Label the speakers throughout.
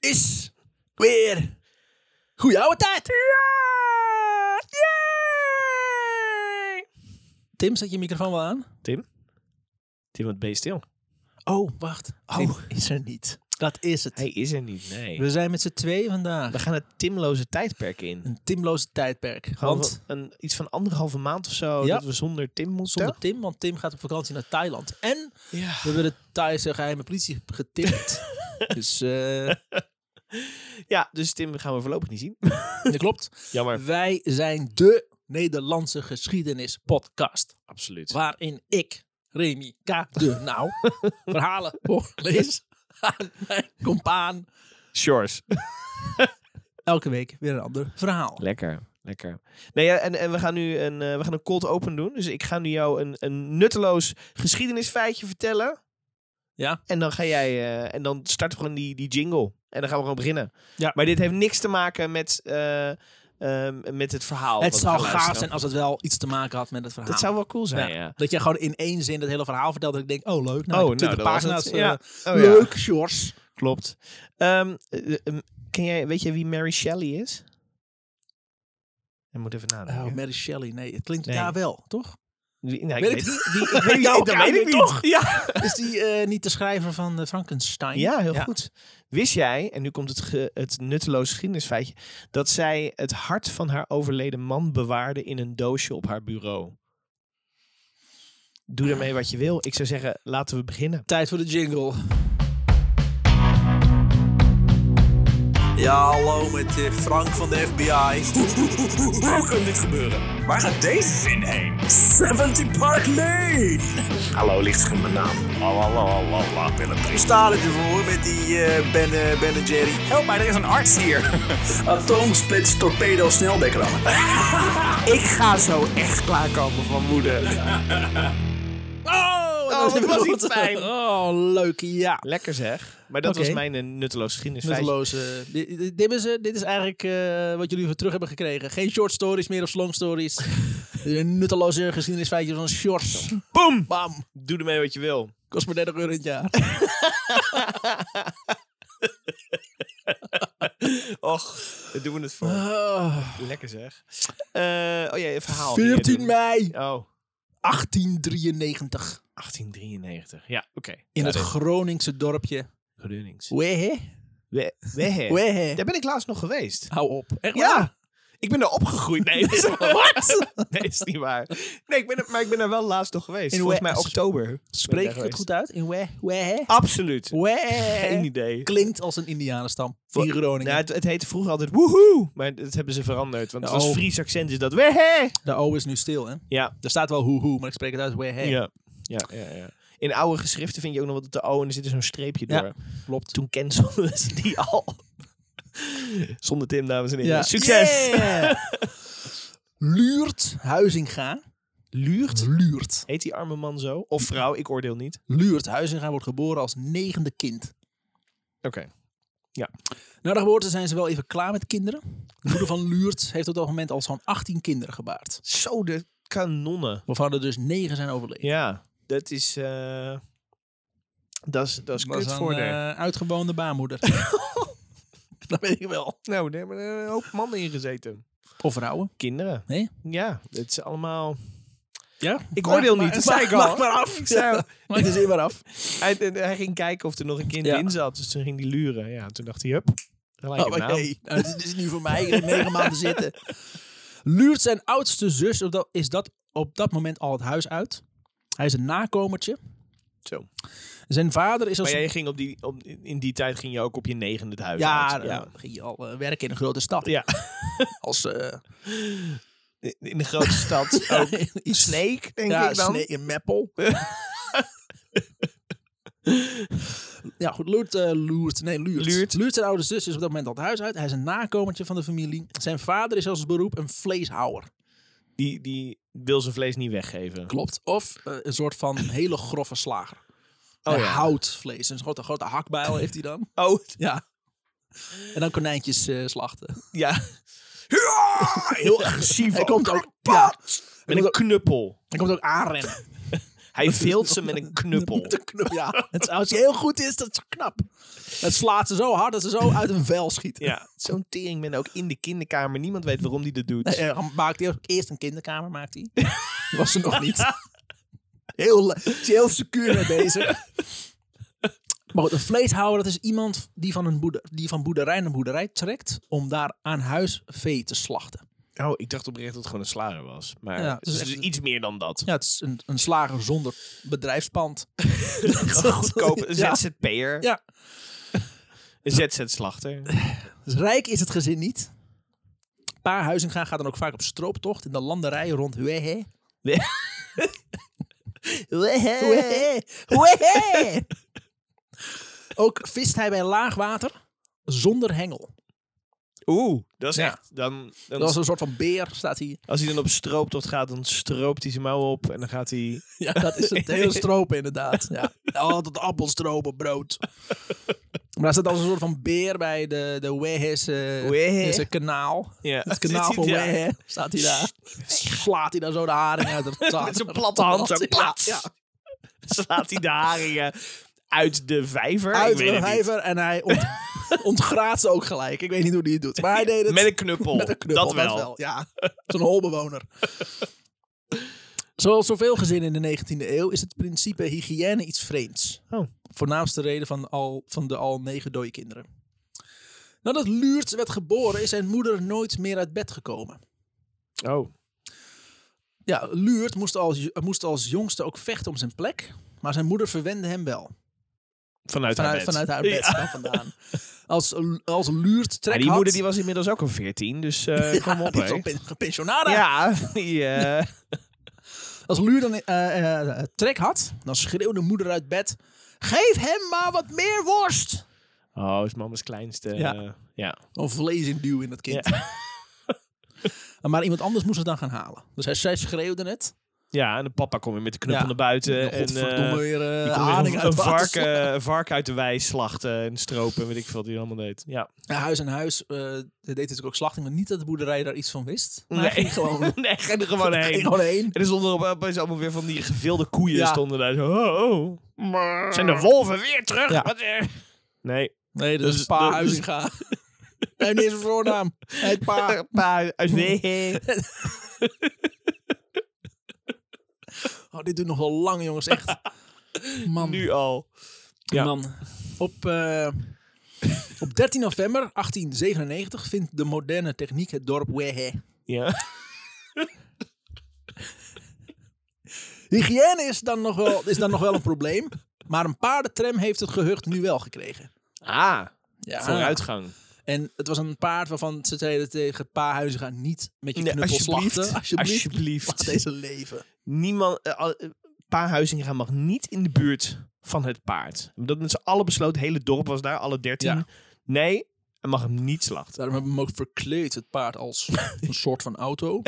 Speaker 1: is weer goeie oude tijd. Tim, zet je microfoon wel aan?
Speaker 2: Tim? Tim, wat ben je stil?
Speaker 1: Oh, wacht.
Speaker 2: Tim.
Speaker 1: Oh, is er niet. Dat is het.
Speaker 2: Hij is er niet, nee.
Speaker 1: We zijn met z'n twee vandaag.
Speaker 2: We gaan het Timloze tijdperk in.
Speaker 1: Een timloze tijdperk.
Speaker 2: Gewoon
Speaker 1: Want
Speaker 2: een, iets van anderhalve maand of zo
Speaker 1: Ja.
Speaker 2: dat we zonder Tim moeten.
Speaker 1: zonder Tim, want Tim gaat op vakantie naar Thailand. En
Speaker 2: Ja.
Speaker 1: we hebben de Thaise geheime politie getipt. dus eh,
Speaker 2: ja, dus Tim gaan we voorlopig niet zien.
Speaker 1: dat klopt.
Speaker 2: Jammer.
Speaker 1: Wij zijn de Nederlandse geschiedenis podcast.
Speaker 2: Absoluut.
Speaker 1: Waarin ik, Remy K. de Nou, verhalen voorlees aan mijn compaan.
Speaker 2: Shores.
Speaker 1: Elke week weer een ander verhaal.
Speaker 2: Lekker, lekker. Nee, ja, en, en we gaan nu een, eh, we gaan een cold open doen. Dus ik ga nu jou een, een nutteloos geschiedenisfeitje vertellen.
Speaker 1: Ja.
Speaker 2: En dan ga jij, eh, en dan starten we gewoon die, die jingle. En dan gaan we gewoon beginnen.
Speaker 1: Ja.
Speaker 2: Maar dit heeft niks te maken met, eh, ehm, met het verhaal.
Speaker 1: Het
Speaker 2: wat we
Speaker 1: zou
Speaker 2: gaan
Speaker 1: gaaf
Speaker 2: luisteren.
Speaker 1: zijn als het wel iets te maken had met het verhaal.
Speaker 2: Dat zou wel cool zijn, Nou,
Speaker 1: Ja.
Speaker 2: ja.
Speaker 1: Dat je gewoon in één zin het hele verhaal vertelt. Dat ik denk, oh leuk, nou,
Speaker 2: Oh,
Speaker 1: oh, 20
Speaker 2: nou, dat was
Speaker 1: pagina's.
Speaker 2: het.
Speaker 1: eh,
Speaker 2: Ja. Leuk.
Speaker 1: Leuk, Sjors.
Speaker 2: Klopt. Ehm, eh, ehm, ken jij, weet je wie Mary Shelley is? Ik moet even nadenken.
Speaker 1: Oh, Mary Shelley, nee, het klinkt
Speaker 2: Nee.
Speaker 1: ja wel, toch?
Speaker 2: Wie- nou, ik
Speaker 1: Weet
Speaker 2: weet
Speaker 1: ik
Speaker 2: niet. Wie- ik weet niet.
Speaker 1: Ja,
Speaker 2: dat
Speaker 1: elkaar
Speaker 2: weet ik
Speaker 1: weer
Speaker 2: niet.
Speaker 1: toch?
Speaker 2: Ja.
Speaker 1: Is die eh, niet de schrijver van eh, Frankenstein?
Speaker 2: Ja, heel goed. Wist jij, en nu komt het, ge- het nutteloos geschiedenisfeitje, dat zij het hart van haar overleden man bewaarde in een doosje op haar bureau? Doe ermee wat je wil. Ik zou zeggen, laten we beginnen.
Speaker 1: Tijd voor de jingle. Ja, hallo met eh, Frank van de FBI.
Speaker 3: Hoe kan dit gebeuren? Waar gaat deze zin heen? 70 Park Lane! Hallo, lichtscherm, mijn naam. Lalalala, Willem. Ik sta ervoor met die eh, ben, ben en Jerry. Help mij, er is een arts hier. Atoomsplits, torpedo, sneldekker
Speaker 2: Ik ga zo echt klaarkomen van moeder.
Speaker 1: Oh,
Speaker 2: dat
Speaker 1: is
Speaker 2: was
Speaker 1: goed.
Speaker 2: iets fijn.
Speaker 1: Oh, leuk, ja.
Speaker 2: Lekker zeg. Maar dat
Speaker 1: Oké.
Speaker 2: was mijn eh, nutteloos geschiedenisfeitje.
Speaker 1: Nutteloze. Dit, dit- dit is, eh, dit is eigenlijk eh, wat jullie weer terug hebben gekregen. Geen short stories meer of long stories. Dit is een Nutteloze geschiedenisfeitjes van shorts.
Speaker 2: Boom!
Speaker 1: Bam.
Speaker 2: Doe ermee wat je wil.
Speaker 1: Kost me 30 euro in het jaar.
Speaker 2: Och, daar doen we het voor.
Speaker 1: Ah,
Speaker 2: Lekker zeg. Eh, oh ja, je verhaal. die je
Speaker 1: 14
Speaker 2: doet.
Speaker 1: mei
Speaker 2: Oh,
Speaker 1: 1893.
Speaker 2: 1893. Ja, oké.
Speaker 1: In
Speaker 2: Ja,
Speaker 1: het
Speaker 2: dit-
Speaker 1: Groningse dorpje.
Speaker 2: Groenings.
Speaker 1: Wehe.
Speaker 2: We, wehe.
Speaker 1: Wehe.
Speaker 2: Daar ben ik laatst nog geweest.
Speaker 1: Hou op. Echt
Speaker 2: Ja.
Speaker 1: waar?
Speaker 2: Ah, Ik ben daar opgegroeid. Nee, dat is, What? nee, is niet waar. Nee, ik ben er, maar ik ben er wel laatst nog geweest.
Speaker 1: In
Speaker 2: Volgens
Speaker 1: Wes-
Speaker 2: mij oktober.
Speaker 1: Spreek ik
Speaker 2: daar
Speaker 1: het
Speaker 2: geweest.
Speaker 1: goed uit? In Wehe. Wehe.
Speaker 2: Absoluut. Geen
Speaker 1: Wehe.
Speaker 2: idee.
Speaker 1: Klinkt als een indianenstam.
Speaker 2: Voor-
Speaker 1: In Groningen.
Speaker 2: Nou, het, het heette vroeger altijd woehoe, maar dat hebben ze veranderd. Want als
Speaker 1: Oh.
Speaker 2: Fries accent is dat wehe.
Speaker 1: De O is nu stil, hè?
Speaker 2: Ja.
Speaker 1: Er staat wel hoe-hoe, maar ik spreek het uit Wehe.
Speaker 2: Ja. Ja, ja, ja. In oude geschriften vind je ook nog wat de O en er zit er zo'n streepje
Speaker 1: Ja.
Speaker 2: door.
Speaker 1: Klopt.
Speaker 2: Toen cancelden ze die al. Zonder Tim, dames en heren.
Speaker 1: Ja.
Speaker 2: Succes!
Speaker 1: Yeah! Luurt Huizinga. Luurt? Luurt.
Speaker 2: Heet die arme man zo? Of vrouw, ik oordeel niet.
Speaker 1: Luurt Huizinga wordt geboren als negende kind.
Speaker 2: Oké.
Speaker 1: Na de geboorte zijn ze wel even klaar met kinderen. De moeder van Luurt heeft op dat moment al zo'n 18 kinderen gebaard.
Speaker 2: Zo, de kanonnen.
Speaker 1: Waarvan er dus 9 zijn overleden.
Speaker 2: Ja, dat is... eh, dat is, dat is
Speaker 1: Dat
Speaker 2: kut
Speaker 1: is
Speaker 2: voor
Speaker 1: een
Speaker 2: de...
Speaker 1: eh, uitgewoonde baarmoeder. dat weet ik wel.
Speaker 2: Nou, daar hebben er een hoop mannen in gezeten.
Speaker 1: Of vrouwen.
Speaker 2: Kinderen.
Speaker 1: Nee?
Speaker 2: Ja, het is allemaal...
Speaker 1: Ja.
Speaker 2: Ik oordeel niet, dat zei ik al.
Speaker 1: Maak maar af.
Speaker 2: Ik zei al-
Speaker 1: Maak de zin maar af.
Speaker 2: hij, hij ging kijken of er nog een kind
Speaker 1: Ja.
Speaker 2: in zat. Dus toen ging hij luren. Ja, toen dacht hij, hup, gelijk
Speaker 1: Oh,
Speaker 2: een
Speaker 1: maar
Speaker 2: naam.
Speaker 1: nee. Nou, dit is nu voor mij. Ik heb negen maanden zitten. Luurt zijn oudste zus op dat, is dat op dat moment al het huis uit. Hij is een nakomertje.
Speaker 2: Zo.
Speaker 1: Zijn vader is als...
Speaker 2: Maar jij ging op die, op, in die tijd ging je ook op je negende het huis
Speaker 1: ja,
Speaker 2: uit.
Speaker 1: ja, dan ging je al eh, werken in een grote stad.
Speaker 2: Ja.
Speaker 1: Als eh,
Speaker 2: In- In de grote stad ook.
Speaker 1: iets
Speaker 2: Snake, denk
Speaker 1: ja,
Speaker 2: ik dan.
Speaker 1: snee in Meppel. ja, goed. Loert, eh, Loert. Nee, Luurt.
Speaker 2: Luurt.
Speaker 1: zijn oude zus is op dat moment al het huis uit. Hij is een nakomertje van de familie. Zijn vader is als beroep een vleeshouwer.
Speaker 2: Die, die wil zijn vlees niet weggeven.
Speaker 1: Klopt. Of eh, een soort van hele grove slager.
Speaker 2: Oh
Speaker 1: Oh,
Speaker 2: ja.
Speaker 1: Houtvlees. Een grote, grote hakbijl heeft hij dan.
Speaker 2: Oh,
Speaker 1: Ja. En dan konijntjes eh, slachten.
Speaker 2: ja. Heel agressief.
Speaker 1: Hij
Speaker 2: ook.
Speaker 1: komt ook, ja,
Speaker 2: Met een knuppel.
Speaker 1: hij komt ook aanrennen.
Speaker 2: Hij veelt ze met een knuppel.
Speaker 1: Met een knuppel, ja. Het, als je heel goed is, dat is knap. Het slaat ze zo hard dat ze zo uit een vel schiet.
Speaker 2: Ja, zo'n teringman ook in de kinderkamer. Niemand weet waarom die dat doet.
Speaker 1: Nee, eh, maakt hij ook eerst een kinderkamer, maakt hij. Die was ze nog niet. Heel, le- is heel secuur met deze. Maar goed, een vleeshouwer, dat is iemand die van, een boerder, die van boerderij naar boerderij trekt om daar aan huis vee te slachten.
Speaker 2: Oh, ik dacht oprecht dat het gewoon een slager was. Maar
Speaker 1: Ja,
Speaker 2: het is
Speaker 1: dus
Speaker 2: dus
Speaker 1: echt-
Speaker 2: iets meer dan dat.
Speaker 1: Ja, het is een, een slager zonder bedrijfspand.
Speaker 2: Gewoon goedkoop. Een
Speaker 1: Ja.
Speaker 2: ZZP'er.
Speaker 1: Ja.
Speaker 2: Een ZZ-slachter.
Speaker 1: Dus rijk is het gezin niet. Paar Huizinga gaat dan ook vaak op strooptocht in de landerijen rond Huehe.
Speaker 2: Nee.
Speaker 1: Huehe. Huehe. Ook vist hij bij laag water zonder hengel.
Speaker 2: Oeh, dat is
Speaker 1: Ja.
Speaker 2: echt... Dan, dan,
Speaker 1: Dat is een soort van beer, staat hij.
Speaker 2: Als hij dan op strooptocht gaat, dan stroopt hij zijn mouw op. En dan gaat hij...
Speaker 1: Ja, dat is het hele stropen inderdaad. Ja. Altijd appelstroop op brood. Maar hij staat als een soort van beer bij de, de Huehese
Speaker 2: Huehe.
Speaker 1: Huehese kanaal.
Speaker 2: Ja.
Speaker 1: Het kanaal van
Speaker 2: Ja.
Speaker 1: Wehe staat hij daar. Slaat hij dan zo de haring uit het zaad.
Speaker 2: Met zijn platte hand zo,
Speaker 1: Ja,
Speaker 2: plats.
Speaker 1: ja.
Speaker 2: Slaat hij de haringen uit de vijver?
Speaker 1: Uit
Speaker 2: Ik weet
Speaker 1: de
Speaker 2: het niet.
Speaker 1: vijver en hij ont, ontgraaft ze ook gelijk. Ik weet niet hoe hij het doet. Maar hij deed het
Speaker 2: Met een knuppel.
Speaker 1: met een knuppel.
Speaker 2: dat wel.
Speaker 1: Ja, zo'n holbewoner. Zoals zoveel gezinnen in de 19e eeuw is het principe hygiëne iets vreemds.
Speaker 2: Oh.
Speaker 1: Voornaamste reden van, al, van de al negen dode kinderen. Nadat Luurt werd geboren is zijn moeder nooit meer uit bed gekomen.
Speaker 2: Oh.
Speaker 1: Ja, Luurt moest als, moest als jongste ook vechten om zijn plek. Maar zijn moeder verwende hem wel.
Speaker 2: Vanuit, haar
Speaker 1: Vanuit,
Speaker 2: bed.
Speaker 1: vanuit haar bed
Speaker 2: Ja.
Speaker 1: kwam vandaan. Als, als Luurt trek
Speaker 2: Maar die
Speaker 1: had-
Speaker 2: moeder die was inmiddels ook al 14, dus eh kom op.
Speaker 1: die is
Speaker 2: hè.
Speaker 1: al pen- gepensionaarde.
Speaker 2: Ja, die, eh,
Speaker 1: Als Luurt dan eh, eh, eh, trek had, dan schreeuwde moeder uit bed... Geef hem maar wat meer worst!
Speaker 2: Oh, is mama's kleinste.
Speaker 1: Ja.
Speaker 2: Ja. ja.
Speaker 1: Een vlees induw in dat kind. maar iemand anders moest het dan gaan halen. Dus hij, zij schreeuwde het.
Speaker 2: ja, en de papa komt weer met de knuppel
Speaker 1: Ja.
Speaker 2: naar buiten. En,
Speaker 1: Godverdomme
Speaker 2: eh,
Speaker 1: weer eh,
Speaker 2: die kon weer
Speaker 1: haring
Speaker 2: een,
Speaker 1: uit
Speaker 2: een
Speaker 1: water.
Speaker 2: varken, een varken uit de wei slachten en stropen. Weet ik veel wat hij allemaal deed. Ja.
Speaker 1: Ja, huis aan huis eh, deed natuurlijk ook slachting. Maar niet dat de boerderij daar iets van wist. Maar
Speaker 2: Nee.
Speaker 1: hij ging gewoon
Speaker 2: nee, ga er gewoon heen.
Speaker 1: Ging gewoon heen.
Speaker 2: En er stonden op- opeens allemaal weer van die gevilde koeien
Speaker 1: Ja.
Speaker 2: stonden daar. Zo, oh, oh. Zijn de wolven weer terug?
Speaker 1: Ja.
Speaker 2: Wat, eh? Nee.
Speaker 1: Nee, dat
Speaker 2: Dus-
Speaker 1: is een paar
Speaker 2: dus-
Speaker 1: Huizinga. Hij heeft niet eens een voornaam. Hij heet Pa.
Speaker 2: Pa, uit Wehe.
Speaker 1: Oh, dit doet nog wel lang, jongens. Echt. Man.
Speaker 2: Nu al. Ja.
Speaker 1: Man. Op, eh, op 13 november 1897 vindt de moderne techniek het dorp Wehe.
Speaker 2: Ja.
Speaker 1: Hygiëne is dan, nog wel, is dan nog wel een probleem. Maar een paardentram heeft het gehucht nu wel gekregen.
Speaker 2: Ah,
Speaker 1: Ja.
Speaker 2: vooruitgang.
Speaker 1: En het was een paard waarvan ze zeiden tegen pa Huizinga niet met je
Speaker 2: Nee,
Speaker 1: knuppel
Speaker 2: alsjeblieft.
Speaker 1: slachten. Alsjeblieft.
Speaker 2: Alsjeblieft.
Speaker 1: Laat deze leven.
Speaker 2: Niemand, eh, al- eh, pa Huizinga mag niet in de buurt van het paard. Dat met z'n allen besloten, het hele dorp was daar, alle dertien.
Speaker 1: Ja.
Speaker 2: Nee, hij mag hem niet slachten.
Speaker 1: Daarom hebben we hem ook verkleed, het paard, als een soort van auto.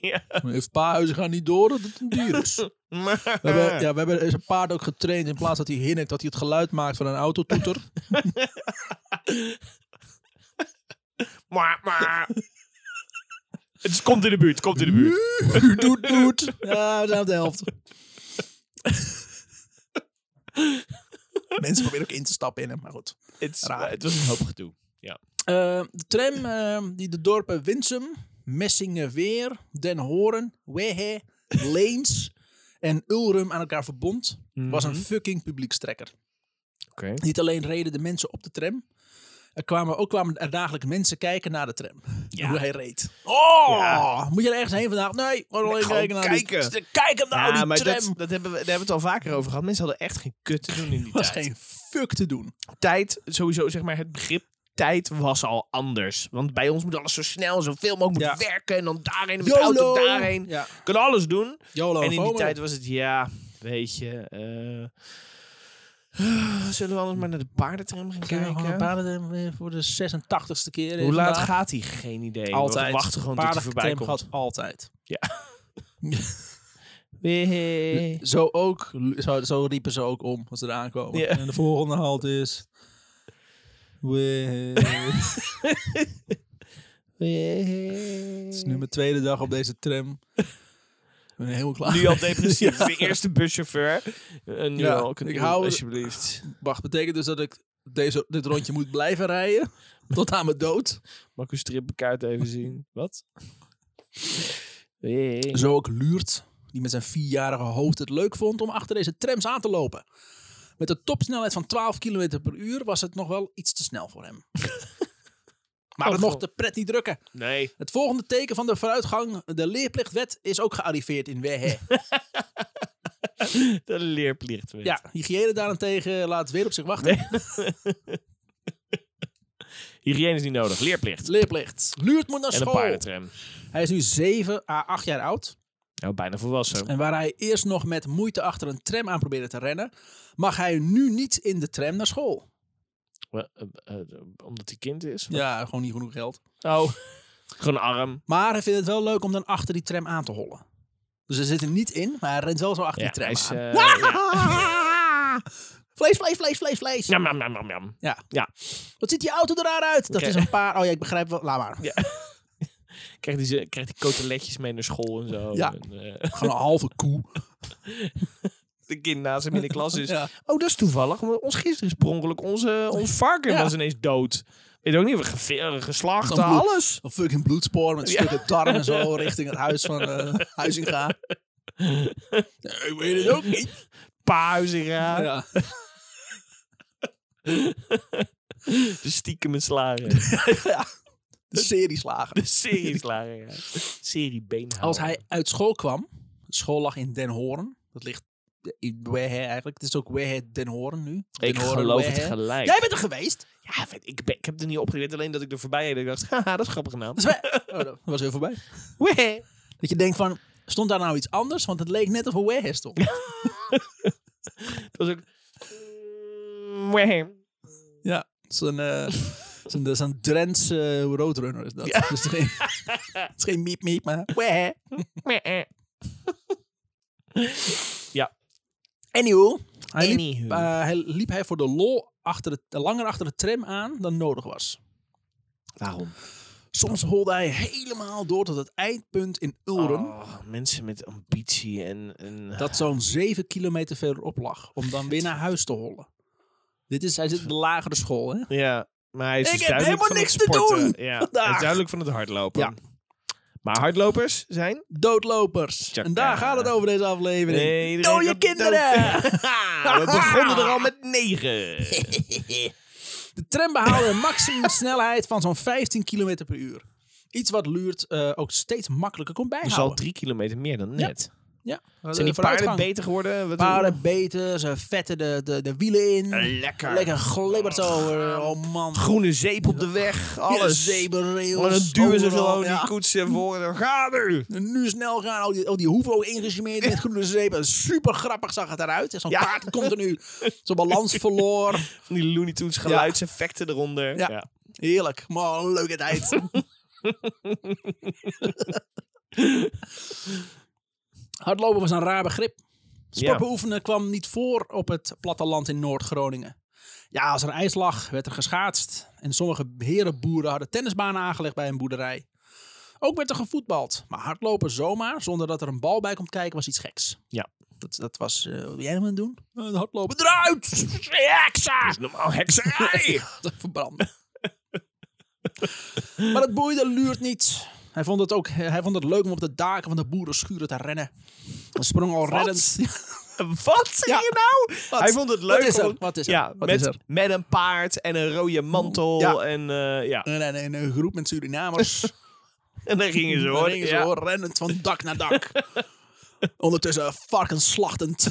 Speaker 2: ja.
Speaker 1: Maar Heeft pa Huizinga niet door dat het een dier is? We
Speaker 2: Maar-
Speaker 1: hebben, ja, we hebben zijn paard ook getraind in plaats dat hij hinnikt, dat hij het geluid maakt van een autotoeter.
Speaker 2: maar, maar. Het is- komt in de buurt, het komt in de buurt.
Speaker 1: doet, doet, doet. Ja, we zijn op de helft. Mensen proberen ook in te stappen in hem, maar goed.
Speaker 2: Het, is-
Speaker 1: Raar.
Speaker 2: het was een hoop gedoe.
Speaker 1: Eh, de tram eh, die de dorpen Winsum, Messingenweer, Den Horen, Wehe, Leens en Ulrum aan elkaar verbond, was
Speaker 2: Mhm.
Speaker 1: een fucking publiekstrekker.
Speaker 2: Oké.
Speaker 1: Niet alleen reden de mensen op de tram, er kwamen ook kwamen er dagelijks mensen kijken naar de tram.
Speaker 2: Ja.
Speaker 1: Hoe hij reed. Oh!
Speaker 2: Ja.
Speaker 1: Moet je er ergens heen vandaag? Nee, we gaan alleen
Speaker 2: gewoon
Speaker 1: kijken naar
Speaker 2: kijken.
Speaker 1: die Kijk hem nou,
Speaker 2: ja,
Speaker 1: die
Speaker 2: maar
Speaker 1: tram!
Speaker 2: dat, dat hebben we, daar hebben we het al vaker over gehad. Mensen hadden echt geen kut te doen in die
Speaker 1: was
Speaker 2: tijd.
Speaker 1: geen fuck te doen.
Speaker 2: Tijd, sowieso zeg maar het begrip tijd was al anders. Want bij ons moet alles zo snel, zoveel mogelijk
Speaker 1: Ja.
Speaker 2: moet werken. En dan daarheen, en met de auto daarheen.
Speaker 1: Ja.
Speaker 2: Je kan alles doen.
Speaker 1: YOLO
Speaker 2: en in die
Speaker 1: Oh, FOMO.
Speaker 2: tijd was het, ja, weet je... eh, zullen we anders maar naar de paardentram gaan
Speaker 1: Kunnen we gewoon een
Speaker 2: kijken?
Speaker 1: paarden weer voor de 86ste keer. eh,
Speaker 2: Hoe laat
Speaker 1: vandaag?
Speaker 2: gaat die? Geen idee.
Speaker 1: Altijd.
Speaker 2: We wachten gewoon tot hij voorbij
Speaker 1: Paardencrème
Speaker 2: komt.
Speaker 1: gaat altijd.
Speaker 2: Wee.
Speaker 1: Zo ook, zo, zo riepen ze ook om als ze eraan kwamen.
Speaker 2: Ja.
Speaker 1: En de volgende halt is... Wee. Het
Speaker 2: Wee.
Speaker 1: is nu mijn tweede dag op deze tram. Ik ben helemaal klaar.
Speaker 2: Nu al depressief.
Speaker 1: Ja.
Speaker 2: De eerste buschauffeur. Eh, nu
Speaker 1: Ja,
Speaker 2: al. Ik,
Speaker 1: ik hou-
Speaker 2: Alsjeblieft.
Speaker 1: Wacht, betekent dus dat ik deze, dit rondje moet blijven rijden? Tot aan mijn dood?
Speaker 2: Mag ik uw strippenkaart even zien? Wat? Hey.
Speaker 1: Zo ook Luurt, die met zijn vierjarige hoofd het leuk vond om achter deze trams aan te lopen. Met een topsnelheid van 12 km per uur was het nog wel iets te snel voor hem. maar
Speaker 2: Oh,
Speaker 1: dat mocht
Speaker 2: God.
Speaker 1: de pret niet drukken.
Speaker 2: Nee.
Speaker 1: Het volgende teken van de vooruitgang, de leerplichtwet, is ook gearriveerd in Wehe.
Speaker 2: De leerplicht. weet.
Speaker 1: ja, hygiëne daarentegen laat weer op zich wachten.
Speaker 2: Hygiëne is niet nodig. Leerplicht.
Speaker 1: Leerplicht. Luurt moet naar
Speaker 2: En een
Speaker 1: school.
Speaker 2: paardentram.
Speaker 1: Hij is nu 7 à 8 jaar oud.
Speaker 2: Nou, bijna volwassen.
Speaker 1: En waar hij eerst nog met moeite achter een tram aan probeerde te rennen, mag hij nu niet in de tram naar school.
Speaker 2: Wel, eh, eh, eh, omdat hij kind is.
Speaker 1: Ja, gewoon niet genoeg geld.
Speaker 2: Oh. Gewoon arm.
Speaker 1: Maar hij vindt het wel leuk om dan achter die tram aan te hollen. Dus hij zit er niet in, maar hij rent wel zo achter
Speaker 2: Ja,
Speaker 1: die tram
Speaker 2: hij is,
Speaker 1: aan.
Speaker 2: eh,
Speaker 1: Vlees, vlees, vlees, vlees, vlees.
Speaker 2: Nam, nam, nam, nam, nam.
Speaker 1: Wat ziet die auto er raar uit? Dat
Speaker 2: Oké.
Speaker 1: is een paar... Oh ja, ik begrijp wel. Laat maar.
Speaker 2: Ja. Krijgt hij, ze- krijgt hij koteletjes mee naar school en zo.
Speaker 1: Ja.
Speaker 2: En, eh,
Speaker 1: Gewoon een halve koe.
Speaker 2: de kind naast hem in de klas is.
Speaker 1: Ja.
Speaker 2: Oh, dat is toevallig. want ons gisteren is per ongeluk onze, ons varken
Speaker 1: Ja.
Speaker 2: was ineens dood. Weet ook niet, we geve- geslacht,
Speaker 1: Gewoon bloed.
Speaker 2: alles.
Speaker 1: Een fucking bloedspoor met
Speaker 2: Ja.
Speaker 1: stukken darm en zo richting het huis van eh Huizinga. Nee, ik weet het ook niet.
Speaker 2: Pauzinga.
Speaker 1: Ja.
Speaker 2: De stiekeme slager.
Speaker 1: De serie slagen.
Speaker 2: De serie slager. ja. Serie beenhouwer.
Speaker 1: Als hij uit school kwam, school lag in Den Hoorn. Dat ligt in Wehe eigenlijk. Het is ook Wehe Den Hoorn nu. Den
Speaker 2: Ik
Speaker 1: Hoorn,
Speaker 2: geloof het
Speaker 1: Wehe.
Speaker 2: gelijk.
Speaker 1: Jij bent er geweest.
Speaker 2: Ja, weet, ik, ben- ik heb er niet op geweten, alleen dat ik er voorbij reed. en Ik dacht, haha, dat is grappig naam.
Speaker 1: Dat, is we- oh, dat was heel voorbij.
Speaker 2: Wee.
Speaker 1: Dat je denkt van, stond daar nou iets anders? Want het leek net of er Wehe stond.
Speaker 2: Dat was ook... Wee.
Speaker 1: Ja, zo'n eh zo'n- dat is een Drents eh, roadrunner is dat. Dus het, is geen, het is geen miep miep, maar Wehe.
Speaker 2: Wee.
Speaker 1: Anywho, hij liep,
Speaker 2: Anywho.
Speaker 1: eh, hij, liep hij voor de lol achter de, langer achter de tram aan dan nodig was.
Speaker 2: Waarom?
Speaker 1: Soms holde hij helemaal door tot het eindpunt in Ulrum.
Speaker 2: Oh, mensen met ambitie en... en
Speaker 1: Dat zo'n 7 kilometer verderop lag. Om dan weer naar huis te hollen. Dit is, hij zit op de lagere school, hè?
Speaker 2: Ja, maar hij is
Speaker 1: Ik
Speaker 2: dus
Speaker 1: heb
Speaker 2: duidelijk
Speaker 1: helemaal
Speaker 2: van het
Speaker 1: niks te
Speaker 2: sporten. Ja, hij
Speaker 1: vandaag.
Speaker 2: is duidelijk van het hardlopen.
Speaker 1: Ja.
Speaker 2: Maar hardlopers zijn...
Speaker 1: Doodlopers.
Speaker 2: Tjaka.
Speaker 1: En daar gaat het over deze aflevering.
Speaker 2: Nee,
Speaker 1: Dode
Speaker 2: iedereen gaat
Speaker 1: kinderen!
Speaker 2: dood. We begonnen er al met negen.
Speaker 1: De tram behaalde een maximum snelheid van zo'n 15 kilometer per uur. Iets wat Luurt eh, ook steeds makkelijker kon
Speaker 2: Dat is al
Speaker 1: bijhouden.
Speaker 2: drie kilometer meer dan net.
Speaker 1: Ja.
Speaker 2: Zijn die
Speaker 1: Eh,
Speaker 2: paarden
Speaker 1: vooruitgang.
Speaker 2: beter geworden? Wat
Speaker 1: Paarden beter, ze vetten de, de, de wielen in.
Speaker 2: Eh, Lekker.
Speaker 1: Lekker glibbert zo. eh, Oh man.
Speaker 2: Groene zeep op de weg. Alles.
Speaker 1: Ja, zeebrails,
Speaker 2: Maar dan duwen ze
Speaker 1: overal,
Speaker 2: gewoon
Speaker 1: ja.
Speaker 2: die koetsen voor. en Dan gaan we.
Speaker 1: En nu snel gaan, al die, al die hoeven ook ingesmeerd met groene zeep. Super grappig zag het eruit. Zo'n
Speaker 2: Ja.
Speaker 1: paard komt er nu. Zo'n balans verloor.
Speaker 2: Van die Looney Tunes geluidseffecten eronder.
Speaker 1: Ja. Heerlijk. Man, leuke tijd. Hardlopen was een raar begrip. Sport
Speaker 2: Ja.
Speaker 1: beoefenen kwam niet voor op het platteland in Noord-Groningen. Ja, als er ijs lag, werd er geschaatst. En sommige herenboeren hadden tennisbanen aangelegd bij een boerderij. Ook werd er gevoetbald. Maar hardlopen zomaar, zonder dat er een bal bij komt kijken, was iets geks.
Speaker 2: Ja.
Speaker 1: Dat, dat was, eh, wat wil jij hem aan het doen? Eh, hardlopen, eruit! Heksa!
Speaker 2: Dat is normaal hekserij.
Speaker 1: Dat verbranden. maar het boeide Luurt niet. Hij vond, het ook, hij vond het leuk om op de daken van de boerenschuren te rennen. Hij sprong al reddend.
Speaker 2: Wat zeg
Speaker 1: Ja.
Speaker 2: je nou?
Speaker 1: Wat?
Speaker 2: Hij vond het leuk.
Speaker 1: Wat is er?
Speaker 2: om-
Speaker 1: Wat is er?
Speaker 2: Ja,
Speaker 1: Wat
Speaker 2: met,
Speaker 1: is er?
Speaker 2: met een paard en een rode mantel.
Speaker 1: Ja.
Speaker 2: En, eh, ja.
Speaker 1: En, en, en een groep met Surinamers.
Speaker 2: en daar gingen ze
Speaker 1: Daar
Speaker 2: hoor.
Speaker 1: gingen ze
Speaker 2: Ja.
Speaker 1: hoor, rennend van dak naar dak. Ondertussen varkens slachtend.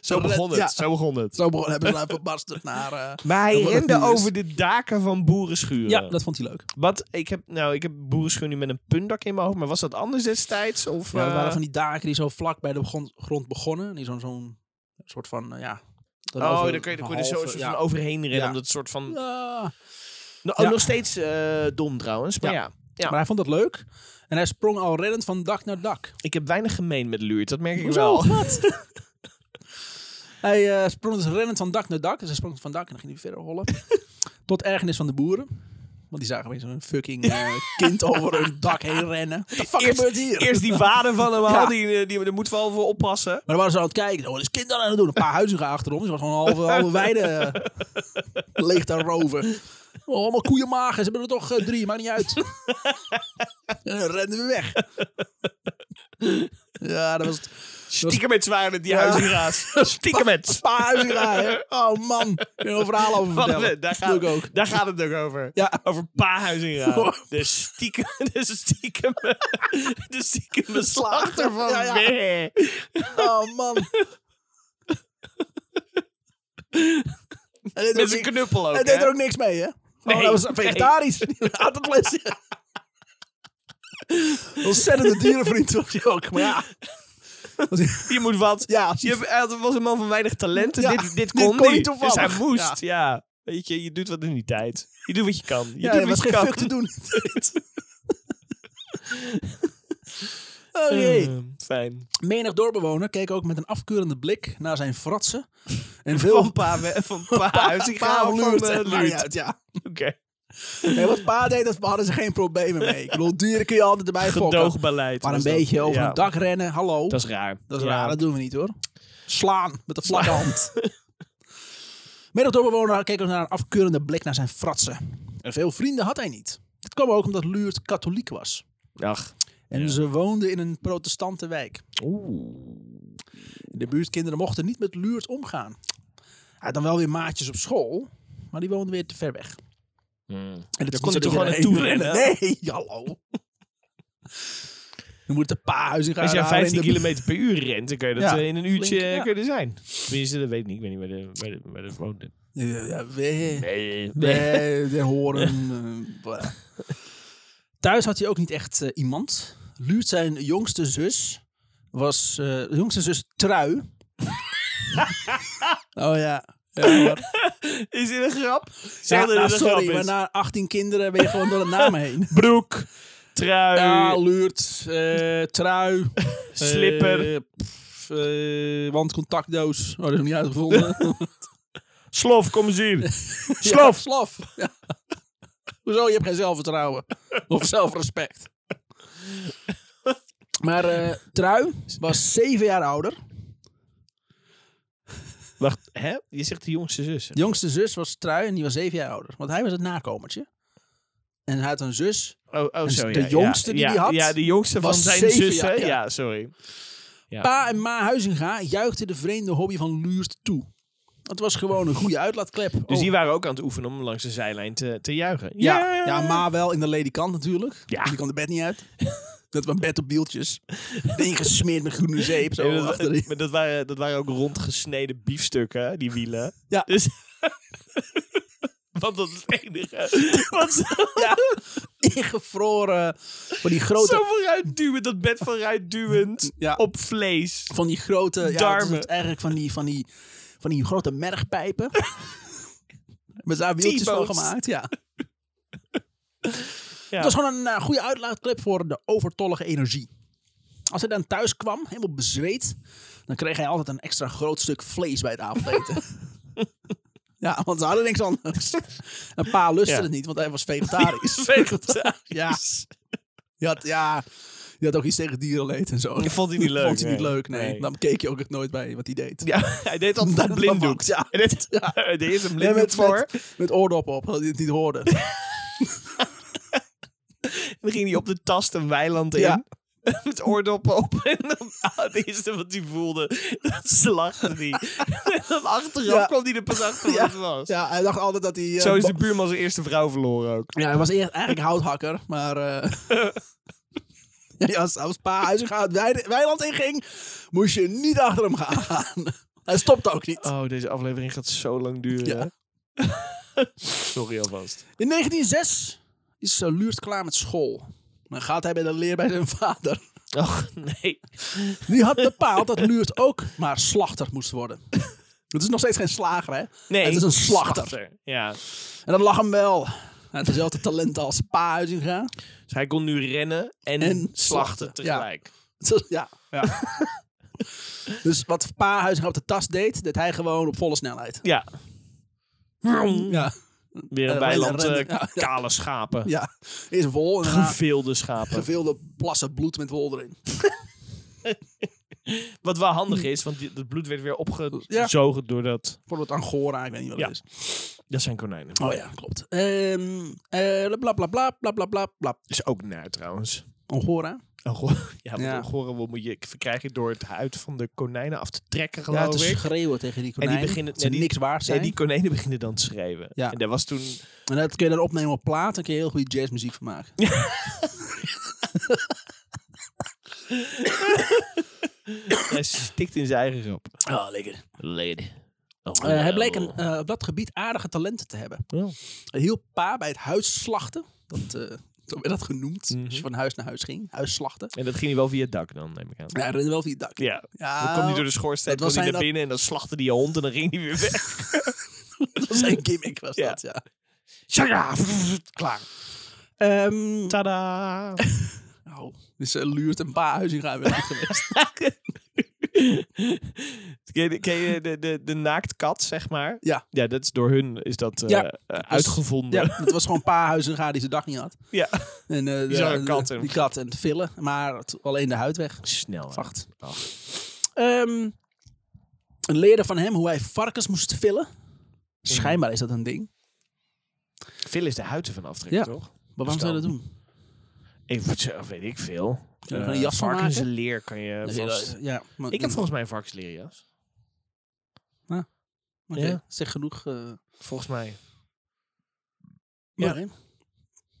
Speaker 2: Zo begon het.
Speaker 1: Ja.
Speaker 2: Zo begon het.
Speaker 1: Zo begon, hebben ze nou verbasterd naar... eh,
Speaker 2: Maar hij
Speaker 1: Zo wordt het
Speaker 2: rende
Speaker 1: nieuws.
Speaker 2: over de daken van boerenschuren.
Speaker 1: ja, dat vond hij leuk.
Speaker 2: Wat? Ik heb, nou, ik heb boerenschuren nu met een puntdak in mijn hoofd. Maar was dat anders destijds? Of,
Speaker 1: Ja, dat waren
Speaker 2: eh,
Speaker 1: van die daken die zo vlak bij de begon- grond begonnen. Die zo'n zo'n soort van, eh, ja... dan
Speaker 2: Oh,
Speaker 1: over
Speaker 2: dan kun je, dan
Speaker 1: een
Speaker 2: kun je er zo
Speaker 1: halve-
Speaker 2: soort
Speaker 1: ja.
Speaker 2: van overheen rennen.
Speaker 1: Ja.
Speaker 2: Omdat het soort van...
Speaker 1: Ja.
Speaker 2: Nou, oh,
Speaker 1: Ja.
Speaker 2: nog steeds eh, dom trouwens. Maar ja.
Speaker 1: Ja.
Speaker 2: Ja.
Speaker 1: Maar hij vond het leuk. En hij sprong al reddend van dak naar dak.
Speaker 2: ik heb weinig gemeen met Luurt. Dat merk ik
Speaker 1: Hoezo?
Speaker 2: wel.
Speaker 1: Hij eh, sprong dus rennend van dak naar dak. Dus hij sprong van dak en dan ging hij verder rollen. Tot ergernis van de boeren. Want die zagen weer zo'n fucking eh, kind over hun dak heen rennen. What the fuck
Speaker 2: Eerst-
Speaker 1: gebeurt hier?
Speaker 2: Eerst die vader van hem al,
Speaker 1: Ja.
Speaker 2: die, eh, die, daar moeten we al voor oppassen.
Speaker 1: Maar dan waren ze aan het kijken. Oh, wat is kind dan aan het doen? Een paar huizen achterom. Ze was gewoon een halve, halve weide eh, leeg daar roven. Oh, allemaal koeienmagen. Ze hebben er toch eh, drie. Maakt niet uit. en dan renden we weg. ja, dat was het.
Speaker 2: Stiekem met zwaar met die
Speaker 1: Ja.
Speaker 2: huizenraas. Stiekem
Speaker 1: Een
Speaker 2: met.
Speaker 1: paar huizen rijden. Oh man. Ik kan er een verhaal over vertellen.
Speaker 2: Daar
Speaker 1: Doe ik
Speaker 2: gaat,
Speaker 1: ook.
Speaker 2: daar gaat het ook over.
Speaker 1: Ja.
Speaker 2: Over paarhuizinraad.
Speaker 1: Oh.
Speaker 2: De stiekem, de stiekem, de stiekem slachter van
Speaker 1: Ja, ja.
Speaker 2: Meh.
Speaker 1: Oh man. En dit
Speaker 2: Met
Speaker 1: was
Speaker 2: zijn
Speaker 1: ik-
Speaker 2: knuppel ook.
Speaker 1: Hij deed
Speaker 2: hè?
Speaker 1: er ook niks mee, hè?
Speaker 2: Nee,
Speaker 1: Oh, dat was
Speaker 2: nee.
Speaker 1: vegetarisch. Nee. Had het lesje. Ontzettende dierenvriend was hij ook. Maar ja,
Speaker 2: Je moet wat.
Speaker 1: ja
Speaker 2: Je hebt- hij was een man van weinig talenten.
Speaker 1: Ja,
Speaker 2: dit, dit
Speaker 1: dit
Speaker 2: kon,
Speaker 1: kon hij
Speaker 2: niet.
Speaker 1: toevallig.
Speaker 2: Dus hij moest. Ja. Weet je, je doet wat in die tijd. Je doet wat je kan. Je
Speaker 1: ja,
Speaker 2: doet
Speaker 1: er was
Speaker 2: wat je
Speaker 1: geen
Speaker 2: kan.
Speaker 1: fuck te doen. Oké.
Speaker 2: Eh, fijn.
Speaker 1: Oh, Menig doorbewoner keek ook met een afkeurende blik naar zijn fratsen. En
Speaker 2: Van
Speaker 1: veel
Speaker 2: pa, we- van pa huis. Ik ga
Speaker 1: pa
Speaker 2: van
Speaker 1: luurt.
Speaker 2: eh,
Speaker 1: Maakt
Speaker 2: Luurt.
Speaker 1: niet uit, ja.
Speaker 2: Oké.
Speaker 1: Nee, wat pa deed, dat hadden ze geen problemen mee. Ik bedoel, dieren kun je altijd erbij fokken.
Speaker 2: Gedoogbeleid.
Speaker 1: Maar een
Speaker 2: was dat.
Speaker 1: beetje over
Speaker 2: Ja,
Speaker 1: een dak rennen, hallo.
Speaker 2: Dat is raar.
Speaker 1: Dat is
Speaker 2: Ja.
Speaker 1: raar, dat doen we niet hoor. Slaan met de vlakke hand. Middeldoorbewoner keek ook naar een afkeurende blik naar zijn fratsen. En veel vrienden had hij niet. Dit kwam ook omdat Luurt katholiek was.
Speaker 2: Ach.
Speaker 1: En
Speaker 2: Ja.
Speaker 1: ze woonden in een protestante wijk. De buurtkinderen mochten niet met Luurt omgaan. Hij had dan wel weer maatjes op school, maar die woonden weer te ver weg. En
Speaker 2: Daar
Speaker 1: het
Speaker 2: kon
Speaker 1: is niet
Speaker 2: hij
Speaker 1: zo
Speaker 2: toch
Speaker 1: dat
Speaker 2: wel
Speaker 1: je
Speaker 2: naartoe
Speaker 1: erheen
Speaker 2: rennen?
Speaker 1: wil Nee, hallo. Dan moet de paarhuis in gaan.
Speaker 2: Als je aan
Speaker 1: halen in
Speaker 2: 15
Speaker 1: de-
Speaker 2: km per uur rent, dan kun je dat
Speaker 1: Ja.
Speaker 2: eh, in een uurtje
Speaker 1: Flink, ja.
Speaker 2: kun je er zijn. Tenminste, dat weet ik niet. Ik weet niet waar de, waar de, waar de woonde.
Speaker 1: Ja, ja, we-
Speaker 2: Nee.
Speaker 1: Nee, de horen. eh, blah. Thuis had hij ook niet echt eh, iemand. Luurt zijn jongste zus was eh, de jongste zus trui. oh ja. Ja, hoor.
Speaker 2: Is dit een grap? Zeg
Speaker 1: ja
Speaker 2: dat
Speaker 1: nou,
Speaker 2: dit een grap
Speaker 1: sorry,
Speaker 2: is.
Speaker 1: maar na 18 kinderen ben je gewoon door de namen heen.
Speaker 2: Broek, trui,
Speaker 1: Ja, Luurt, eh, trui,
Speaker 2: slipper,
Speaker 1: eh, pff, eh, wandcontactdoos. Oh, dat is nog niet uitgevonden.
Speaker 2: slof, kom eens hier. Slof.
Speaker 1: Ja, slof. Ja. Hoezo? Je hebt geen zelfvertrouwen. Of zelfrespect. Maar eh, Trui was zeven jaar ouder.
Speaker 2: Wacht, hè? Je zegt de jongste zus.
Speaker 1: De jongste zus was Trui en die was zeven jaar ouder. Want hij was het nakomertje. En hij had een zus.
Speaker 2: Oh, oh
Speaker 1: En
Speaker 2: zo,
Speaker 1: Dus de
Speaker 2: ja,
Speaker 1: jongste
Speaker 2: ja,
Speaker 1: die
Speaker 2: ja,
Speaker 1: die had
Speaker 2: Ja, de jongste van
Speaker 1: was
Speaker 2: zijn
Speaker 1: zeven
Speaker 2: zus, hè?
Speaker 1: jaar,
Speaker 2: Ja.
Speaker 1: ja.
Speaker 2: sorry. Ja.
Speaker 1: Pa en ma Huizinga juichten de vreemde hobby van Luurt toe. Het was gewoon een goede uitlaatklep.
Speaker 2: Dus
Speaker 1: Oh.
Speaker 2: die waren ook aan het oefenen om langs de zijlijn te, te juichen.
Speaker 1: ja, ja, ma wel in de ledikant natuurlijk.
Speaker 2: Ja.
Speaker 1: Die kan de bed niet uit. Dat was een bed op wieltjes. Ingesmeerd met groene zeep. Zo
Speaker 2: Nee, dat,
Speaker 1: achterin.
Speaker 2: maar dat, waren, dat waren ook rondgesneden biefstukken, hè, die wielen.
Speaker 1: Ja.
Speaker 2: Dus, want dat is het enige. Want ze-
Speaker 1: Ja. Ingevroren. Van die grote.
Speaker 2: zo vooruitduwend, dat bed vooruitduwend.
Speaker 1: Ja.
Speaker 2: Op vlees.
Speaker 1: Van die grote. Ja, dat is
Speaker 2: darmen.
Speaker 1: het eigenlijk van die, van die, van die grote mergpijpen. Met daar wieltjes van
Speaker 2: T-bones.
Speaker 1: gemaakt. Ja.
Speaker 2: Ja.
Speaker 1: Het was gewoon een eh, goede uitlaatklep voor de overtollige energie. Als hij dan thuis kwam, helemaal bezweet. dan kreeg hij altijd een extra groot stuk vlees bij het avondeten. ja, want ze hadden niks anders. Een paar lusten
Speaker 2: Ja.
Speaker 1: het niet, want hij was vegetarisch.
Speaker 2: Vegetarisch.
Speaker 1: Ja. Je had, ja, je had ook iets tegen dierenleed en zo.
Speaker 2: Ik vond die niet leuk,
Speaker 1: Vond hij niet
Speaker 2: nee.
Speaker 1: leuk, nee.
Speaker 2: Nee.
Speaker 1: Dan keek je ook het nooit bij wat hij deed.
Speaker 2: Ja, hij deed altijd een
Speaker 1: Dat
Speaker 2: blinddoek.
Speaker 1: was- ja.
Speaker 2: Hij deed, hij deed een
Speaker 1: Nee,
Speaker 2: blinddoek
Speaker 1: met,
Speaker 2: voor.
Speaker 1: met, met oordoppen op, dat hij het niet hoorde.
Speaker 2: Dan ging hij op de tast een weiland in.
Speaker 1: Ja.
Speaker 2: Met oordoppen op. En dan, ah, het eerste wat hij voelde, dat slachten hij. En dan achteraf
Speaker 1: Ja.
Speaker 2: kwam hij er pas achter wat
Speaker 1: Ja.
Speaker 2: het was.
Speaker 1: Ja, hij dacht altijd dat hij... eh,
Speaker 2: Zo is
Speaker 1: bo-
Speaker 2: de buurman zijn eerste vrouw verloren ook.
Speaker 1: Ja, hij was eerst eigenlijk houthakker, maar... eh ja, als, als pa Huizinga het weide- weiland inging, moest je niet achter hem gaan. hij stopte ook niet.
Speaker 2: Oh, deze aflevering gaat zo lang duren.
Speaker 1: Ja.
Speaker 2: Sorry alvast.
Speaker 1: In 1906 is eh, Luurt klaar met school. Dan gaat hij bij de leer bij zijn vader.
Speaker 2: Och, Oh, nee.
Speaker 1: Die had bepaald dat Luurt ook maar slachter moest worden. Het is nog steeds geen slager, hè?
Speaker 2: nee.
Speaker 1: Het is een slachter.
Speaker 2: Ja. Dus
Speaker 1: En dat lag hem wel. Hij had dezelfde talenten als Pa Huizinga.
Speaker 2: Dus hij kon nu rennen en,
Speaker 1: En
Speaker 2: slachten,
Speaker 1: slachten,
Speaker 2: tegelijk.
Speaker 1: Het was- Ja. ja. dus wat Pa Huizinga op de tas deed, deed hij gewoon op volle snelheid.
Speaker 2: Ja.
Speaker 1: Ja.
Speaker 2: Weer een
Speaker 1: Eh,
Speaker 2: weiland
Speaker 1: rennen,
Speaker 2: eh,
Speaker 1: ja.
Speaker 2: kale schapen.
Speaker 1: Ja, eerst wol en daarna
Speaker 2: Geveelde schapen.
Speaker 1: geveelde plassen bloed met wol erin.
Speaker 2: Wat wel handig is, want die- het bloed werd weer
Speaker 1: Ja.
Speaker 2: opgezogen door dat...
Speaker 1: Voor het Angora, ik weet niet wat
Speaker 2: Ja.
Speaker 1: het is.
Speaker 2: Dat zijn konijnen.
Speaker 1: Oh ja, klopt. Ehm eh bla bla bla bla bla bla bla.
Speaker 2: Is ook naar trouwens.
Speaker 1: Angora.
Speaker 2: Oh, goh. ja, want
Speaker 1: Ja.
Speaker 2: Angoren wil- moet je verkrijgen door het huid van de konijnen af te trekken,
Speaker 1: Ja,
Speaker 2: geloof
Speaker 1: te
Speaker 2: ik.
Speaker 1: schreeuwen tegen die konijnen.
Speaker 2: beginnen-
Speaker 1: dat ze
Speaker 2: ja, die-
Speaker 1: niks waard zijn.
Speaker 2: Nee, die konijnen beginnen dan te schreeuwen.
Speaker 1: Ja.
Speaker 2: En daar was toen...
Speaker 1: En dat kun je dan opnemen op plaat. Dan kun je heel goede jazzmuziek van maken.
Speaker 2: Hij stikt in zijn eigen grap. Oh,
Speaker 1: Oh, lekker.
Speaker 2: Lady.
Speaker 1: hij bleek een, eh, op dat gebied aardige talenten te hebben.
Speaker 2: Oh.
Speaker 1: Hij hielp pa bij het huisslachten. Dat, eh zo werd dat genoemd.
Speaker 2: Mhm.
Speaker 1: Als je van huis naar huis ging. Huisslachten.
Speaker 2: En dat ging hij wel via het dak dan, neem ik aan.
Speaker 1: Ja, hij rende wel via het dak.
Speaker 2: Ja.
Speaker 1: Ja,
Speaker 2: Dan kwam hij door de schoorsteen,
Speaker 1: Ah, dat
Speaker 2: kwam
Speaker 1: was
Speaker 2: hij
Speaker 1: zijn dat-
Speaker 2: naar binnen en dan slachtte hij een hond en dan ging hij weer weg.
Speaker 1: dat was zijn gimmick was
Speaker 2: Ja.
Speaker 1: dat, ja.
Speaker 2: Tjaga! Klaar.
Speaker 1: Ehm
Speaker 2: Tada!
Speaker 1: oh, dus eh, Luurt en Pa Huizinga weer geweest.
Speaker 2: ken je, ken je de, de, de naaktkat, zeg maar?
Speaker 1: Ja.
Speaker 2: Ja, dat is door hun is dat, eh,
Speaker 1: Ja,
Speaker 2: eh, uitgevonden.
Speaker 1: ja, dat was gewoon Pa Huizinga die zijn dak niet had.
Speaker 2: Ja.
Speaker 1: En, eh, de,
Speaker 2: zag een kat en-
Speaker 1: en... Die kat en het villen. Maar het- alleen de huid weg.
Speaker 2: Snel. hè.
Speaker 1: Vacht.
Speaker 2: Oh.
Speaker 1: Ehm, een leerde van hem hoe hij varkens moest villen. Schijnbaar is dat een ding.
Speaker 2: Veel is de huid ervan aftrekken,
Speaker 1: Ja.
Speaker 2: toch?
Speaker 1: Maar waarom zou je dat doen?
Speaker 2: Ik weet- weet ik veel.
Speaker 1: Kun je
Speaker 2: Eh,
Speaker 1: er een jas van maken?
Speaker 2: varkensleer kan je vast...
Speaker 1: Ja, maar,
Speaker 2: Ik heb volgens mij een varkensleerjas.
Speaker 1: oké,
Speaker 2: ja.
Speaker 1: Zeg genoeg. eh,
Speaker 2: Volgens mij. Ja.
Speaker 1: ja.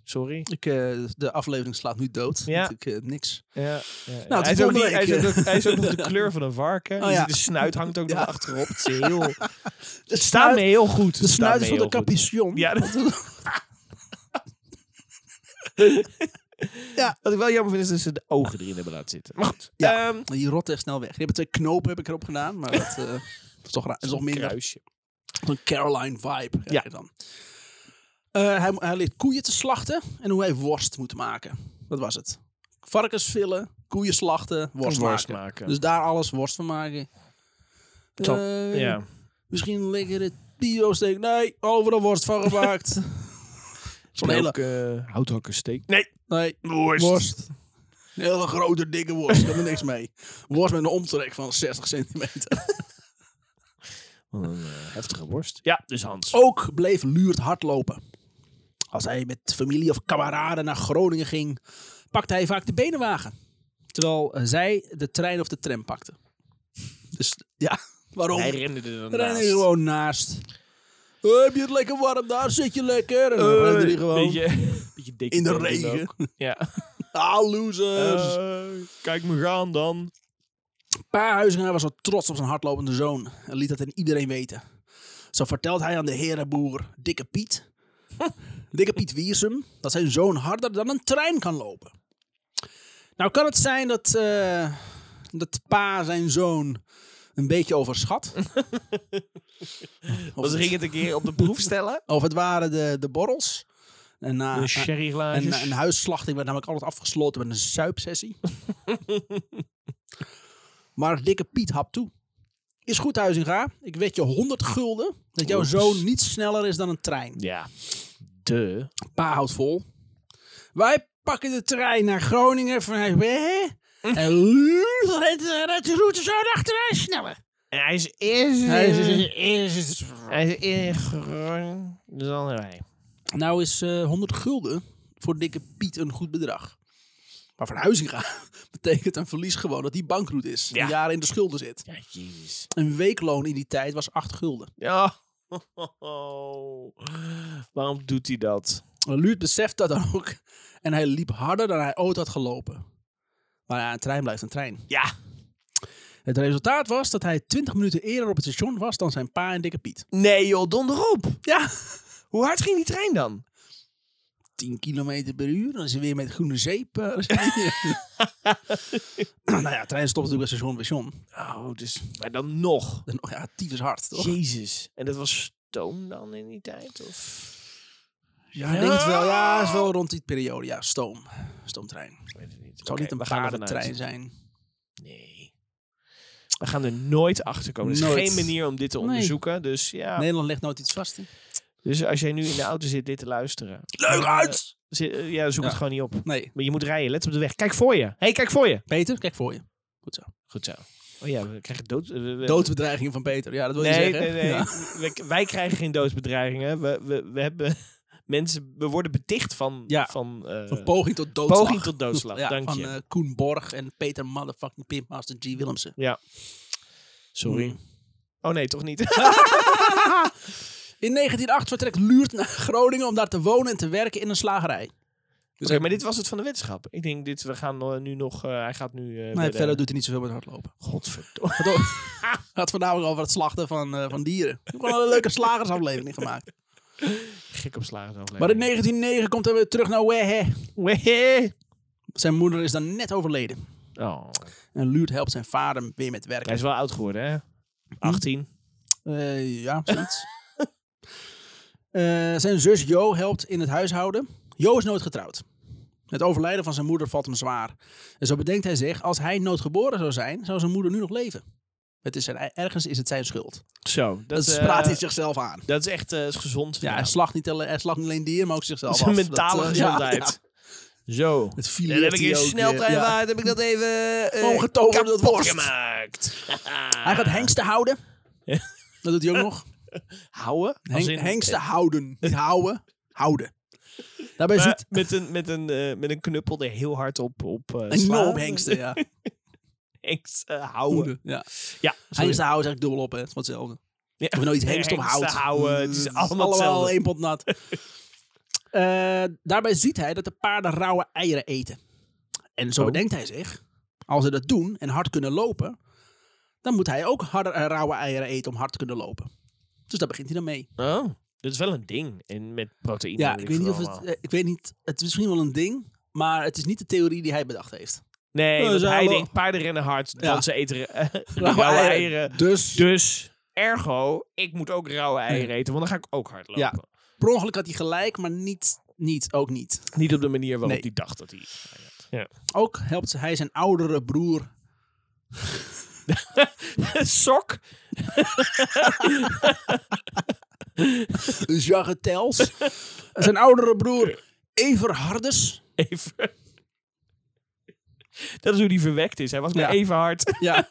Speaker 2: Sorry.
Speaker 1: ik, eh, de aflevering slaat nu dood.
Speaker 2: Ja.
Speaker 1: Want Ik, eh, niks.
Speaker 2: Ja, ja, ja.
Speaker 1: tot
Speaker 2: hij, is ook
Speaker 1: volgende
Speaker 2: niet, hij, is
Speaker 1: week.
Speaker 2: ook, hij is ook nog de kleur van een varken.
Speaker 1: Oh,
Speaker 2: Je
Speaker 1: ja.
Speaker 2: ziet De snuit hangt ook
Speaker 1: Ja.
Speaker 2: nog achterop. Het is heel... Het
Speaker 1: De
Speaker 2: staat me heel goed.
Speaker 1: de
Speaker 2: Het staat
Speaker 1: snuit
Speaker 2: me
Speaker 1: van de
Speaker 2: heel goed.
Speaker 1: capuchon.
Speaker 2: Ja, dat...
Speaker 1: Ja.
Speaker 2: Wat ik wel jammer vind is dat ze de ogen erin hebben laten zitten. Maar goed.
Speaker 1: Ja.
Speaker 2: ehm,
Speaker 1: Die rot echt snel weg. Die hebben twee knopen heb ik erop gedaan. Maar dat, eh, is toch raar. Dat is toch minder.
Speaker 2: kruisje.
Speaker 1: Een Caroline vibe.
Speaker 2: Ja.
Speaker 1: Ja. Dan. Eh, hij, hij leert koeien te slachten en hoe hij worst moet maken. Dat was het. Varkens villen, koeien slachten, worst,
Speaker 2: Worst
Speaker 1: maken.
Speaker 2: maken.
Speaker 1: Dus daar alles worst van maken.
Speaker 2: Top.
Speaker 1: Eh,
Speaker 2: ja.
Speaker 1: Misschien een lekkere bio-steak. Nee, overal worst van gemaakt. Zo'n hele...
Speaker 2: Elke houthakkersteek. Nee,
Speaker 1: Nee,
Speaker 2: worst.
Speaker 1: worst. Een hele grote, dikke worst. Ik heb er niks mee. Worst met een omtrek van 60 centimeter.
Speaker 2: Wat een eh, heftige worst. Ja, dus Hans.
Speaker 1: Ook bleef Luurt hardlopen. Als hij met familie of kameraden naar Groningen ging, pakte hij vaak de benenwagen. Terwijl eh, zij de trein of de tram pakte. Dus ja, waarom?
Speaker 2: Hij rende er dan
Speaker 1: Ren
Speaker 2: naast.
Speaker 1: hij gewoon naast. Eh, heb je het lekker warm daar? Zit je lekker? En dan
Speaker 2: Eh,
Speaker 1: rende hij gewoon
Speaker 2: beetje- beetje dik
Speaker 1: in de
Speaker 2: benen
Speaker 1: regen.
Speaker 2: ook. Ja.
Speaker 1: Ah, losers!
Speaker 2: Eh, kijk me gaan dan.
Speaker 1: Pa Huizinga was al trots op zijn hardlopende zoon en liet dat aan iedereen weten. Zo vertelt hij aan de herenboer Dikke Piet, Dikke Piet Wiersum, dat zijn zoon harder dan een trein kan lopen. Nou kan het zijn dat, eh, dat pa zijn zoon een beetje overschat. of,
Speaker 2: Was ging
Speaker 1: het,
Speaker 2: het een keer op de proef stellen?
Speaker 1: of het waren de, de borrels. En eh, na,
Speaker 2: Een
Speaker 1: na-
Speaker 2: sherryglaasjes.
Speaker 1: een, een huisslachting werd namelijk altijd afgesloten met een zuipsessie. maar dikke Piet hap toe. Is goed, Huizinga. Ik wed je 100 gulden dat jouw
Speaker 2: Oeps.
Speaker 1: zoon niet sneller is dan een trein.
Speaker 2: Ja. De.
Speaker 1: Pa houdt vol. Wij pakken de trein naar Groningen vanuit Hè? En Luut redt- redt de route zo achteraan sneller.
Speaker 2: Hij is eerst...
Speaker 1: Hij is-
Speaker 2: eerst... Hij is eerst... groen, Dan wij.
Speaker 1: Nou is eh 100 gulden voor dikke Piet een goed bedrag. Maar voor Huizinga betekent een verlies gewoon dat hij bankroet is.
Speaker 2: Ja.
Speaker 1: En jaren in de schulden zit.
Speaker 2: Ja, jezus.
Speaker 1: Een weekloon in die tijd was 8 gulden.
Speaker 2: Ja. Waarom doet hij dat?
Speaker 1: Luurt beseft dat dan ook. En hij liep harder dan hij ooit had gelopen. Maar ja, een trein blijft een trein.
Speaker 2: Ja.
Speaker 1: Het resultaat was dat hij 20 minuten eerder op het station was dan zijn pa en dikke Piet.
Speaker 2: Nee joh, donder op.
Speaker 1: Ja.
Speaker 2: Hoe hard ging die trein dan?
Speaker 1: 10 kilometer per uur, dan is hij weer met groene zeep. eh, nou ja, de trein stopt natuurlijk bij station bij station.
Speaker 2: Oh, dus... Maar dan nog.
Speaker 1: En, oh ja, tyfus hard, toch?
Speaker 2: Jezus. En dat was stoom dan in die tijd? Of...
Speaker 1: Ja, ik denk het wel. Ja, is wel rond die periode. Ja, stoom. Stoomtrein. Het
Speaker 2: Ik weet het niet.
Speaker 1: zal
Speaker 2: Oké,
Speaker 1: niet een
Speaker 2: we gaan ervan uit.
Speaker 1: paardentrein zijn.
Speaker 2: Nee. We gaan er nooit achter komen. Er is
Speaker 1: Nooit.
Speaker 2: geen manier om dit te
Speaker 1: Nee.
Speaker 2: onderzoeken. Dus ja.
Speaker 1: Nederland legt nooit iets vast. hè?
Speaker 2: Dus als jij nu in de auto zit dit te luisteren.
Speaker 3: Leuk
Speaker 2: eh,
Speaker 3: uit!
Speaker 2: zi- eh, ja, zoek
Speaker 1: Ja.
Speaker 2: het gewoon niet op.
Speaker 1: Nee.
Speaker 2: Maar je moet rijden, let op de weg. Kijk voor je. Hé, hey, kijk voor je.
Speaker 1: Peter, kijk voor je. Goed zo.
Speaker 2: Goed zo. Oh ja, we krijgen dood... we- we-
Speaker 1: Doodbedreiging van Peter. Ja, dat wil je
Speaker 2: eh, Nee,
Speaker 1: zeggen.
Speaker 2: nee, nee. Eh,
Speaker 1: Ja.
Speaker 2: We- wij krijgen geen doodsbedreigingen. We, we, we hebben mensen... We worden beticht van...
Speaker 1: Ja.
Speaker 2: Van, eh,
Speaker 1: Van poging tot doodslag.
Speaker 2: poging tot doodslag.
Speaker 1: Ja,
Speaker 2: Dank
Speaker 1: van
Speaker 2: je.
Speaker 1: eh, Koen Borg en Peter motherfucking Pimpmaster G. Willemsen.
Speaker 2: Sorry.
Speaker 1: Hmm.
Speaker 2: Oh nee, toch niet.
Speaker 1: In 1908 vertrekt Luurt naar Groningen om daar te wonen en te werken in een slagerij.
Speaker 2: Oké, Dus maar dit was het van de wetenschap. Ik denk, dit, we gaan eh, nu nog... eh, hij gaat nu... eh, weer
Speaker 1: Nee,
Speaker 2: de-
Speaker 1: verder doet hij niet zoveel met hardlopen.
Speaker 2: Godverdomme.
Speaker 1: Hij had voornamelijk over het slachten van, eh, van dieren. Ik heb wel een leuke slagersaflevering gemaakt.
Speaker 2: Gek op slagen zo.
Speaker 1: Maar in 1909 komt hij weer terug naar Wehe.
Speaker 2: Wee.
Speaker 1: Zijn moeder is dan net overleden.
Speaker 2: Oh.
Speaker 1: En Luurt helpt zijn vader weer met werken.
Speaker 2: Hij is wel oud geworden, hè?
Speaker 1: Hm.
Speaker 2: 18.
Speaker 1: Eh, ja, zoiets. Eh, zijn zus Jo helpt in het huishouden. Jo is nooit getrouwd. Het overlijden van zijn moeder valt hem zwaar. En zo bedenkt hij zich, als hij nooit geboren zou zijn, zou zijn moeder nu nog leven. Het is zijn, e-, ergens is het zijn schuld.
Speaker 2: Zo. Dat,
Speaker 1: Dat,
Speaker 2: eh,
Speaker 1: spraat hij zichzelf aan.
Speaker 2: Dat is echt eh, is gezond.
Speaker 1: Ja,
Speaker 2: Nou,
Speaker 1: hij slacht niet, alle- hij slacht niet alleen dieren, maar ook zichzelf
Speaker 2: zijn
Speaker 1: af.
Speaker 2: mentale
Speaker 1: Dat, eh, ja,
Speaker 2: gezondheid. Zo.
Speaker 1: ja. Het
Speaker 2: Ja,
Speaker 1: fileert
Speaker 2: dan heb ik
Speaker 1: hij
Speaker 2: in
Speaker 1: ook, eh, ja.
Speaker 2: sneltreinvaart, heb ik dat even eh,
Speaker 1: Omgetoverd tot
Speaker 2: kapot
Speaker 1: worst.
Speaker 2: gemaakt.
Speaker 1: Hij gaat hengsten houden.
Speaker 2: Ja.
Speaker 1: Dat doet hij ook nog.
Speaker 2: houden. als
Speaker 1: Heng,
Speaker 2: in-
Speaker 1: hengsten houden. Niet houden, houden. Daarbij
Speaker 2: Maar
Speaker 1: ziet...
Speaker 2: Eh, met, een, met, een, eh, met een knuppel er heel hard op, op eh,
Speaker 1: Een
Speaker 2: slaan.
Speaker 1: op hengsten, ja.
Speaker 2: Hengst, eh, houden.
Speaker 1: Ja.
Speaker 2: Ja, sorry.
Speaker 1: Hengsten houden is eigenlijk dubbel op, hè. Het is wel hetzelfde.
Speaker 2: Ja.
Speaker 1: Of je nou iets hengst of
Speaker 2: Hengsten
Speaker 1: hout.
Speaker 2: houden, het is
Speaker 1: Eh,
Speaker 2: allemaal hetzelfde.
Speaker 1: één pot nat. Eh, daarbij ziet hij dat de paarden rauwe eieren eten. En zo
Speaker 2: Oh.
Speaker 1: bedenkt hij zich, als ze dat doen en hard kunnen lopen, dan moet hij ook harde, eh, rauwe eieren eten om hard te kunnen lopen. Dus daar begint hij dan mee.
Speaker 2: Oh, dat is wel een ding. En met proteïne.
Speaker 1: Ja, ik weet,
Speaker 2: veel
Speaker 1: niet of het,
Speaker 2: allemaal.
Speaker 1: eh, ik weet niet, het is misschien wel een ding, maar het is niet de theorie die hij bedacht heeft.
Speaker 2: Nee,
Speaker 1: Eh,
Speaker 2: want
Speaker 1: zijn
Speaker 2: hij
Speaker 1: wel-
Speaker 2: denkt paarden rennen hard,
Speaker 1: Ja.
Speaker 2: want ze eten eh, rauwe
Speaker 1: eieren.
Speaker 2: eieren.
Speaker 1: Dus,
Speaker 2: Dus, ergo, ik moet ook rauwe eieren eten, want dan ga ik ook hard lopen.
Speaker 1: per ongeluk had hij gelijk, maar niet, niet ook niet.
Speaker 2: Niet op de manier waarop
Speaker 1: Nee.
Speaker 2: hij dacht dat hij... Ah, Ja.
Speaker 1: Ook helpt hij zijn oudere broer.
Speaker 2: Sok?
Speaker 1: Jacques Tels. zijn oudere broer Everhardus.
Speaker 2: Even. Dat is hoe die verwekt is. Hij was maar
Speaker 1: Ja.
Speaker 2: even hard.
Speaker 1: Ja.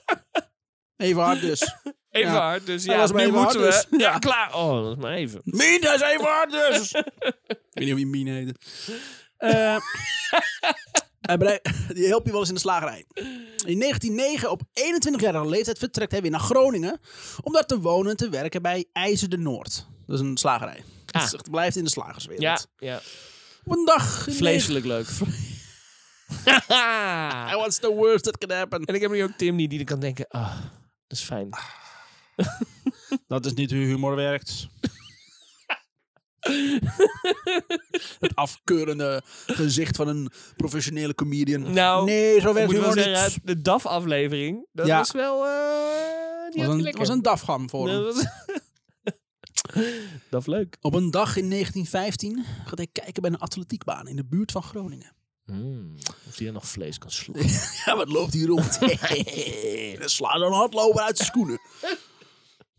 Speaker 1: Everhardus.
Speaker 2: Even
Speaker 1: Ja.
Speaker 2: hard, dus
Speaker 1: Hij
Speaker 2: ja,
Speaker 1: was maar
Speaker 2: nu
Speaker 1: even
Speaker 2: moeten
Speaker 1: hard,
Speaker 2: we.
Speaker 1: dus-
Speaker 2: Ja.
Speaker 1: Ja.
Speaker 2: klaar. Oh, dat is maar even.
Speaker 1: Mina is Everhardus. Ik weet niet of je Mina heet. Eh, hij bereikt- die helpt je wel eens in de slagerij. In 1909, op 21-jarige leeftijd, vertrekt hij weer naar Groningen. Om daar te wonen en te werken bij IJzer de Noord. Dat is een slagerij.
Speaker 2: Ah.
Speaker 1: Dus het blijft in de slagerswereld.
Speaker 2: Ja, ja.
Speaker 1: Op een dag. in
Speaker 2: vleeselijk leuk.
Speaker 1: negen- What's the worst that can happen?
Speaker 2: en ik heb nu ook Tim die, die kan denken, ah, dat is fijn.
Speaker 1: Dat is niet hoe humor werkt. het afkeurende gezicht van een professionele comedian.
Speaker 2: Nou,
Speaker 1: nee, zo
Speaker 2: Ik
Speaker 1: werkt
Speaker 2: moet
Speaker 1: humor
Speaker 2: wel
Speaker 1: niet.
Speaker 2: zeggen, de DAF-aflevering, dat
Speaker 1: Ja.
Speaker 2: was wel... eh
Speaker 1: was
Speaker 2: die had
Speaker 1: een,
Speaker 2: hij
Speaker 1: het
Speaker 2: lekker.
Speaker 1: was een dafgam voor hem.
Speaker 2: Dat was- Dat is leuk.
Speaker 1: Op een dag in 1915 gaat hij kijken bij een atletiekbaan in de buurt van Groningen.
Speaker 2: Hmm, Of die er nog vlees kan slopen.
Speaker 1: Ja, wat loopt hier rond? Sla dan hardloper uit zijn schoenen.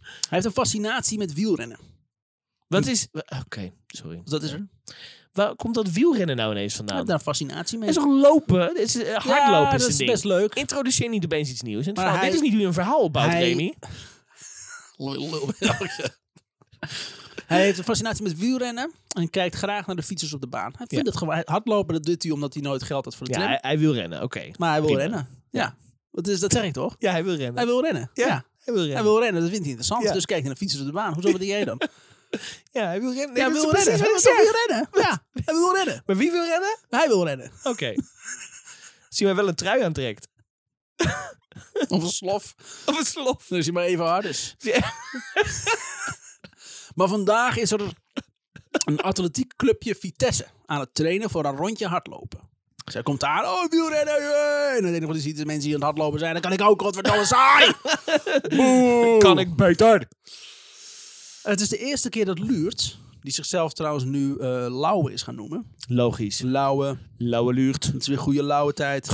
Speaker 1: Hij heeft een fascinatie met wielrennen.
Speaker 2: Wat is... wa- Oké, sorry.
Speaker 1: Dus dat is er.
Speaker 2: Waar komt dat wielrennen nou ineens
Speaker 1: Hij
Speaker 2: vandaan?
Speaker 1: heeft daar een fascinatie mee.
Speaker 2: Het is toch lopen? Het is, eh, hardlopen
Speaker 1: Ja, dat
Speaker 2: is een
Speaker 1: is
Speaker 2: ding.
Speaker 1: best leuk.
Speaker 2: Introduceer niet opeens iets nieuws. In het
Speaker 1: Maar
Speaker 2: verhaal-
Speaker 1: hij-
Speaker 2: dit is niet hoe je een verhaal bouwt,
Speaker 1: hij-
Speaker 2: Remy.
Speaker 1: Lul, lul. hij heeft een fascinatie met wielrennen en kijkt graag naar de fietsers op de baan. Hij vindt het gewoon hij- hardlopen, dat doet hij omdat hij nooit geld had voor de
Speaker 2: Ja,
Speaker 1: klim.
Speaker 2: hij, hij wil rennen, oké.
Speaker 1: maar hij wil
Speaker 2: prima.
Speaker 1: rennen. Ja, Dat, is, dat zeg ik toch?
Speaker 2: Ja, hij wil rennen.
Speaker 1: Hij wil rennen. Ja.
Speaker 2: Hij wil rennen.
Speaker 1: Hij wil rennen, dat vindt hij interessant.
Speaker 2: Ja.
Speaker 1: Dus kijkt hij naar fietsers op de baan. Hoezo wat jij dan?
Speaker 2: Ja, hij wil rennen.
Speaker 1: Ja, hij
Speaker 2: Nee, dat
Speaker 1: wil
Speaker 2: is
Speaker 1: rennen.
Speaker 2: precies
Speaker 1: Hij
Speaker 2: wat ik zeg.
Speaker 1: wil rennen. Ja, hij wil rennen.
Speaker 2: Maar wie wil rennen?
Speaker 1: Hij wil rennen.
Speaker 2: Oké. Zie mij wel een trui aantrekt.
Speaker 1: Of een slof.
Speaker 2: Of een slof.
Speaker 1: Dan is hij maar even hard. Dus.
Speaker 2: Ja.
Speaker 1: Maar vandaag is er een atletiekclubje Vitesse aan het trainen voor een rondje hardlopen. Zij komt aan, oh wielrennen, yeah. en dan denk ik, je ziet de mensen die aan het hardlopen zijn, dan kan ik ook, godverdomme, saai! Boe.
Speaker 2: Kan ik beter?
Speaker 1: Het is de eerste keer dat Luurt, die zichzelf trouwens nu eh Lauwe is gaan noemen.
Speaker 2: Logisch.
Speaker 1: Lauwe,
Speaker 2: Lauwe luurt.
Speaker 1: het is weer goede Lauwe tijd.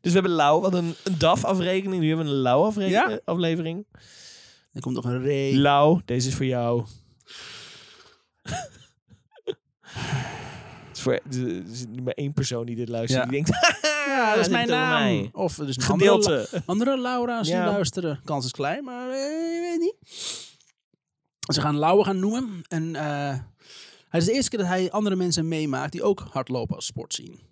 Speaker 2: Dus we hebben Lau, wat een, een DAF-afrekening. Nu hebben we een eh,
Speaker 1: Ja.
Speaker 2: Lau-aflevering.
Speaker 1: Er komt nog een Ray.
Speaker 2: Lau, deze is voor jou. is voor, er is maar één persoon die dit luistert.
Speaker 1: Ja.
Speaker 2: Die denkt, "Ah,
Speaker 1: Ja, dat is
Speaker 2: dit
Speaker 1: mijn
Speaker 2: doen
Speaker 1: naam.
Speaker 2: wij.
Speaker 1: Of er is een andere,
Speaker 2: Gedeelte.
Speaker 1: andere Laura's
Speaker 2: Ja.
Speaker 1: die luisteren. Kans is klein, maar eh, je weet niet. Ze gaan Laura gaan noemen. En eh het is de eerste keer dat hij andere mensen meemaakt die ook hardlopen als sport zien.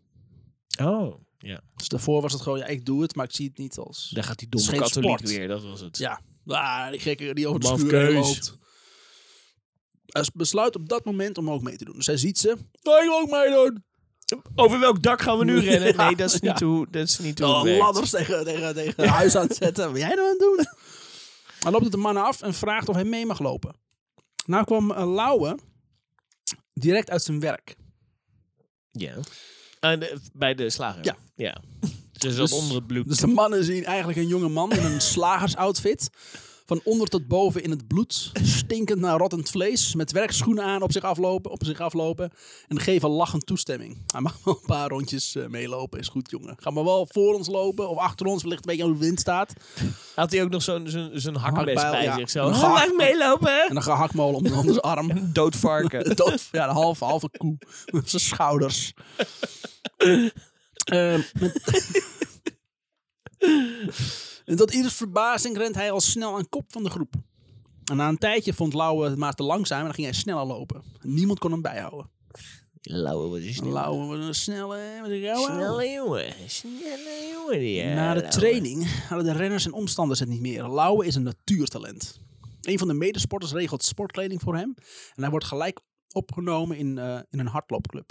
Speaker 2: Oh, ja.
Speaker 1: Dus daarvoor was het gewoon, ja, ik doe het, maar ik zie het niet als...
Speaker 2: Daar gaat die
Speaker 1: Het
Speaker 2: domme
Speaker 1: is geen
Speaker 2: katholiek
Speaker 1: sport.
Speaker 2: weer, dat was het.
Speaker 1: Ja, ah, die gekke die over de
Speaker 2: Man,
Speaker 1: schuur heen
Speaker 2: keus.
Speaker 1: loopt. Hij s- besluit op dat moment om ook mee te doen. Dus hij ziet ze. Oh, ik wil ook meedoen.
Speaker 2: Over welk dak gaan we nu rennen?
Speaker 1: Ja,
Speaker 2: Nee, dat is niet
Speaker 1: ja.
Speaker 2: hoe, dat is niet hoe het
Speaker 1: Oh,
Speaker 2: werkt.
Speaker 1: ladders tegen, tegen, tegen huis aan het zetten. Wat ben jij nou aan het doen? Hij loopt op de man af en vraagt of hij mee mag lopen. Nou kwam eh, Lauwe direct uit zijn werk.
Speaker 2: Ja. En, eh, bij de slager.
Speaker 1: Ja.
Speaker 2: ja. Ze zat onder het bloed.
Speaker 1: Dus de mannen zien eigenlijk een jonge man in een slagersoutfit. Van onder tot boven in het bloed. Stinkend naar rottend vlees. Met werkschoenen aan op zich aflopen. Op zich aflopen en geven lachend toestemming. Hij mag wel een paar rondjes eh, meelopen. Is goed, jongen. Ga maar wel voor ons lopen. Of achter ons. Wellicht een beetje aan hoe de wind staat.
Speaker 2: Had hij ook nog zo'n zo'n zo'n hakmes
Speaker 1: Hakbijl,
Speaker 2: bij
Speaker 1: ja.
Speaker 2: zich? Zo.
Speaker 1: Een
Speaker 2: Oh,
Speaker 1: hak-
Speaker 2: laat ik meelopen.
Speaker 1: En dan gehaktmolen om de andere arm.
Speaker 2: Dood varken.
Speaker 1: Dood, ja, een halve, halve koe. Op zijn schouders. Ehm, met- en tot ieders verbazing rent hij al snel aan kop van de groep. En na een tijdje vond Lauwe het maar te langzaam en dan ging hij sneller lopen. Niemand kon hem bijhouden.
Speaker 2: Lauwe, wat is
Speaker 1: En Lauwe was een snelle... Wat een rauwe ouwe.
Speaker 2: Snelle jongen. Snelle jongen. die, eh,
Speaker 1: Na de
Speaker 2: Lauwe.
Speaker 1: training hadden de renners en omstanders het niet meer. Lauwe is een natuurtalent. Een van de medesporters regelt sportkleding voor hem. En hij wordt gelijk opgenomen in, eh, in een hardloopclub.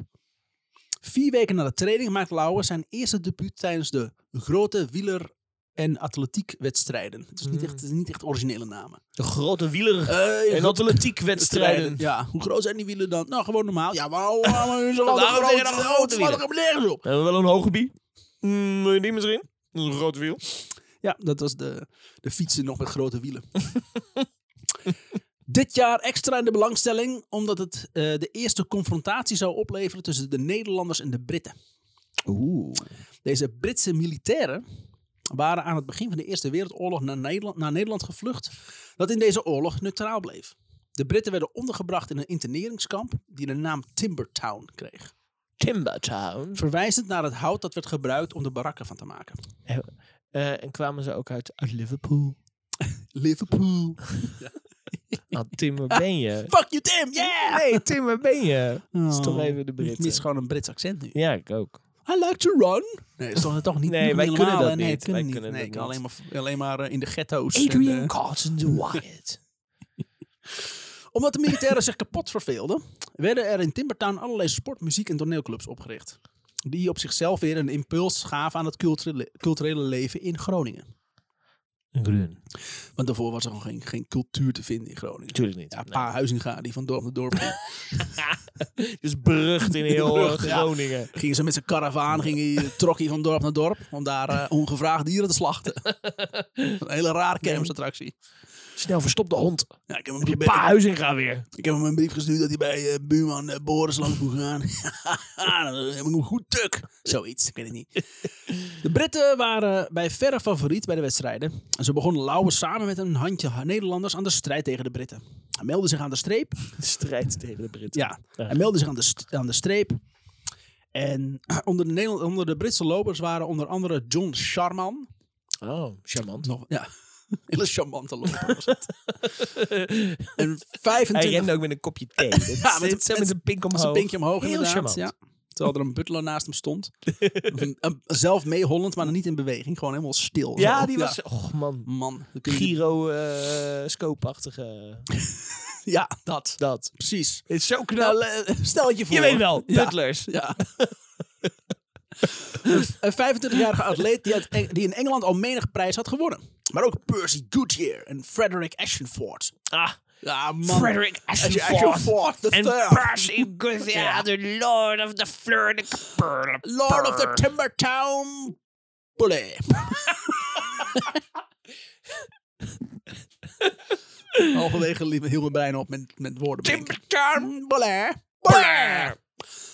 Speaker 1: Vier weken na de training maakt Lauwe zijn eerste debuut tijdens de grote wieler- en atletiekwedstrijden. Het is niet echt, het is niet echt originele namen.
Speaker 2: De grote wieler.
Speaker 1: Eh,
Speaker 2: en atletiekwedstrijden.
Speaker 1: Ja, hoe groot zijn die wielen dan? Nou, gewoon normaal. Ja, waarom waarom is er
Speaker 2: Waarom
Speaker 1: altijd
Speaker 2: zijn er
Speaker 1: grote grote
Speaker 2: grote wielen?
Speaker 1: wielen? Waarom nergens op?
Speaker 2: Hebben we wel een hoge bie? Mm, die misschien? Een grote wiel.
Speaker 1: Ja, dat was de, de fietsen nog met grote wielen. Dit jaar extra in de belangstelling, omdat het eh, de eerste confrontatie zou opleveren tussen de Nederlanders en de Britten.
Speaker 2: Oeh.
Speaker 1: Deze Britse militairen waren aan het begin van de Eerste Wereldoorlog naar Nederland, naar Nederland gevlucht, dat in deze oorlog neutraal bleef. De Britten werden ondergebracht in een interneringskamp die de naam Timbertown kreeg,
Speaker 2: Timbertown.
Speaker 1: verwijzend naar het hout dat werd gebruikt om de barakken van te maken.
Speaker 2: Eh, en kwamen ze ook uit, uit Liverpool.
Speaker 1: Liverpool.
Speaker 2: Ah, Tim, waar ben je?
Speaker 1: Fuck you, Tim! Yeah!
Speaker 2: Nee, Tim, waar ben je? Dat is toch
Speaker 1: Oh,
Speaker 2: even de
Speaker 1: Ik mis
Speaker 2: Britten.
Speaker 1: gewoon een Brits accent nu.
Speaker 2: Ja, ik ook.
Speaker 1: I like to run. Nee, dat is toch, toch niet
Speaker 2: Nee,
Speaker 1: niet
Speaker 2: wij
Speaker 1: normaal,
Speaker 2: kunnen dat
Speaker 1: hè? nee,
Speaker 2: niet.
Speaker 1: Kunnen
Speaker 2: Wij
Speaker 1: niet.
Speaker 2: kunnen
Speaker 1: nee,
Speaker 2: dat
Speaker 1: ik kan alleen
Speaker 2: niet.
Speaker 1: maar, alleen maar eh, in de ghetto's. en,
Speaker 2: Adrian
Speaker 1: eh,
Speaker 2: Carson de Wyatt.
Speaker 1: omdat de militairen zich kapot verveelden, werden er in Timbertown allerlei sport, muziek en toneelclubs opgericht. Die op zichzelf weer een impuls gaven aan het culturele, culturele leven in Groningen.
Speaker 2: Groen.
Speaker 1: Want daarvoor was er gewoon geen, geen cultuur te vinden in Groningen.
Speaker 2: Natuurlijk niet.
Speaker 1: Ja, pa Huizinga, die van dorp naar dorp ging.
Speaker 2: Dus berucht in heel
Speaker 1: Berucht,
Speaker 2: eh,
Speaker 1: ja.
Speaker 2: Groningen.
Speaker 1: Gingen ze met zijn karavaan, ging hij, trok hij van dorp naar dorp om daar eh, ongevraagd dieren te slachten. een hele raar kermisattractie.
Speaker 2: Snel verstop de hond.
Speaker 1: Ja, ik heb hem
Speaker 2: Pa Huizinga weer.
Speaker 1: Ik heb hem een brief gestuurd dat hij bij eh, buurman eh, Boris langs moet gaan. Dan heb ik hem goed tuk. Zoiets, ik weet het niet. De Britten waren eh, bij verre favoriet bij de wedstrijden. En ze begonnen lauwen samen met een handje Nederlanders aan de strijd tegen de Britten. Hij meldde zich aan de streep.
Speaker 2: Strijd tegen de Britten.
Speaker 1: Ja, hij meldde zich aan de, st- aan de streep. En onder de, Nederland- onder de Britse lopers waren onder andere John Sharman.
Speaker 2: Oh, charmant.
Speaker 1: Nog, ja, hele charmante loper was het. En 25...
Speaker 2: Hij rende ook met een kopje thee.
Speaker 1: Ja,
Speaker 2: ja,
Speaker 1: met
Speaker 2: met,
Speaker 1: een-
Speaker 2: met, met een pink omhoog.
Speaker 1: Met zijn pinkje omhoog
Speaker 2: Heel
Speaker 1: inderdaad.
Speaker 2: charmant.
Speaker 1: Ja. Terwijl er een butler naast hem stond. Een- een- Zelf meehollend, maar dan niet in beweging. Gewoon helemaal stil.
Speaker 2: Ja,
Speaker 1: Zo.
Speaker 2: die was... Och, man. eh,
Speaker 1: Man. dan kun je-
Speaker 2: Giro-scope-achtige...
Speaker 1: Ja, dat.
Speaker 2: dat.
Speaker 1: Precies.
Speaker 2: is zo
Speaker 1: Nou,
Speaker 2: knal.
Speaker 1: le- stel het je voor.
Speaker 2: Je weet wel,
Speaker 1: Ja.
Speaker 2: butlers.
Speaker 1: Ja. Een 25-jarige atleet die, uit Eng- die in Engeland al menig prijs had gewonnen. Maar ook Percy Goodyear en Frederick Ashford.
Speaker 2: Ah,
Speaker 1: Ja, man.
Speaker 2: Frederick Ashford.
Speaker 1: Ashford. the
Speaker 2: En
Speaker 1: third.
Speaker 2: Percy Goodyear, de lord of the fleur de Kapurle.
Speaker 1: Lord of the Timbertown Bully. Halverwege liep heel mijn brein op met, met woorden. bedenken.
Speaker 2: Timbertown.
Speaker 1: Bully. Bully.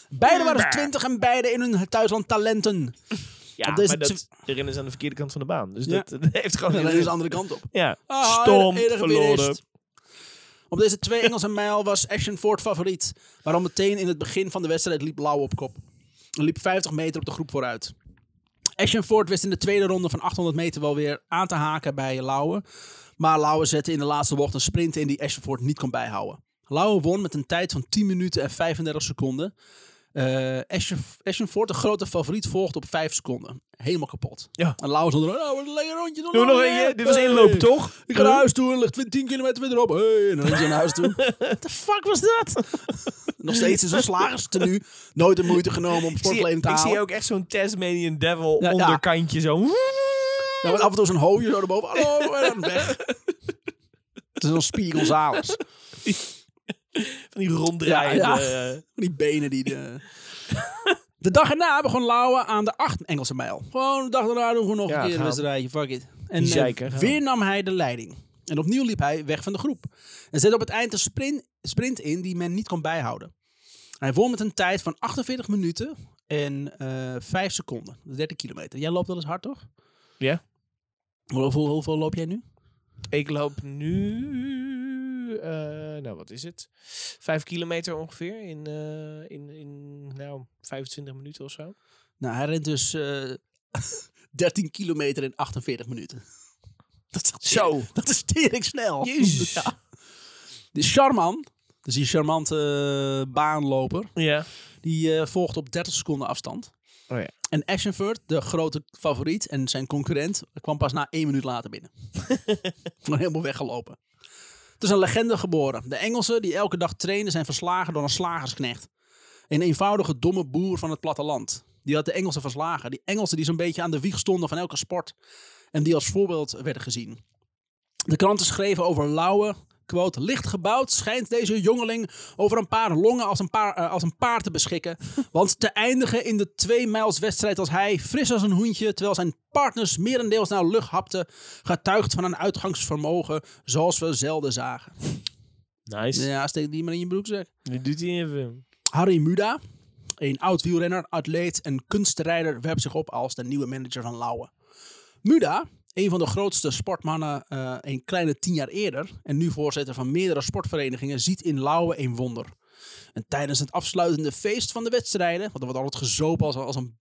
Speaker 1: Beiden waren twintig en beiden in hun thuisland talenten.
Speaker 2: Ja,
Speaker 1: Op deze
Speaker 2: maar dat
Speaker 1: tw-
Speaker 2: rennen ze aan de verkeerde kant van de baan. Dus
Speaker 1: Ja.
Speaker 2: dat, dat heeft gewoon...
Speaker 1: En dan is de andere kant op.
Speaker 2: Ja,
Speaker 1: Ah,
Speaker 2: stom,
Speaker 1: enige
Speaker 2: verloren.
Speaker 1: winst. Op deze twee Engelse mijl was Ashton Ford favoriet, maar al meteen in het begin van de wedstrijd liep Lauw op kop. Hij liep 50 meter op de groep vooruit. Ashton Ford wist in de tweede ronde van 800 meter wel weer aan te haken bij Lauwe. Maar Lauwe zette in de laatste bocht een sprint in die Ashton Ford niet kon bijhouden. Lauwe won met een tijd van 10 minuten en 35 seconden. Eh Ashton, Ashton Ford, de grote favoriet, volgde op 5 seconden. Helemaal kapot.
Speaker 2: Ja.
Speaker 1: En Lauwe stond er, oh, wat een lekker rondje.
Speaker 2: Doe nog
Speaker 1: Lauwe,
Speaker 2: een. Dit was
Speaker 1: hey.
Speaker 2: één loop, toch?
Speaker 1: Ik ga naar huis toe, ligt 10 kilometer verderop. Hey, en dan is hij naar huis toe. What the fuck was dat? Nog steeds in zijn slagerstenu. Nooit de moeite genomen om
Speaker 2: Ik zie,
Speaker 1: sportkleding te
Speaker 2: ik
Speaker 1: halen.
Speaker 2: zie ook echt zo'n Tasmanian Devil
Speaker 1: Ja, ja.
Speaker 2: onderkantje zo.
Speaker 1: Ja, met Nou, af en toe zo'n hoofdje zo erboven. Hallo, en dan weg. Het is een Speedy Gonzales.
Speaker 2: Van die ronddraaiende...
Speaker 1: Ja,
Speaker 2: eh,
Speaker 1: Die benen die de... De dag erna begon Lauwe aan de 8 Engelse mijl. Gewoon de dag erna doen we nog
Speaker 2: Ja,
Speaker 1: een keer een
Speaker 2: gaan.
Speaker 1: wedstrijdje, fuck it. En
Speaker 2: Die
Speaker 1: eh,
Speaker 2: zeiken, gaan.
Speaker 1: weer nam hij de leiding. En opnieuw liep hij weg van de groep. En zette op het eind een sprint, sprint in die men niet kon bijhouden. Hij won met een tijd van 48 minuten en eh 5 seconden. 30 kilometer. Jij loopt wel eens hard, toch?
Speaker 2: Ja.
Speaker 1: Hoeveel, hoeveel loop jij nu?
Speaker 2: Ik loop nu, eh, nou wat is het? Vijf kilometer ongeveer in, eh, in, in nou, 25 minuten of zo.
Speaker 1: Nou, hij rent dus eh, 13 kilometer in 48 minuten. Dat is echt
Speaker 2: Zo.
Speaker 1: tering- Dat is tering snel.
Speaker 2: Jezus.
Speaker 1: Ja. De Charman, dus die charmante eh, baanloper,
Speaker 2: Ja.
Speaker 1: die eh, volgt op 30 seconden afstand.
Speaker 2: Oh ja.
Speaker 1: En Ashenford, de grote favoriet en zijn concurrent, kwam pas na één minuut later binnen. Gewoon helemaal weggelopen. Het is een legende geboren. De Engelsen die elke dag trainen zijn verslagen door een slagersknecht. Een eenvoudige domme boer van het platteland. Die had de Engelsen verslagen. Die Engelsen die zo'n beetje aan de wieg stonden van elke sport. En die als voorbeeld werden gezien. De kranten schreven over Lauwe. Quote, licht gebouwd schijnt deze jongeling over een paar longen als een, paar, eh, als een paard te beschikken. Want te eindigen in de twee mijls wedstrijd als hij, fris als een hoentje, terwijl zijn partners merendeels naar lucht hapten, getuigt van een uitgangsvermogen zoals we zelden zagen.
Speaker 2: Nice.
Speaker 1: Ja, steek die maar in je broek zeg.
Speaker 2: Nu doet hij even.
Speaker 1: Harry Muda, een oud wielrenner, atleet en kunstrijder, werpt zich op als de nieuwe manager van Lauwe. Muda, een van de grootste sportmannen eh, een kleine tien jaar eerder en nu voorzitter van meerdere sportverenigingen, ziet in Lauwe een wonder. En tijdens het afsluitende feest van de wedstrijden, want er wordt altijd gezopen als, als, een,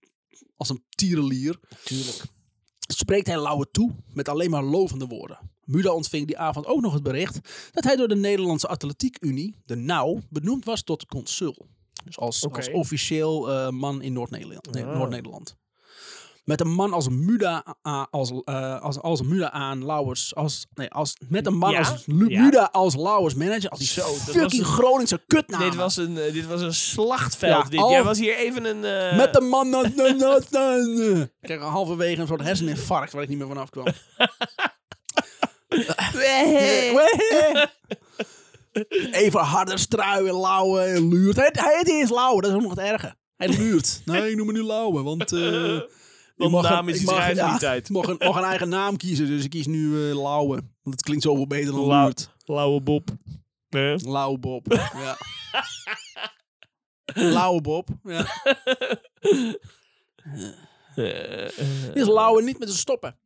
Speaker 1: als een tierenlier,
Speaker 2: Tuurlijk.
Speaker 1: spreekt hij Lauwe toe met alleen maar lovende woorden. Muda ontving die avond ook nog het bericht dat hij door de Nederlandse Atletiek Unie, de NOW, benoemd was tot consul. Dus als,
Speaker 2: Oké.
Speaker 1: als officieel eh, man in Noord-Nederland. nee,
Speaker 2: Ah.
Speaker 1: Noord-Nederland. Met een man als Muda, a- als, eh, als, als Muda aan Lauwers. Als, nee, als, met een man
Speaker 2: Ja?
Speaker 1: als Lu-
Speaker 2: Ja.
Speaker 1: Muda als Lauwers manager. Als die
Speaker 2: Zo, dat was
Speaker 1: fucking
Speaker 2: een-
Speaker 1: Groningse kutnaam.
Speaker 2: Dit was, een, eh, dit was een slachtveld.
Speaker 1: Nou, Ja,
Speaker 2: dit.
Speaker 1: al-
Speaker 2: Jij was hier even een... eh,
Speaker 1: Met de man. na- na- na- na- na. Ik kreeg halverwege een soort herseninfarct waar ik niet meer van afkwam. Eh, Even harder struien, lauwen en luurt. Hij, hij heet niet eens lauwen, dat is ook nog het erge. Hij luurt. Nee, ik noem me nu lauwen, want... eh ik
Speaker 2: Want naam is
Speaker 1: ik
Speaker 2: iets
Speaker 1: mag-
Speaker 2: raars
Speaker 1: ja,
Speaker 2: die tijd.
Speaker 1: Ik mag een, mag een eigen naam kiezen, dus ik kies nu eh, lauwen. Want het klinkt zoveel beter dan
Speaker 2: Lau-
Speaker 1: luurt.
Speaker 2: Lauwe Bob. Eh?
Speaker 1: Lauwe Bob, ja. Lauwe Bob, ja.
Speaker 2: Eh, eh,
Speaker 1: Dit is lauwen niet met te stoppen.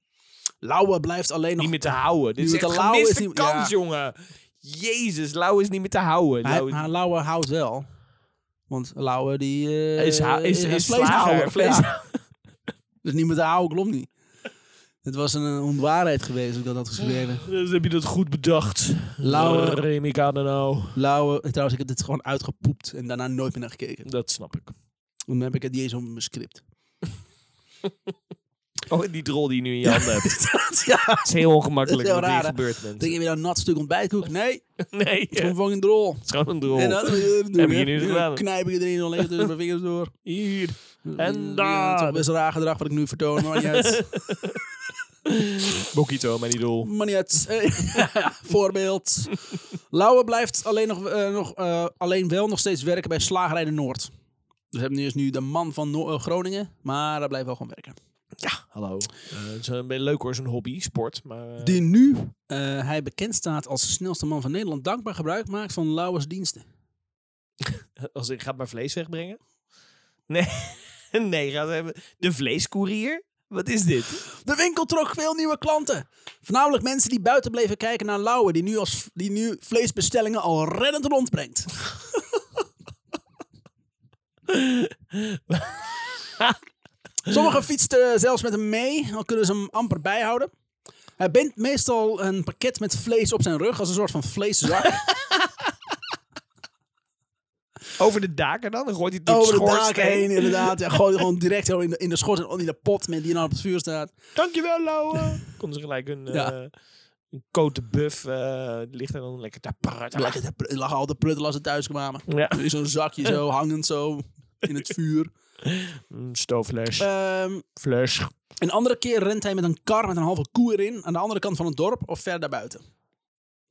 Speaker 1: Lauwen blijft alleen nog...
Speaker 2: niet meer te houden.
Speaker 1: Die
Speaker 2: Dit is
Speaker 1: met
Speaker 2: echt
Speaker 1: de Lauwe
Speaker 2: gemiste
Speaker 1: is niet-
Speaker 2: kans,
Speaker 1: ja.
Speaker 2: jongen. Jezus, Lauwe is niet meer te houden.
Speaker 1: Maar
Speaker 2: Lauwe-
Speaker 1: maar Lauwe houdt wel. Want Lauwe die... eh,
Speaker 2: Is ha- is- is slager, vlees-
Speaker 1: Ja. Dus niet met de oude klopt niet. Het was een eh, onwaarheid geweest dat ik dat had geschreven.
Speaker 2: Dus heb je dat goed bedacht.
Speaker 1: Lauwe-
Speaker 2: Eh, Remy Kadenau.
Speaker 1: Lauwe... en Trouwens, ik heb dit gewoon uitgepoept en daarna nooit meer naar gekeken.
Speaker 2: Dat snap ik.
Speaker 1: Dan heb ik het niet eens op mijn script.
Speaker 2: Oh, die drol die je nu in je handen hebt.
Speaker 1: ja.
Speaker 2: Het is heel ongemakkelijk
Speaker 1: Dat is heel
Speaker 2: wat hier
Speaker 1: raar, hè?
Speaker 2: gebeurd bent.
Speaker 1: Denk je weer een nat stuk ontbijtkoek? Nee, het
Speaker 2: Nee,
Speaker 1: is
Speaker 2: eh,
Speaker 1: gewoon fucking drol.
Speaker 2: het is gewoon een drol.
Speaker 1: En dat eh,
Speaker 2: Heb je
Speaker 1: hè.
Speaker 2: nu
Speaker 1: Dan
Speaker 2: gedaan?
Speaker 1: knijp ik erin al lekker tussen mijn vingers door.
Speaker 2: Hier. En
Speaker 1: Ja, het is
Speaker 2: daar.
Speaker 1: toch best raar gedrag wat ik nu vertoon, maar niet uit.
Speaker 2: Bokito, maar die drol.
Speaker 1: Maar niet uit. Eh, Voorbeeld. Lauwe blijft alleen, nog, eh, nog, eh, alleen wel nog steeds werken bij Slagerij de Noord. Dus we hebben nu, is nu de man van Noor- eh, Groningen, maar hij blijft wel gewoon werken.
Speaker 2: Ja, hallo. Eh, het is een beetje leuk hoor, zo'n hobby, sport. Maar, eh,
Speaker 1: Die nu eh, hij bekend staat als de snelste man van Nederland, dankbaar gebruik maakt van Lauwers diensten.
Speaker 2: Als ik ga maar vlees wegbrengen. Nee. nee, gaat hij hebben. De vleescourier. Wat is dit?
Speaker 1: De winkel trok veel nieuwe klanten. Voornamelijk mensen die buiten bleven kijken naar Lauwe, die nu, als, die nu vleesbestellingen al reddend rondbrengt. Sommigen fietsten eh, zelfs met hem mee, al kunnen ze hem amper bijhouden. Hij bindt meestal een pakket met vlees op zijn rug, als een soort van vleeszak.
Speaker 2: Over de daken dan? Dan gooit hij het
Speaker 1: Over de
Speaker 2: schoorsteen.
Speaker 1: daken heen, inderdaad. Ja, gooi gewoon direct zo in de, in de schors en in de pot met die nou op het vuur staat.
Speaker 2: Dankjewel, Lauwe. Konden ze gelijk een,
Speaker 1: Ja.
Speaker 2: eh een cote buff. eh, ligt er dan lekker te praten.
Speaker 1: Lekker te pr- lag al te pruttelen als ze thuis kwamen.
Speaker 2: Ja,
Speaker 1: In zo'n zakje zo, hangend zo, in het vuur.
Speaker 2: een stoofles.
Speaker 1: Ehm,
Speaker 2: Fles.
Speaker 1: een andere keer rent hij met een kar met een halve koe erin aan de andere kant van het dorp of ver daarbuiten.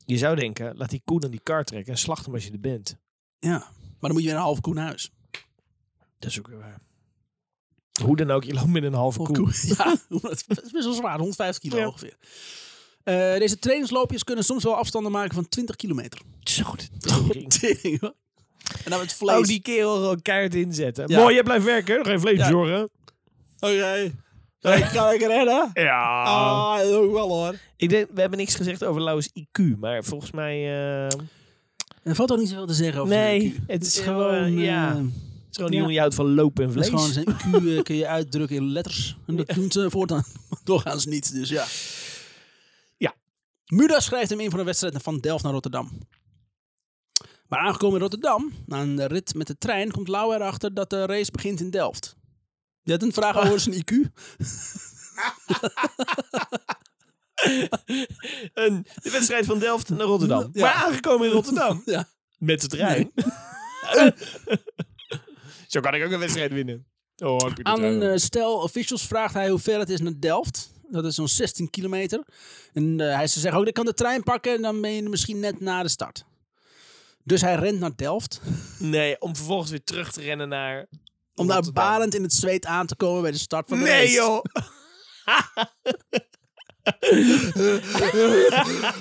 Speaker 2: Je zou denken, laat die koe dan die kar trekken en slacht hem als je er bent.
Speaker 1: Ja, maar dan moet je weer een halve koe naar huis.
Speaker 2: Dat is ook weer waar. Hoe dan ook, je loopt met een halve koe.
Speaker 1: Ja, dat is best wel zwaar, 150 kilo
Speaker 2: Ja.
Speaker 1: ongeveer. Eh, deze trainingsloopjes kunnen soms wel afstanden maken van 20 kilometer.
Speaker 2: Zo, de tering.
Speaker 1: Tering, hoor. En dan met vlees.
Speaker 2: Oh, die kerel gewoon keihard inzetten.
Speaker 1: Ja.
Speaker 2: Mooi, je blijft werken. Geen vlees
Speaker 1: Ja.
Speaker 2: zorgen.
Speaker 1: Oké. Ik kan ik redden.
Speaker 2: Ja.
Speaker 1: Ah, dat ook wel hoor.
Speaker 2: Ik denk, we hebben niks gezegd over Lauwers IQ, maar volgens mij... eh,
Speaker 1: Er valt ook niet zoveel te zeggen over
Speaker 2: nee,
Speaker 1: zijn IQ.
Speaker 2: het is
Speaker 1: Eh,
Speaker 2: gewoon...
Speaker 1: eh,
Speaker 2: ja, het is gewoon een
Speaker 1: ja.
Speaker 2: jongen die houdt van lopen en
Speaker 1: dat
Speaker 2: vlees.
Speaker 1: is gewoon zijn IQ eh, kun je uitdrukken in letters. En dat doen ze voortaan doorgaans niet, dus ja.
Speaker 2: Ja.
Speaker 1: Muda schrijft hem in voor de wedstrijd van Delft naar Rotterdam. Maar aangekomen in Rotterdam, na een rit met de trein, komt Lau erachter dat de race begint in Delft. Je had een vraag over zijn IQ?
Speaker 2: Een, de wedstrijd van Delft naar Rotterdam.
Speaker 1: Ja.
Speaker 2: Maar aangekomen in Rotterdam.
Speaker 1: Ja.
Speaker 2: Met de trein. Zo kan ik ook een wedstrijd winnen. Oh, heb je de
Speaker 1: Aan
Speaker 2: trein
Speaker 1: een
Speaker 2: wel.
Speaker 1: eh, stel officials vraagt hij hoe ver het is naar Delft. Dat is zo'n 16 kilometer. En eh, hij ze zeggen ook, ik kan de trein pakken en dan ben je misschien net na de start. Dus hij rent naar Delft.
Speaker 2: Nee, om vervolgens weer terug te rennen naar...
Speaker 1: Om daar
Speaker 2: Rotterdam.
Speaker 1: balend in het zweet aan te komen bij de start van de
Speaker 2: Nee,
Speaker 1: race.
Speaker 2: joh.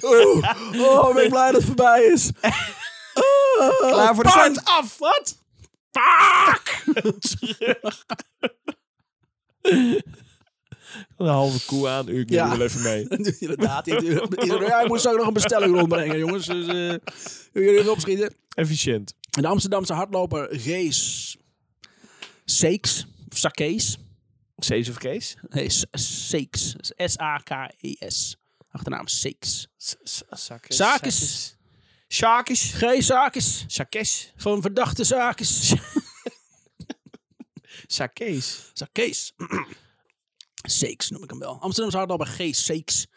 Speaker 1: Oh, ben ik blij dat het voorbij is.
Speaker 2: Klaar voor de
Speaker 1: Paard
Speaker 2: start.
Speaker 1: af, wat?
Speaker 2: Een halve koe aan. U, ik neem
Speaker 1: Ja.
Speaker 2: er wel even mee.
Speaker 1: Inderdaad. die- die- die- Ja, ik moet zo ook nog een bestelling rondbrengen, jongens. Dus eh jullie even opschieten.
Speaker 2: Efficiënt.
Speaker 1: De Amsterdamse hardloper Gees Seeks, of Sakees.
Speaker 2: Sees of Kees?
Speaker 1: Nee, S- Seeks. S-A-K-E-S. E Achternaam Seeks.
Speaker 2: Zakjes.
Speaker 1: Zakes.
Speaker 2: Zakes.
Speaker 1: Gees Sakes.
Speaker 2: Zakes.
Speaker 1: Van verdachte Sakes.
Speaker 2: Zakes.
Speaker 1: Sakees. Seeks noem ik hem wel. Amsterdamse hardloper Gees Seeks.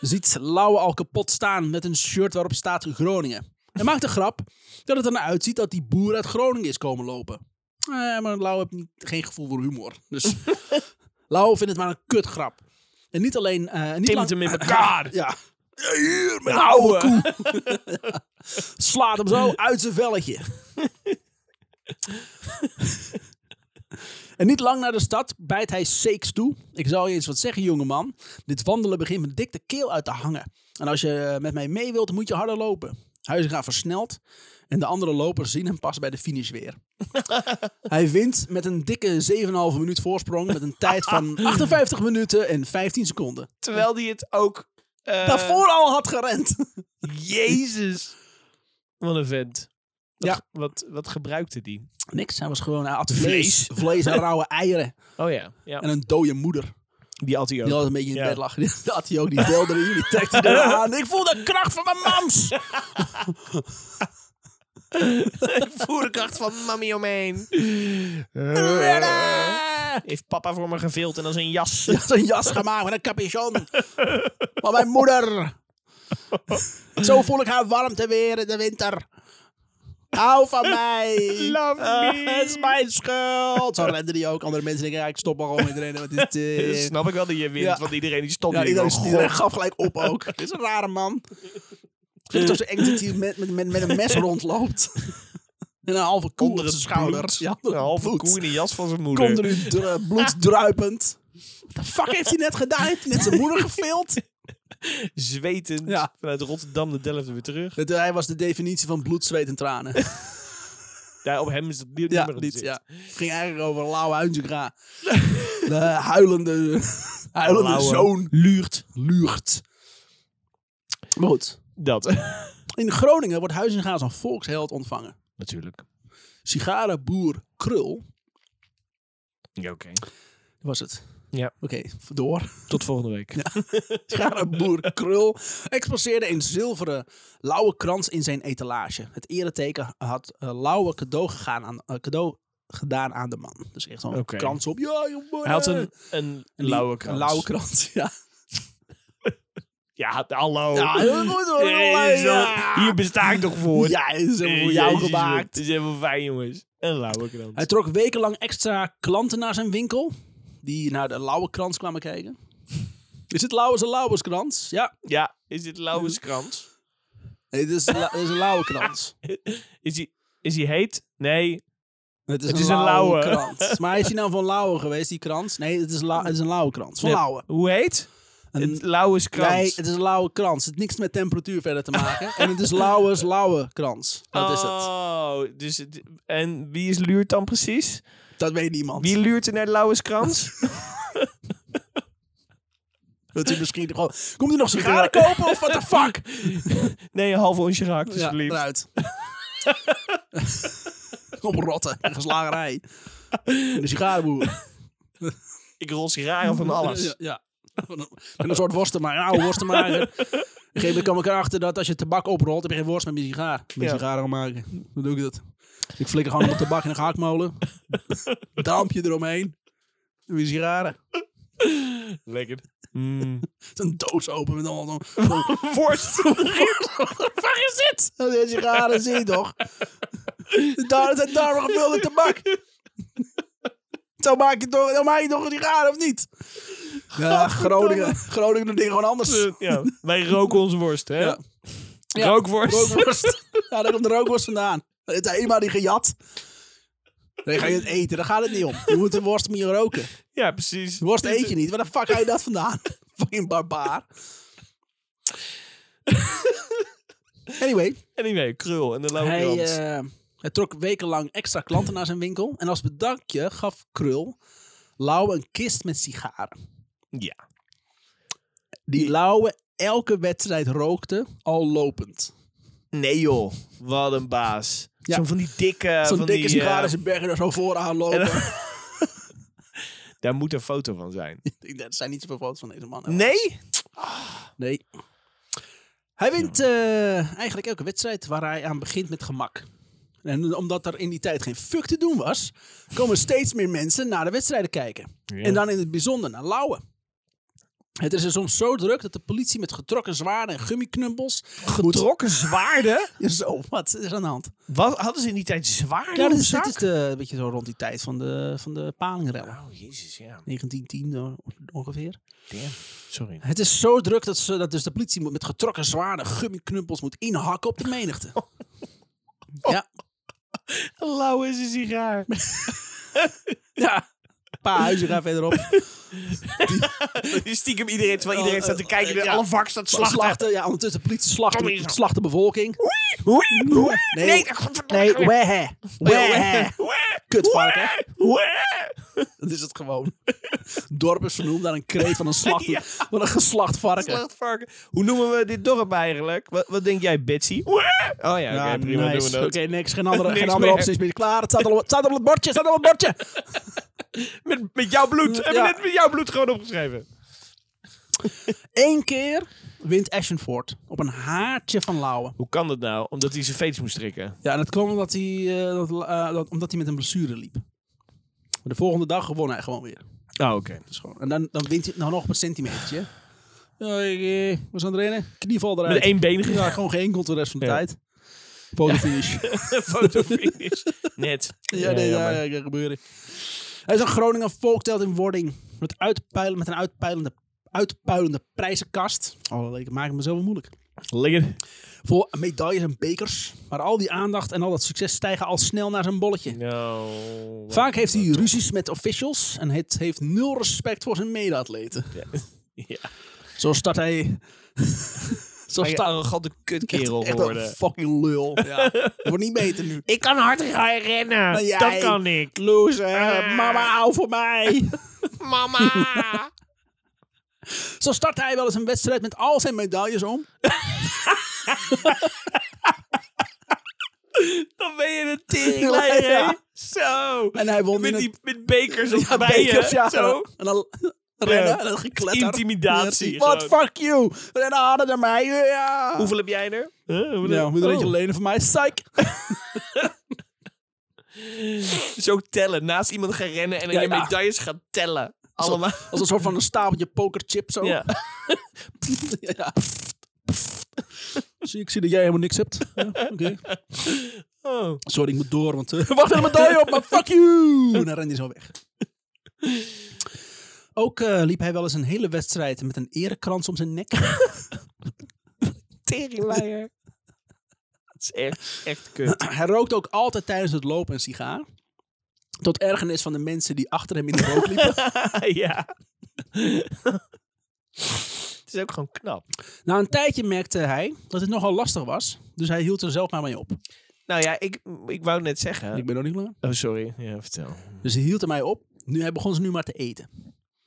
Speaker 1: Ziet Lauwe al kapot staan met een shirt waarop staat Groningen. Hij maakt een grap dat het ernaar uitziet dat die boer uit Groningen is komen lopen. Eh, maar Lauwe heeft niet, geen gevoel voor humor. Dus Lauwe vindt het maar een kutgrap. En niet alleen... eh niet
Speaker 2: Timt
Speaker 1: lang-
Speaker 2: hem in elkaar.
Speaker 1: Ja. Hier, met ouwe koe. Slaat hem zo uit zijn velletje. en niet lang naar de stad bijt hij Seeks toe. Ik zal je eens wat zeggen, jongeman. Dit wandelen begint me dik de keel uit te hangen. En als je eh, met mij mee wilt, dan moet je harder lopen. Huizinga versnelt en de andere lopers zien hem pas bij de finish weer. hij wint met een dikke 7,5 minuut voorsprong met een tijd van 58 minuten en 15 seconden.
Speaker 2: Terwijl hij het ook... eh,
Speaker 1: Daarvoor al had gerend.
Speaker 2: Jezus. Wat een vent. Wat,
Speaker 1: Ja.
Speaker 2: ge- wat, wat gebruikte die?
Speaker 1: Niks, hij was gewoon, hij at
Speaker 2: Vlees.
Speaker 1: vlees. Vlees en rauwe eieren.
Speaker 2: Oh ja. ja.
Speaker 1: En een dode moeder.
Speaker 2: Die had hij ook.
Speaker 1: Die altijd een beetje in
Speaker 2: Ja.
Speaker 1: bed lag. Die had hij ook, die velde erin, die trekt hij aan. Ik voel de kracht van mijn mams.
Speaker 2: voerkracht van mami omheen. Heeft papa voor me gevild en dan zijn jas.
Speaker 1: Die had een jas gemaakt met een capuchon. Van mijn moeder. Zo voel ik haar warmte weer in de winter. Hou van mij.
Speaker 2: Love me.
Speaker 1: Eh, het is mijn schuld. Zo rende die ook. Andere mensen denken, ja, ik stop maar gewoon met rennen. Wat is dit?
Speaker 2: Eh, Snap ik wel dat je wint,
Speaker 1: Ja.
Speaker 2: want iedereen die stopt.
Speaker 1: Ja,
Speaker 2: die
Speaker 1: iedereen,
Speaker 2: denkt, "Oh,
Speaker 1: iedereen gaf gelijk op ook. Dit is een rare man. Zit toch zo eng dat hij met, met, met, met een mes rondloopt. En een halve koe
Speaker 2: Onder
Speaker 1: op zijn
Speaker 2: het
Speaker 1: schouder.
Speaker 2: bloed.
Speaker 1: Ja,
Speaker 2: Een halve
Speaker 1: bloed.
Speaker 2: koe in de jas van zijn moeder.
Speaker 1: Komt er nu dru- bloed druipend. What the fuck heeft hij net gedaan? Heeft hij net zijn moeder gefild?
Speaker 2: Zwetend
Speaker 1: Ja.
Speaker 2: vanuit Rotterdam de Delft weer terug.
Speaker 1: Dat, hij was de definitie van bloed, zweet en tranen.
Speaker 2: Daar op hem is dat niet
Speaker 1: Ja,
Speaker 2: meer
Speaker 1: niet, ja. Het ging eigenlijk over Lauwe Huizinga. de huilende, huilende
Speaker 2: Lauwe.
Speaker 1: zoon. Luurt. Luurt. Maar goed.
Speaker 2: Dat.
Speaker 1: In Groningen wordt Huizinga als een volksheld ontvangen.
Speaker 2: Natuurlijk.
Speaker 1: Sigarenboer Krul.
Speaker 2: Ja, oké.
Speaker 1: Dat was het.
Speaker 2: Ja.
Speaker 1: Oké, door.
Speaker 2: Tot volgende week.
Speaker 1: Scharenboer Krul exposeerde een zilveren lauwe krans in zijn etalage. Het ereteken had eh, Lauwe cadeau, gegaan aan, eh, cadeau gedaan aan de man. Dus echt zo'n
Speaker 2: Oké.
Speaker 1: krans op. Ja, jongen.
Speaker 2: Hij had een, een
Speaker 1: Eh, Een
Speaker 2: lauwe
Speaker 1: li-
Speaker 2: krans.
Speaker 1: Een lauwe krans, ja.
Speaker 2: Ja, hallo.
Speaker 1: Ja, heel goed hoor.
Speaker 2: Hey,
Speaker 1: Allee,
Speaker 2: zo-
Speaker 1: ja.
Speaker 2: Hier besta ik toch voor.
Speaker 1: Ja, dat is helemaal voor
Speaker 2: Jezus,
Speaker 1: jou
Speaker 2: joh.
Speaker 1: gemaakt.
Speaker 2: Het is helemaal fijn, jongens. Een lauwe krans.
Speaker 1: Hij trok wekenlang extra klanten naar zijn winkel. Die naar de lauwe krans kwamen kijken. Is het Lauwers een Lauwerskrans? Ja,
Speaker 2: Ja, is dit lauwe krans?
Speaker 1: het is, la- het is een lauwe krans.
Speaker 2: Is hij, is hij heet? Nee.
Speaker 1: Het is,
Speaker 2: Het
Speaker 1: een,
Speaker 2: is een
Speaker 1: lauwe,
Speaker 2: lauwe.
Speaker 1: krans. Maar is hij nou van Lauwe geweest, die krans? Nee, het is, la- het is een lauwe krans. Van
Speaker 2: Nee.
Speaker 1: Lauwe.
Speaker 2: Hoe heet?
Speaker 1: Een-
Speaker 2: het lauwe krans.
Speaker 1: Nee, het is een lauwe krans. Het heeft niks met temperatuur verder te maken. en het is Lauwers lauwe krans. Dat is het.
Speaker 2: Oh, dus het, en wie is Luurt dan precies?
Speaker 1: Dat weet niemand.
Speaker 2: Wie luurt er naar Lauwers krans?
Speaker 1: Dat hij misschien gewoon... Komt hij nog sigaren kopen of what the fuck?
Speaker 2: nee, een half onsje
Speaker 1: Ja,
Speaker 2: gehakt,
Speaker 1: nou,
Speaker 2: alsjeblieft.
Speaker 1: eruit. Kom rotten. Een slagerij. En een sigarenboer.
Speaker 2: Ik rol sigaren van alles.
Speaker 1: Ja. ja. Van een- Met een soort worstenmaker. Een oude worstenmaker. Op een gegeven moment kwam ik erachter dat als je tabak oprolt, heb je geen worst met meer sigaar. Met
Speaker 2: Ja.
Speaker 1: sigaren gaan maken. Dan doe ik dat. Ik flikker gewoon op tabak in een gehaktmolen. Dampje eromheen. En weer sigaren.
Speaker 2: Lekker. Mm.
Speaker 1: Een doos open met allemaal zo'n- zo'n-
Speaker 2: Worst.
Speaker 1: Waar is dit? Dat is sigaren, zie je toch? Daar het zijn darmen gevulde tabak. Zo maak je toch, dan maak je toch een sigaar, of niet? Ja, Groningen, Groningen doet dingen gewoon anders.
Speaker 2: ja, wij roken onze worst, hè?
Speaker 1: Ja. Ja,
Speaker 2: Rookworst.
Speaker 1: Rookworst. Ja, daar komt de rookworst vandaan. Het is eenmaal die gejat. Nee, ga je het eten, daar gaat het niet om. Je moet de worst meer roken.
Speaker 2: Ja, precies.
Speaker 1: De worst eet je niet, waar de fuck ga je dat vandaan? Fucking barbaar. Anyway,
Speaker 2: Anyway, krul en de lauwe
Speaker 1: hij,
Speaker 2: krans.
Speaker 1: eh, hij trok wekenlang extra klanten naar zijn winkel. En als bedankje gaf Krul Lauwe een kist met sigaren.
Speaker 2: ja.
Speaker 1: Die Lauwe elke wedstrijd rookte, al lopend.
Speaker 2: Nee joh, wat een baas.
Speaker 1: Ja.
Speaker 2: Zo'n van die dikke...
Speaker 1: Zo'n
Speaker 2: van
Speaker 1: dikke
Speaker 2: die,
Speaker 1: sigaren
Speaker 2: eh,
Speaker 1: zijn bergen er zo vooraan lopen.
Speaker 2: Daar moet een foto van zijn.
Speaker 1: Ik denk, Er zijn niet zoveel foto's van deze man. hoor.
Speaker 2: Nee?
Speaker 1: Nee. Hij wint eh, eigenlijk elke wedstrijd waar hij aan begint met gemak. En omdat er in die tijd geen fuck te doen was, komen steeds meer mensen naar de wedstrijden kijken. En dan in het bijzonder naar Lauwe. Het is er soms zo druk dat de politie met getrokken zwaarden en gummiknuppels...
Speaker 2: Getrokken zwaarden?
Speaker 1: Zo, wat is er aan de hand?
Speaker 2: Wat, hadden ze in die tijd zwaarden
Speaker 1: Ja,
Speaker 2: op
Speaker 1: dit is, dit
Speaker 2: zak?
Speaker 1: is eh, een beetje zo rond die tijd van de, van de palingrellen.
Speaker 2: Oh, jezus, ja.
Speaker 1: 1910 on- eh, ongeveer.
Speaker 2: Damn. Sorry.
Speaker 1: Het is zo druk dat, ze, dat dus de politie moet met getrokken zwaarden gummiknuppels moet inhakken op de menigte.
Speaker 2: Oh.
Speaker 1: Ja,
Speaker 2: Lauw is een sigaar.
Speaker 1: ja. Een paar huizen gaan verderop.
Speaker 2: Stiekem iedereen, terwijl iedereen staat te kijken.
Speaker 1: Ja.
Speaker 2: Alle vak staat
Speaker 1: Slachten.
Speaker 2: slachten.
Speaker 1: Ja, ondertussen de politie slacht,
Speaker 2: Kom hier.
Speaker 1: slacht de bevolking.
Speaker 2: Oei, oei.
Speaker 1: Nee.
Speaker 2: godverdomme.
Speaker 1: Nee, wehe. Wehe.
Speaker 2: Oei.
Speaker 1: Kutvarken.
Speaker 2: Oei.
Speaker 1: Dat is het gewoon. Dorp is vernoemd naar een kreet van een, slacht,
Speaker 2: Ja.
Speaker 1: van een geslacht varken.
Speaker 2: Slachtvarken. Hoe noemen we dit dorp eigenlijk? Wat, wat denk jij, Betsy? Oei. Oh ja, oké, prima
Speaker 1: nice.
Speaker 2: doen we dat.
Speaker 1: Oké, niks. Geen andere,
Speaker 2: Niks
Speaker 1: geen andere
Speaker 2: meer.
Speaker 1: opties meer. Klaar, het staat al, het staat al op het bordje. Het staat al op het bordje.
Speaker 2: Met, met jouw bloed. Hebben
Speaker 1: Ja.
Speaker 2: net met jouw bloed gewoon opgeschreven.
Speaker 1: Eén keer wint Ashford op een haartje van Lauwe.
Speaker 2: Hoe kan dat nou? Omdat hij zijn feest moest strikken.
Speaker 1: Ja, en dat kwam omdat hij, eh, dat, eh, dat- omdat hij met een blessure liep. Maar de volgende dag gewon hij gewoon weer.
Speaker 2: Oh, oké.
Speaker 1: Dus gewoon, en dan, dan wint hij nou nog op een centimetertje. Ja, ik, eh, was aan het rennen. Knieval
Speaker 2: Met
Speaker 1: eruit.
Speaker 2: één been
Speaker 1: Ja,
Speaker 2: gegaan.
Speaker 1: gewoon geënkeld de rest van de
Speaker 2: Ja.
Speaker 1: tijd. Fotofinish. Ja.
Speaker 2: Fotofinish. Net.
Speaker 1: Ja, nee, ja,
Speaker 2: jammer.
Speaker 1: ja, kan gebeuren. Hij is een Groningen volkteld in wording. Met, uitpuilen, met een uitpuilende, uitpuilende prijzenkast. Oh, ik maak het me zo wel moeilijk.
Speaker 2: Lekker.
Speaker 1: Vol medailles en bekers. Maar al die aandacht en al dat succes stijgen al snel naar zijn bolletje.
Speaker 2: Nou.
Speaker 1: Vaak heeft hij ruzies met officials en het heeft nul respect voor zijn mede-atleten.
Speaker 2: Ja.
Speaker 1: Zo start hij. Zo'n
Speaker 2: je
Speaker 1: staal-
Speaker 2: arrogante kutkerel
Speaker 1: echt
Speaker 2: geworden.
Speaker 1: een fucking lul. Wordt niet beter nu.
Speaker 2: Ik kan hard gaan rennen.
Speaker 1: Maar jij-
Speaker 2: Dat kan ik.
Speaker 1: Loser,
Speaker 2: Ah.
Speaker 1: Eh, mama, hou voor mij.
Speaker 2: Mama.
Speaker 1: Zo start hij wel eens een wedstrijd met al zijn medailles om.
Speaker 2: Dan ben je een teringlijn, hè?
Speaker 1: Ja.
Speaker 2: Zo.
Speaker 1: En hij won in
Speaker 2: Met,
Speaker 1: het-
Speaker 2: die, met bekers op
Speaker 1: Ja,
Speaker 2: bij
Speaker 1: bekers,
Speaker 2: je.
Speaker 1: ja.
Speaker 2: Zo.
Speaker 1: En dan rennen
Speaker 2: Ja.
Speaker 1: en dan gekletter.
Speaker 2: Intimidatie,
Speaker 1: Ja, Wat,
Speaker 2: gewoon.
Speaker 1: fuck you. Rennen harder dan mij. Ja.
Speaker 2: Hoeveel heb jij er? Huh? Hoeveel-
Speaker 1: Ja, moet er eentje
Speaker 2: Oh.
Speaker 1: lenen van mij. Psych.
Speaker 2: Zo tellen. Naast iemand gaan rennen en dan
Speaker 1: Ja,
Speaker 2: je
Speaker 1: ja.
Speaker 2: medailles gaan tellen. Allemaal.
Speaker 1: Als een soort van een stapeltje pokerchip zo.
Speaker 2: Ja.
Speaker 1: Ja. Zie, ik zie dat jij helemaal niks hebt. Ja, Oké.
Speaker 2: Oh.
Speaker 1: Sorry, ik moet door, want... eh, wacht, helemaal medaille op, maar fuck you! En dan rende hij zo weg. Ook eh, liep hij wel eens een hele wedstrijd met een erekrans om zijn nek.
Speaker 2: Teringleier. Dat is echt, echt kut.
Speaker 1: hij rookte ook altijd tijdens het lopen een sigaar. Tot ergernis van de mensen die achter hem in de rook liepen.
Speaker 2: Ah, ja. het is ook gewoon knap.
Speaker 1: Na een tijdje merkte hij dat het nogal lastig was. Dus hij hield er zelf maar mee op.
Speaker 2: Nou ja, ik, ik wou net zeggen.
Speaker 1: Ik ben nog niet klaar.
Speaker 2: Oh, sorry. Ja, vertel.
Speaker 1: Dus hij hield er mij op. Nu, hij begon ze nu maar te eten.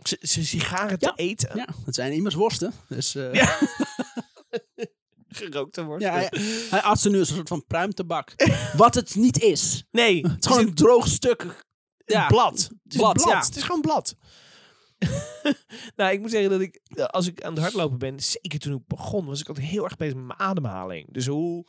Speaker 2: Ze ze sigaren
Speaker 1: Ja.
Speaker 2: te eten.
Speaker 1: Ja, het zijn immers worsten. Dus eh,
Speaker 2: Ja. Gerookt te worden.
Speaker 1: ja, hij, hij at ze nu als een soort van pruimtabak. Wat het niet is.
Speaker 2: Nee,
Speaker 1: Het is gewoon een droog stuk. Ja,
Speaker 2: blad. Het is
Speaker 1: Blad,
Speaker 2: blad,
Speaker 1: ja.
Speaker 2: Het is gewoon blad. nou, ik moet zeggen dat ik, eh, als ik aan het hardlopen ben, zeker toen ik begon, was ik altijd heel erg bezig met mijn ademhaling. Dus hoe,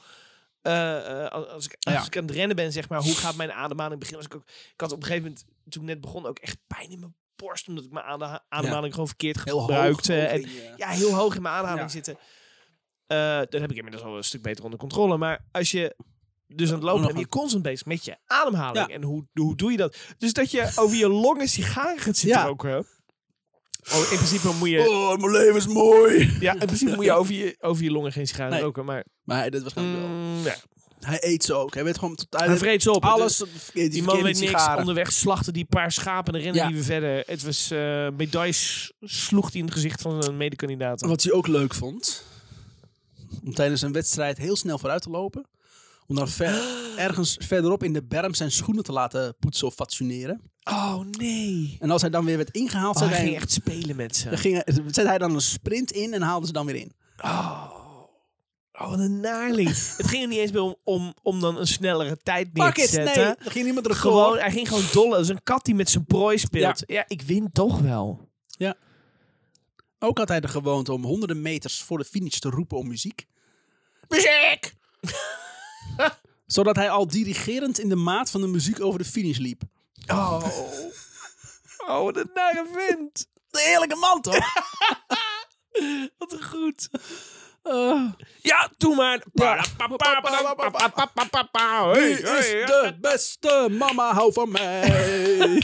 Speaker 2: eh, eh, als, als ik, als
Speaker 1: Ja.
Speaker 2: ik aan het rennen ben, zeg maar, hoe gaat mijn ademhaling beginnen? Als ik, ook, ik had op een gegeven moment, toen ik net begon, ook echt pijn in mijn borst, omdat ik mijn adem- ademhaling gewoon verkeerd
Speaker 1: Heel hoog.
Speaker 2: gebruikte. eh, en
Speaker 1: ja.
Speaker 2: ja, heel hoog in mijn ademhaling
Speaker 1: Ja.
Speaker 2: zitten. Eh dat heb ik inmiddels al een stuk beter onder controle. Maar als je dus aan het lopen
Speaker 1: nog
Speaker 2: bent, ben je constant bezig met je ademhaling.
Speaker 1: Ja.
Speaker 2: En hoe, hoe doe je dat? Dus dat je over je longen sigaren gaat zitten
Speaker 1: Ja.
Speaker 2: roken. Oh, in principe moet je,
Speaker 1: Oh, mijn leven is mooi.
Speaker 2: ja, in principe moet je, over, je over je longen geen sigaren
Speaker 1: Nee.
Speaker 2: roken. Maar
Speaker 1: Maar hij, dit was gewoon wel.
Speaker 2: mm, ja.
Speaker 1: Hij eet ze ook. Hij weet gewoon... Tot, hij
Speaker 2: hij
Speaker 1: weet
Speaker 2: vreet ze op.
Speaker 1: alles.
Speaker 2: Dus
Speaker 1: die
Speaker 2: Die man
Speaker 1: verkeerde
Speaker 2: weet niks.
Speaker 1: sigaren.
Speaker 2: Onderweg slachten die paar schapen en rennen
Speaker 1: Ja.
Speaker 2: die weer verder. Het was eh medailles sloeg hij in het gezicht van een medekandidaat.
Speaker 1: Wat hij ook leuk vond, om tijdens een wedstrijd heel snel vooruit te lopen. Om dan ver- ergens verderop in de berm zijn schoenen te laten poetsen of fatsoeneren.
Speaker 2: Oh nee.
Speaker 1: En als hij dan weer werd ingehaald,
Speaker 2: Oh,
Speaker 1: zette
Speaker 2: hij
Speaker 1: hij,
Speaker 2: ging echt spelen met ze.
Speaker 1: dan ging hij- zette hij dan een sprint in en haalde ze dan weer in.
Speaker 2: Oh, oh wat een naarling. het ging er niet eens meer om, om, om dan een snellere tijd neer
Speaker 1: Fuck
Speaker 2: te
Speaker 1: it, nee,
Speaker 2: zetten.
Speaker 1: er ging niemand er
Speaker 2: Gewoon, hij ging gewoon dolle. als een kat die met zijn prooi speelt. Ja, ik win toch wel.
Speaker 1: Ook had hij de gewoonte om honderden meters voor de finish te roepen om muziek.
Speaker 2: Muziek!
Speaker 1: Zodat hij al dirigerend in de maat van de muziek over de finish liep.
Speaker 2: Oh. Oh, wat een nare vent.
Speaker 1: De heerlijke man toch?
Speaker 2: Wat een goed. Eh, Ja, doe maar.
Speaker 1: Wie is de beste mama, hou van mij.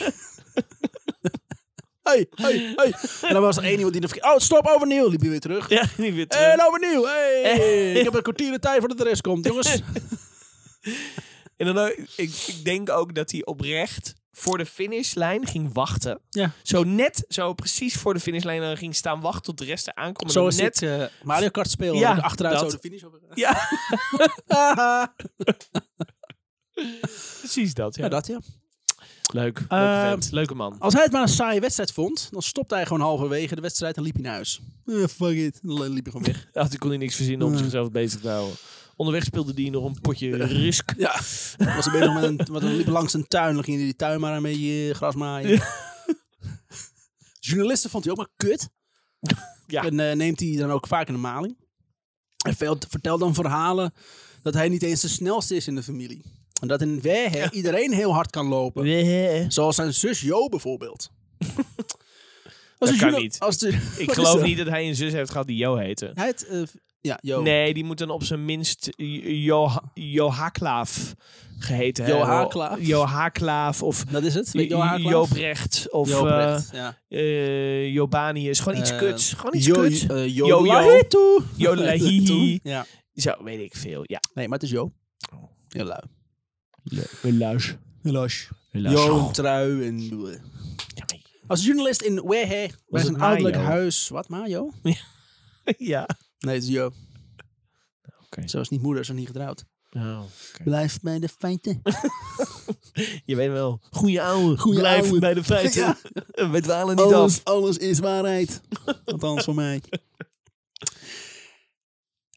Speaker 1: hey, hey, hey. En dan was er één iemand die... dan verkeer- Oh, stop, overnieuw. Liep hij weer terug.
Speaker 2: Ja, niet weer terug.
Speaker 1: En overnieuw. Hey. Ik heb een kwartier de tijd voordat de rest komt, jongens.
Speaker 2: En dan, ook- ik, ik denk ook dat hij oprecht voor de finishlijn ging wachten.
Speaker 1: Ja.
Speaker 2: Zo net, zo precies voor de finishlijn eh, ging staan wachten tot de rest aankomt. En
Speaker 1: Zo
Speaker 2: dan
Speaker 1: is
Speaker 2: net. eh,
Speaker 1: net Mario Kart spelen.
Speaker 2: Ja,
Speaker 1: Ja, achteruit
Speaker 2: dat.
Speaker 1: zo de finish. Over.
Speaker 2: Ja, precies dat. Ehm, Ja.
Speaker 1: Ja, dat ja.
Speaker 2: Leuk. Leuke,
Speaker 1: Eh,
Speaker 2: vent, leuke man.
Speaker 1: Als hij het maar een saaie wedstrijd vond, dan stopte hij gewoon halverwege de wedstrijd en liep hij naar huis. Eh, fuck it. En dan liep hij gewoon weg.
Speaker 2: Had, ik kon hij niks verzinnen om zichzelf bezig te houden. Onderweg speelde hij nog een potje risk.
Speaker 1: Ja. Was hij bezig met een, want hij liep langs een tuin, dan ging hij die tuin maar een beetje eh, gras maaien. Journalisten vond hij ook maar kut.
Speaker 2: Ja.
Speaker 1: En eh, neemt hij dan ook vaak in de maling. En veel, vertelt dan verhalen dat hij niet eens de snelste is in de familie. En dat in Wehe iedereen heel hard kan lopen. Zoals zijn zus Jo bijvoorbeeld. Als
Speaker 2: kan
Speaker 1: de journa-
Speaker 2: niet.
Speaker 1: Als de,
Speaker 2: Ik
Speaker 1: Wat is
Speaker 2: geloof
Speaker 1: dat?
Speaker 2: niet dat hij een zus heeft gehad die Jo heette.
Speaker 1: Hij heet, eh, ja, Jo.
Speaker 2: Nee, die moet dan op zijn minst Jo, jo Haklaaf geheten
Speaker 1: Jo
Speaker 2: hebben.
Speaker 1: Haklaaf?
Speaker 2: Jo Haklaaf of
Speaker 1: Dat is het. Weet je
Speaker 2: Jo
Speaker 1: wel haar klaas?
Speaker 2: Joop Recht of
Speaker 1: Joop
Speaker 2: eh
Speaker 1: Recht, ja.
Speaker 2: eh, Jobanius. Gewoon iets
Speaker 1: Eh,
Speaker 2: kuts. Gewoon iets
Speaker 1: Jo,
Speaker 2: kuts.
Speaker 1: eh, Jo
Speaker 2: Jo- Jo.
Speaker 1: Lahitu.
Speaker 2: Jo Lahihi.
Speaker 1: Ja.
Speaker 2: Zo, weet ik veel. Ja.
Speaker 1: Nee, maar het is Jo.
Speaker 2: Oh.
Speaker 1: Heel lui.
Speaker 2: Helaas.
Speaker 1: Helaas.
Speaker 2: Helaas.
Speaker 1: Jo, een trui en... Als journalist in Wehe was
Speaker 2: het
Speaker 1: een ouderlijk
Speaker 2: Mayo?
Speaker 1: huis... Wat, Mayo?
Speaker 2: Ja.
Speaker 1: Nee, het is Jo. Zo is niet moeder, zo niet getrouwd.
Speaker 2: Nou, oké.
Speaker 1: Blijf bij de feiten.
Speaker 2: Je weet wel. Goeie ouwe.
Speaker 1: Goeie
Speaker 2: Blijf
Speaker 1: ouwe.
Speaker 2: bij de feiten. Oh,
Speaker 1: Ja.
Speaker 2: We dwalen niet af.
Speaker 1: Alles, alles is waarheid. Althans voor mij.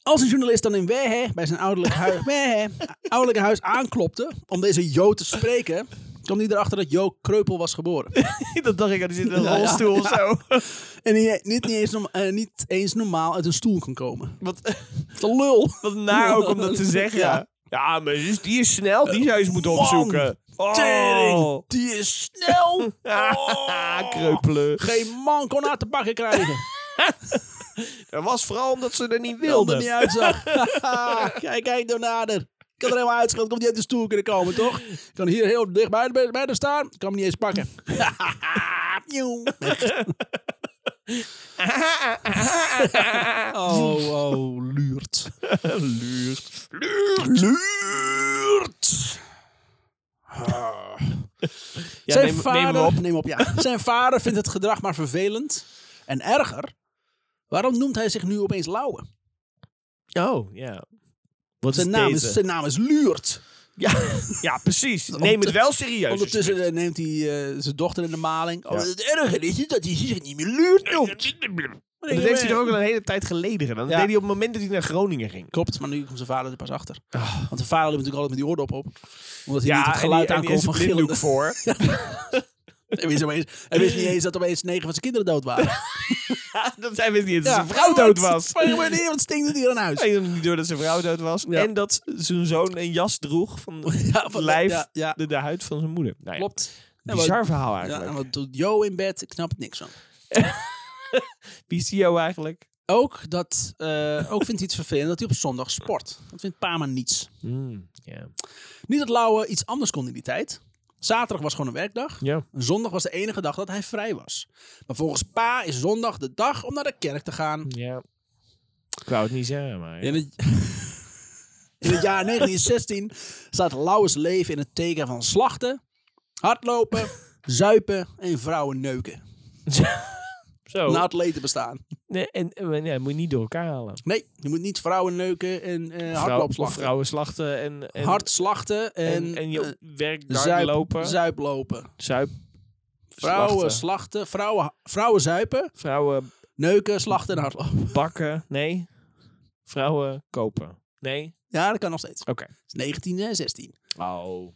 Speaker 1: Als een journalist dan in Wehe bij zijn ouderlijk huis, Wehe, ouderlijk huis aanklopte om deze Jo te spreken, kwam hij erachter dat Jo Kreupel was geboren.
Speaker 2: dat dacht ik, die zit in een
Speaker 1: Ja, ja.
Speaker 2: rolstoel of zo.
Speaker 1: En die niet, niet, eens, norm- eh, niet eens normaal uit een stoel kon komen.
Speaker 2: Wat,
Speaker 1: Te lul.
Speaker 2: wat naar ook om dat te zeggen.
Speaker 1: Ja.
Speaker 2: Ja, maar zus, die is snel. Die zou je eens moeten
Speaker 1: Man,
Speaker 2: opzoeken.
Speaker 1: tering.
Speaker 2: Oh.
Speaker 1: Die is snel. Oh.
Speaker 2: Ah, kreupelen.
Speaker 1: Geen man kon haar te pakken krijgen.
Speaker 2: Dat was vooral omdat ze er niet
Speaker 1: Wilde
Speaker 2: wilden.
Speaker 1: niet uitzag. kijk, kijk nou nader. Ik kan er helemaal uitschelden. Komt niet uit de stoel kunnen komen, toch? Ik kan hier heel dicht bij, bij, bij de staan. Ik kan hem niet eens pakken. Pjoem. oh, oh, luurt.
Speaker 2: Luurt.
Speaker 1: Luurt.
Speaker 2: Ja,
Speaker 1: Ah. Zijn
Speaker 2: neem,
Speaker 1: vader,
Speaker 2: neem hem op.
Speaker 1: neem op, ja. Zijn vader vindt het gedrag maar vervelend. En erger, waarom noemt hij zich nu opeens Lauwe?
Speaker 2: Oh, ja. Wat
Speaker 1: Zijn
Speaker 2: is
Speaker 1: naam
Speaker 2: deze?
Speaker 1: is, zijn naam is Luurt.
Speaker 2: Ja, ja, precies. Neem het wel serieus.
Speaker 1: Ondertussen eh, neemt hij eh, zijn dochter in de maling. Oh, het erger is dat hij zich niet meer Luurt noemt.
Speaker 2: Dat heeft hij er ook al een hele tijd geleden gedaan. Dat
Speaker 1: Ja.
Speaker 2: deed hij op het moment dat hij naar Groningen ging.
Speaker 1: Klopt, maar nu komt zijn vader er pas achter. Want zijn vader liep natuurlijk altijd met die oordop op. Omdat hij niet
Speaker 2: Ah.
Speaker 1: het
Speaker 2: en die-
Speaker 1: geluid
Speaker 2: en die
Speaker 1: aankomt
Speaker 2: is
Speaker 1: van
Speaker 2: een blinddoek
Speaker 1: gillende.
Speaker 2: voor.
Speaker 1: Hij wist, opeens, hij wist niet eens dat opeens negen van zijn kinderen dood waren.
Speaker 2: dat zijn we niet, dat zijn vrouw dood was.
Speaker 1: Maar ik weet niet, wat stinkt het hier aan huis?
Speaker 2: Hij hield niet door dat zijn vrouw dood was.
Speaker 1: Ja.
Speaker 2: En dat zijn zoon een jas droeg van
Speaker 1: Ja,
Speaker 2: het lijf,
Speaker 1: ja, ja.
Speaker 2: De, de huid van zijn moeder. Nou ja,
Speaker 1: Klopt. Ja, maar-
Speaker 2: Bizar verhaal
Speaker 1: Ja,
Speaker 2: eigenlijk.
Speaker 1: en wat doet Jo in bed? Ik snap het niks van.
Speaker 2: Wie is die jou eigenlijk?
Speaker 1: Ook, dat, eh, ook vindt hij het vervelend dat hij op zondag sport. Dat vindt Pama niets.
Speaker 2: Hmm, ja.
Speaker 1: Niet dat Lauwe iets anders kon in die tijd. Zaterdag was gewoon een werkdag.
Speaker 2: ja.
Speaker 1: Zondag was de enige dag dat hij vrij was. Maar volgens Pa is zondag de dag om naar de kerk te gaan.
Speaker 2: Ja. Ik wou het niet zeggen, maar...
Speaker 1: In het, in het jaar 1916 staat Lauwers leven in het teken van slachten, hardlopen, zuipen en vrouwen neuken.
Speaker 2: Zo.
Speaker 1: Na atleten bestaan.
Speaker 2: nee, en, en- ja, moet je niet door elkaar halen.
Speaker 1: Nee, je moet niet vrouwen neuken en eh
Speaker 2: Vrouw,
Speaker 1: hardloopslachten.
Speaker 2: vrouwen slachten en... en
Speaker 1: Hard slachten en,
Speaker 2: en, en
Speaker 1: eh,
Speaker 2: je werk daar
Speaker 1: zuip,
Speaker 2: lopen.
Speaker 1: zuiplopen.
Speaker 2: Zuip.
Speaker 1: Vrouwen
Speaker 2: slachten.
Speaker 1: slachten, vrouwen, vrouwen zuipen,
Speaker 2: Vrouwen
Speaker 1: neuken, slachten en hardlopen.
Speaker 2: bakken. Nee. Vrouwen kopen. Nee.
Speaker 1: Ja, dat kan nog steeds.
Speaker 2: Oké.
Speaker 1: Het is 1916.
Speaker 2: Oh.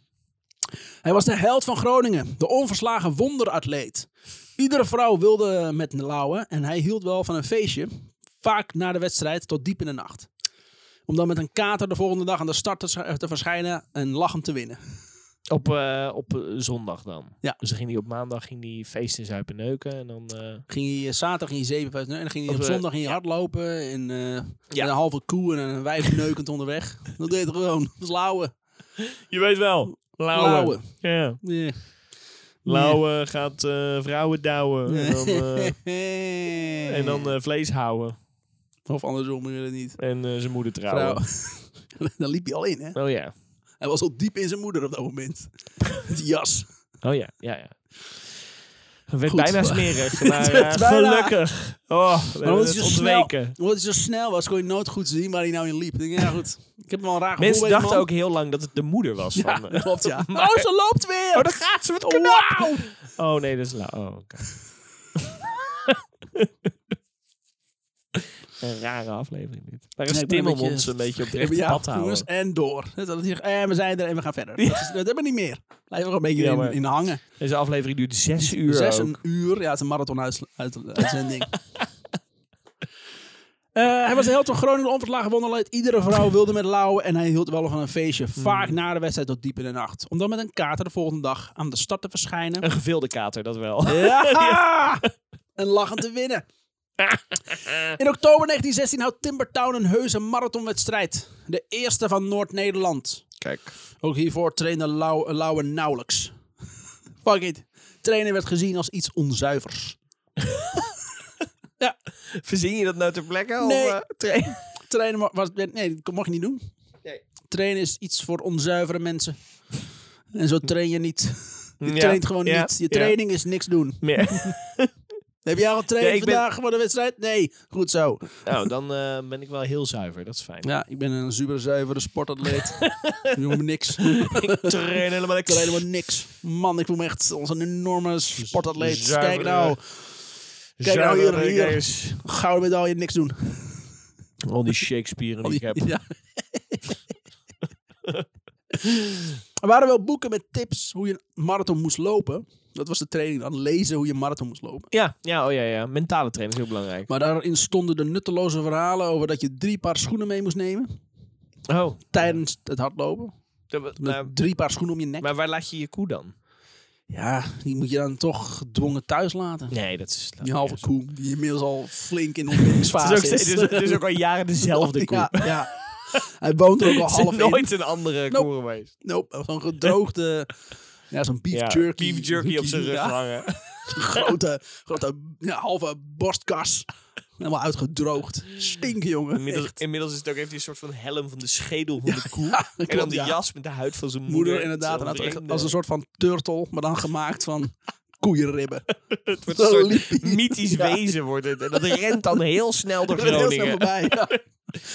Speaker 1: Hij was de held van Groningen, de onverslagen wonderatleet. Iedere vrouw wilde met Lauwe en hij hield wel van een feestje, vaak na de wedstrijd tot diep in de nacht. Om dan met een kater de volgende dag aan de start te, sch- te verschijnen en lachend te winnen.
Speaker 2: Op, eh, op eh, zondag dan.
Speaker 1: Ja.
Speaker 2: Dus dan ging hij op maandag ging die feesten zuipen neuken. En dan eh,
Speaker 1: Ging hij eh, zaterdag ging hij zeven, vijf, en dan ging hij
Speaker 2: Of,
Speaker 1: op
Speaker 2: eh,
Speaker 1: zondag ging hij hardlopen en eh,
Speaker 2: Ja.
Speaker 1: met een halve koe en een wijf neukend onderweg. Dat deed hij gewoon. Dat was Lauwe.
Speaker 2: Je weet wel.
Speaker 1: Lauwe.
Speaker 2: Ja.
Speaker 1: Ja.
Speaker 2: Lauwe gaat eh, vrouwen douwen. En dan, eh, en dan eh, vlees houden.
Speaker 1: Of andersom, ik weet het niet.
Speaker 2: En eh, zijn moeder trouwen.
Speaker 1: Vrouw. dan liep hij al in, hè?
Speaker 2: Oh ja.
Speaker 1: Hij was al diep in zijn moeder op dat moment. Met die jas.
Speaker 2: Oh ja. Ja, ja. Het werd
Speaker 1: Goed.
Speaker 2: bijna smerig. Maar
Speaker 1: Het werd
Speaker 2: eh,
Speaker 1: bijna.
Speaker 2: gelukkig. Oh, we
Speaker 1: Maar
Speaker 2: hebben
Speaker 1: omdat hij,
Speaker 2: het
Speaker 1: zo snel,
Speaker 2: ontweken.
Speaker 1: omdat hij zo snel was, kon je nooit goed zien waar hij nou in liep. Ik denk, ja goed, ik heb hem al een raar gevoel
Speaker 2: Mensen
Speaker 1: bij die
Speaker 2: dachten
Speaker 1: man.
Speaker 2: ook heel lang dat het de moeder was van...
Speaker 1: Ja,
Speaker 2: eh,
Speaker 1: klopt, ja.
Speaker 2: Maar-
Speaker 1: Oh, ze loopt weer!
Speaker 2: Oh, daar gaat ze met knap.
Speaker 1: Wauw!
Speaker 2: Oh nee, dat is la. Oh, oké. een rare aflevering dit. Daar is
Speaker 1: Nee, ik ben een
Speaker 2: Timmermans
Speaker 1: beetje-
Speaker 2: een beetje op het rechte
Speaker 1: Ja,
Speaker 2: pad te houden.
Speaker 1: jongens, en door. Net als hij zegt, eh, we zijn er en we gaan verder. Dat, is- dat hebben we niet meer. Blijven we gewoon een beetje
Speaker 2: Ja,
Speaker 1: in-
Speaker 2: maar-
Speaker 1: in, hangen.
Speaker 2: Deze aflevering duurt zes uur
Speaker 1: Zes
Speaker 2: ook.
Speaker 1: een uur. Ja, het is een marathon-uitzending. Eh, hij was de held van Groningen, de onverslagen wonderleid. Iedere vrouw wilde met Lauwe en hij hield wel van een feestje.
Speaker 2: Hmm.
Speaker 1: Vaak na de wedstrijd tot diep in de nacht. Om dan met een kater de volgende dag aan de stad te verschijnen.
Speaker 2: Een gevilde kater, dat wel.
Speaker 1: Ja! En lachen te winnen. In oktober 1916 houdt Timbertown een heuse marathonwedstrijd. De eerste van Noord-Nederland.
Speaker 2: Kijk.
Speaker 1: Ook hiervoor trainde Lau Lauwe nauwelijks. Fuck it. Trainen werd gezien als iets onzuivers. ja,
Speaker 2: Verzin je dat nou ter plekke?
Speaker 1: Nee.
Speaker 2: Of, eh, train-
Speaker 1: trainen wa- was... Nee, dat mocht je niet doen. Trainen is iets voor onzuivere mensen. En zo train je niet. Je
Speaker 2: Ja,
Speaker 1: traint gewoon
Speaker 2: ja,
Speaker 1: niet. Je
Speaker 2: ja.
Speaker 1: training is niks doen.
Speaker 2: Meer.
Speaker 1: Heb jij al getraind
Speaker 2: Ja, ik ben-
Speaker 1: vandaag voor de wedstrijd? Nee, goed zo.
Speaker 2: Nou, dan eh, ben ik wel heel zuiver. Dat is fijn.
Speaker 1: Ja, ik ben een super zuivere sportatleet. ik doe me niks.
Speaker 2: Ik train helemaal
Speaker 1: Ik kan helemaal niks. Man, ik voel me echt als een enorme sportatleet.
Speaker 2: Zuivere-
Speaker 1: Kijk nou, Kijk nou hier, hier. gouden medaille, niks doen.
Speaker 2: Al die Shakespeare die ik heb.
Speaker 1: Ja. er waren wel boeken met tips hoe je een marathon moest lopen. Dat was de training dan, lezen hoe je een marathon moest lopen.
Speaker 2: Ja, ja, oh ja, ja. Mentale training is heel belangrijk.
Speaker 1: Maar daarin stonden de nutteloze verhalen over dat je drie paar schoenen mee moest nemen
Speaker 2: Oh.
Speaker 1: tijdens het hardlopen. Met
Speaker 2: Maar,
Speaker 1: drie paar schoenen om je nek.
Speaker 2: maar waar laat je je koe dan?
Speaker 1: Ja, die moet je dan toch gedwongen thuis laten.
Speaker 2: Nee, dat is...
Speaker 1: Die halve koe, die inmiddels al flink in ontwikkelingsfase
Speaker 2: Het
Speaker 1: is.
Speaker 2: is, ook, steeds- het is- het is ook al jaren dezelfde koe.
Speaker 1: Ja, ja. Hij woont er ook al
Speaker 2: Het is
Speaker 1: half in.
Speaker 2: nooit een andere
Speaker 1: Nope.
Speaker 2: koe geweest.
Speaker 1: Nope, zo'n gedroogde... Ja, zo'n beef
Speaker 2: Ja,
Speaker 1: jerky.
Speaker 2: beef jerky op zijn rug
Speaker 1: Ja,
Speaker 2: hangen.
Speaker 1: zo'n grote, grote ja, halve borstkas. Helemaal uitgedroogd. Stinken, jongen.
Speaker 2: Inmiddels,
Speaker 1: Echt.
Speaker 2: inmiddels is het ook, heeft hij een soort van helm van de schedel van de koe.
Speaker 1: Ja,
Speaker 2: en dan
Speaker 1: klopt,
Speaker 2: de
Speaker 1: ja.
Speaker 2: jas met de huid van zijn moeder.
Speaker 1: Moeder inderdaad.
Speaker 2: Zo'n
Speaker 1: en dat-
Speaker 2: vreemde-
Speaker 1: als een soort van turtle, maar dan gemaakt van koeienribben.
Speaker 2: het wordt een soort
Speaker 1: liep hij.
Speaker 2: mythisch wezen wordt het. En dat rent dan heel snel door
Speaker 1: Dat werd heel snel
Speaker 2: Groningen.
Speaker 1: voorbij.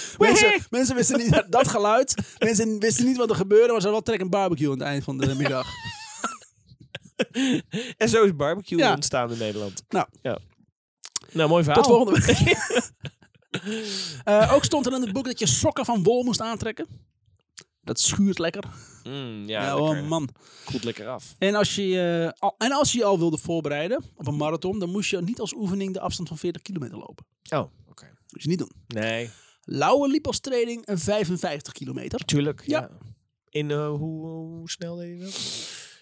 Speaker 1: ja. mensen, mensen wisten niet dat geluid. Mensen wisten niet wat er gebeurde, maar ze hadden wel trek een barbecue aan het eind van de middag.
Speaker 2: En zo is barbecue
Speaker 1: Ja.
Speaker 2: ontstaan in Nederland.
Speaker 1: Nou.
Speaker 2: Ja. Nou, mooi verhaal.
Speaker 1: Tot volgende week. Eh, ook stond er in het boek dat je sokken van wol moest aantrekken. Dat schuurt lekker.
Speaker 2: Mm,
Speaker 1: Ja,
Speaker 2: ja, lekker.
Speaker 1: oh man.
Speaker 2: Koelt lekker af.
Speaker 1: En als, je, eh, al, en als je je al wilde voorbereiden op een marathon, dan moest je niet als oefening de afstand van 40 kilometer lopen.
Speaker 2: Oh, oké.
Speaker 1: Dus niet doen.
Speaker 2: Nee,
Speaker 1: Lauwe liep als training een 55 kilometer.
Speaker 2: tuurlijk.
Speaker 1: Ja.
Speaker 2: Ja. In eh, hoe, hoe snel deed je dat?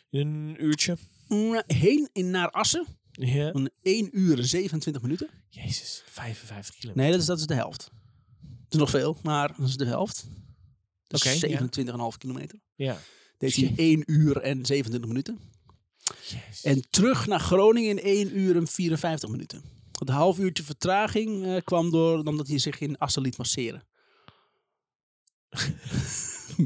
Speaker 2: In een uurtje.
Speaker 1: Mm, Heen in naar Assen.
Speaker 2: Ja.
Speaker 1: Van 1 uur en 27 minuten.
Speaker 2: Jezus, 55 kilometer.
Speaker 1: Nee, dat is, dat is de helft. Het is nog veel, maar dat is de helft. Dat
Speaker 2: Oké,
Speaker 1: is
Speaker 2: ja.
Speaker 1: 27,5 kilometer.
Speaker 2: Ja.
Speaker 1: Deze is 1 uur en 27 minuten.
Speaker 2: Jezus.
Speaker 1: En terug naar Groningen in 1 uur en 54 minuten. Het half uurtje vertraging eh, kwam door omdat hij zich in Assen liet masseren.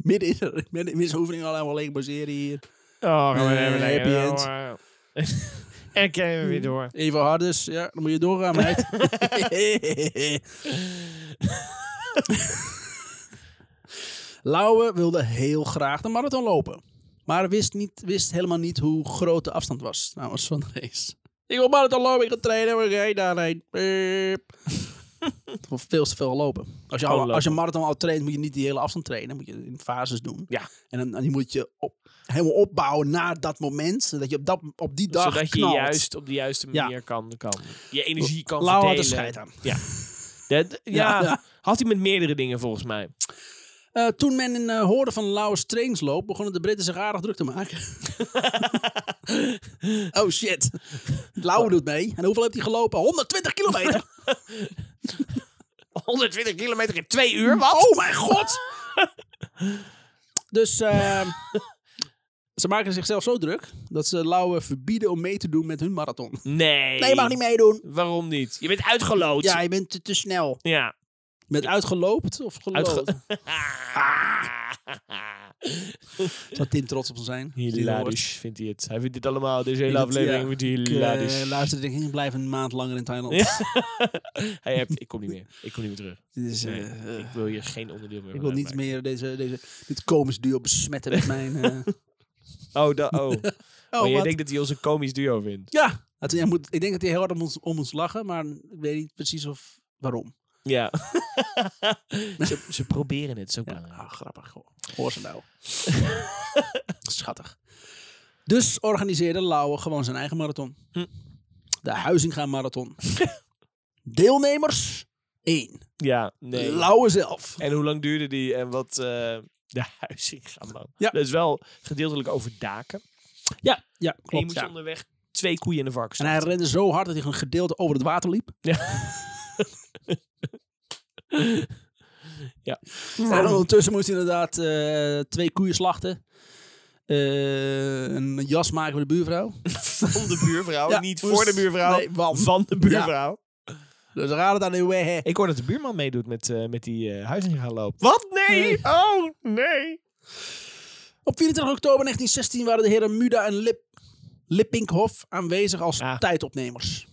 Speaker 1: midden in zijn- midden in zijn oefening al helemaal leeg masseren hier.
Speaker 2: Oh,
Speaker 1: gaan we even Nee, lekker happy end. Hmm.
Speaker 2: en kijken we weer door.
Speaker 1: Even hard dus. Ja, dan moet je doorgaan, meid. Lauwe wilde heel graag de marathon lopen. Maar wist, niet, wist helemaal niet hoe groot de afstand was trouwens van de race. Ik wil marathon lopen, ik ga trainen, maar ik ga daarheen. Beep. Het was veel te veel lopen. Als je,
Speaker 2: Gewoon
Speaker 1: al,
Speaker 2: lopen.
Speaker 1: als je marathon al traint, moet je niet die hele afstand trainen. Moet je in fases doen.
Speaker 2: Ja.
Speaker 1: En dan, dan die moet je op, helemaal opbouwen naar dat moment. Zodat je op, dat, op die dag
Speaker 2: Zodat je
Speaker 1: knalt.
Speaker 2: juist op de juiste
Speaker 1: Ja.
Speaker 2: manier kan, kan. Je energie kan
Speaker 1: Lauwe had er
Speaker 2: verdelen.
Speaker 1: scheid aan.
Speaker 2: Ja. Dat, ja.
Speaker 1: Ja, ja.
Speaker 2: Had hij met meerdere dingen volgens mij.
Speaker 1: Eh, toen men in, eh, hoorde van Lauwers trainingsloop, begonnen de Britten zich aardig druk te maken. oh shit. Lauwe doet mee. En hoeveel heeft hij gelopen? 120 kilometer.
Speaker 2: 120 kilometer in twee uur?
Speaker 1: Oh mijn god. dus eh, ze maken zichzelf zo druk dat ze Lauwe verbieden om mee te doen met hun marathon.
Speaker 2: Nee.
Speaker 1: Nee, je mag niet meedoen.
Speaker 2: Waarom niet? Je bent uitgelood.
Speaker 1: Ja, je bent te, te snel.
Speaker 2: Ja.
Speaker 1: Met uitgeloopt of
Speaker 2: Uitge-
Speaker 1: gelopen? Ah. Zou Tim trots op zijn?
Speaker 2: Hilarisch vindt hij het. Hij vindt dit allemaal, deze hele
Speaker 1: Ja.
Speaker 2: aflevering, vindt hij
Speaker 1: Ik eh,
Speaker 2: hilarisch.
Speaker 1: luisterde denk ik, ik blijf een maand langer in Thailand.
Speaker 2: Ja. Hij hebt, ik kom niet meer. Ik kom niet meer terug.
Speaker 1: Dit is,
Speaker 2: Nee,
Speaker 1: eh,
Speaker 2: ik wil hier geen onderdeel meer
Speaker 1: Ik
Speaker 2: van
Speaker 1: wil niet
Speaker 2: uitmaken.
Speaker 1: meer deze, deze, dit komisch duo besmetten met mijn... eh,
Speaker 2: Oh, da- oh.
Speaker 1: oh,
Speaker 2: maar jij
Speaker 1: wat?
Speaker 2: denkt dat hij ons een komisch duo vindt.
Speaker 1: Ja, dat, jij moet, ik denk dat hij heel hard om ons, om ons lachen, maar ik weet niet precies of, waarom.
Speaker 2: Ja. ze, ze proberen het, zo belangrijk.
Speaker 1: Ah, grappig. Hoor, hoor ze nou. Schattig. Dus organiseerde Lauwe gewoon zijn eigen marathon.
Speaker 2: Hm.
Speaker 1: De Huizinga Marathon. Deelnemers 1.
Speaker 2: Ja, nee.
Speaker 1: Lauwe zelf.
Speaker 2: En hoe lang duurde die en wat eh de huizing gaan man.
Speaker 1: Ja.
Speaker 2: Dat is wel gedeeltelijk over daken.
Speaker 1: Ja, ja
Speaker 2: en je
Speaker 1: klopt.
Speaker 2: moet
Speaker 1: ja.
Speaker 2: onderweg twee koeien in de varkens.
Speaker 1: En hij rende zo hard dat hij een gedeelte over het water liep. En ondertussen moest hij inderdaad eh, twee koeien slachten. Eh, een jas maken voor de buurvrouw.
Speaker 2: van de buurvrouw,
Speaker 1: Ja,
Speaker 2: niet
Speaker 1: moest-
Speaker 2: voor de buurvrouw.
Speaker 1: Nee, want.
Speaker 2: Van de buurvrouw.
Speaker 1: Dus raad het aan de weg.
Speaker 2: Ik hoor dat de buurman meedoet met, eh, met die eh huizing gaan lopen. Wat? Nee! Oh, nee!
Speaker 1: Op 24 oktober 1916 waren de heren Muda en Lip, Lippinkhoff aanwezig als
Speaker 2: Ah.
Speaker 1: tijdopnemers.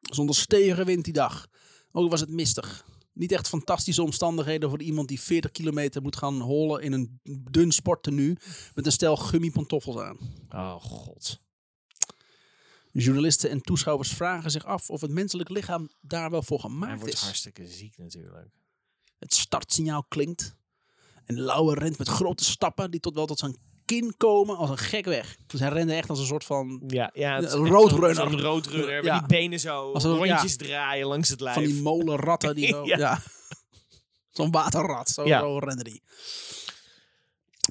Speaker 1: Zonder stevige wind die dag. Ook was het mistig. Niet echt fantastische omstandigheden voor iemand die 40 kilometer moet gaan hollen in een dun sporttenu met een stel gummipantoffels aan.
Speaker 2: Oh god.
Speaker 1: Journalisten en toeschouwers vragen zich af of het menselijk lichaam daar wel voor
Speaker 2: Hij
Speaker 1: gemaakt
Speaker 2: wordt
Speaker 1: is.
Speaker 2: hartstikke ziek natuurlijk.
Speaker 1: Het startsignaal klinkt. En Lauwe rent met grote stappen die tot wel tot zijn kin komen als een gek weg. Dus hij rende echt als een soort van...
Speaker 2: Ja, ja. het is
Speaker 1: Een
Speaker 2: echt
Speaker 1: roadrunner.
Speaker 2: zo'n- zo'n roadrunner. met
Speaker 1: Ja.
Speaker 2: die benen zo.
Speaker 1: Als een- ja.
Speaker 2: rondjes draaien langs het lijf.
Speaker 1: Van die molenratten die zo...
Speaker 2: Ja.
Speaker 1: ja. Zo'n waterrat. Zo,
Speaker 2: Ja.
Speaker 1: zo rende die.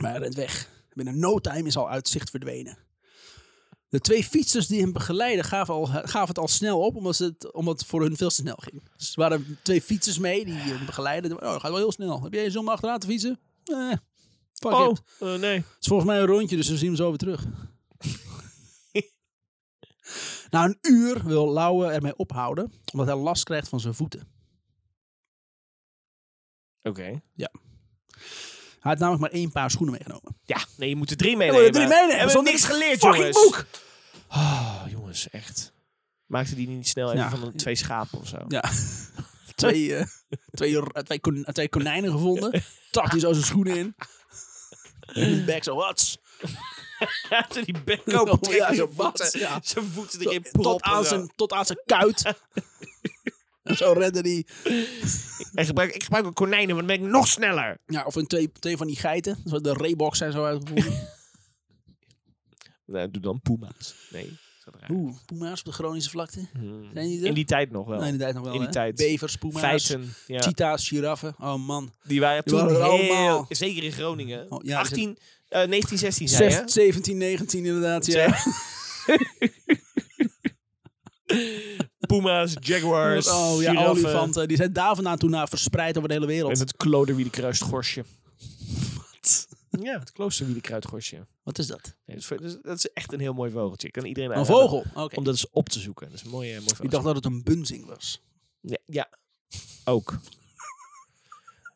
Speaker 1: Maar hij rent weg. Binnen no time is al uit zicht verdwenen. De twee fietsers die hem begeleiden gaven, al, gaven het al snel op, omdat, ze het, omdat het voor hun veel te snel ging. Dus er waren twee fietsers mee die hem begeleiden. Oh, dat gaat wel heel snel. Heb jij zin om achteraan te fietsen? Eh, fuck it.
Speaker 2: oh, eh, nee.
Speaker 1: Het is volgens mij een rondje, dus we zien hem zo weer terug. Na een uur wil Lauwe ermee ophouden, omdat hij last krijgt van zijn voeten.
Speaker 2: Oké.
Speaker 1: Hij had namelijk maar één paar schoenen meegenomen.
Speaker 2: Ja, nee, je moet er drie
Speaker 1: Ja,
Speaker 2: meenemen.
Speaker 1: maar drie meenemen,
Speaker 2: Hebben we
Speaker 1: zonder
Speaker 2: niks geleerd,
Speaker 1: fucking
Speaker 2: jongens.
Speaker 1: boek!
Speaker 2: Oh, jongens, echt. Maakte die niet snel even
Speaker 1: Ja.
Speaker 2: van een, twee schapen of zo?
Speaker 1: Ja. twee, eh, twee, r- twee, kon- eh, twee konijnen gevonden. Tak die zo zijn schoenen in. En die bek zo, wat?
Speaker 2: Toen die bek open trekt,
Speaker 1: Oh, Ja,
Speaker 2: zijn
Speaker 1: zo, wat?
Speaker 2: voeten-
Speaker 1: Ja.
Speaker 2: Zijn voeten erin
Speaker 1: Tot
Speaker 2: proppen,
Speaker 1: aan,
Speaker 2: zo.
Speaker 1: zijn, tot aan zijn kuit. en zo redde die.
Speaker 2: En gebruik, ik gebruik ook konijnen, want dan ben ik nog sneller.
Speaker 1: Ja, of in twee, twee van die geiten. Zo De Reeboks zijn zo uitgevoerd.
Speaker 2: Nou, doe dan puma's. Nee. dat raar.
Speaker 1: Oeh, puma's op de Groningse vlakte.
Speaker 2: Hmm.
Speaker 1: Zijn die er?
Speaker 2: In die tijd nog wel.
Speaker 1: Nee, in die tijd nog wel.
Speaker 2: In die
Speaker 1: hè?
Speaker 2: tijd.
Speaker 1: Bevers, puma's,
Speaker 2: Feiten. Ja.
Speaker 1: cheetahs, giraffen. Oh man.
Speaker 2: Die waren
Speaker 1: Die
Speaker 2: toen
Speaker 1: waren er
Speaker 2: heel...
Speaker 1: allemaal.
Speaker 2: Zeker in Groningen.
Speaker 1: Oh, ja,
Speaker 2: 18, eh 1916 zei je, hè?
Speaker 1: Zes- 17, 19 inderdaad. Ja.
Speaker 2: Puma's, jaguars,
Speaker 1: Oh ja,
Speaker 2: giraffen.
Speaker 1: olifanten. Die zijn daar vandaan toen naar verspreid over de hele
Speaker 2: En
Speaker 1: wereld.
Speaker 2: het kloderwiedekruisgorsje. Ja, het kloosterwiedekruidgorsje.
Speaker 1: Wat is dat?
Speaker 2: Nee, dat, is, dat is- dat is echt een heel mooi vogeltje. Ik kan iedereen
Speaker 1: Een
Speaker 2: aanraden
Speaker 1: vogel. Oké.
Speaker 2: Om dat eens op te zoeken. Dat is een mooie, mooie
Speaker 1: Ik
Speaker 2: vogeltje.
Speaker 1: dacht dat het een bunzing was.
Speaker 2: Ja, ja. ook.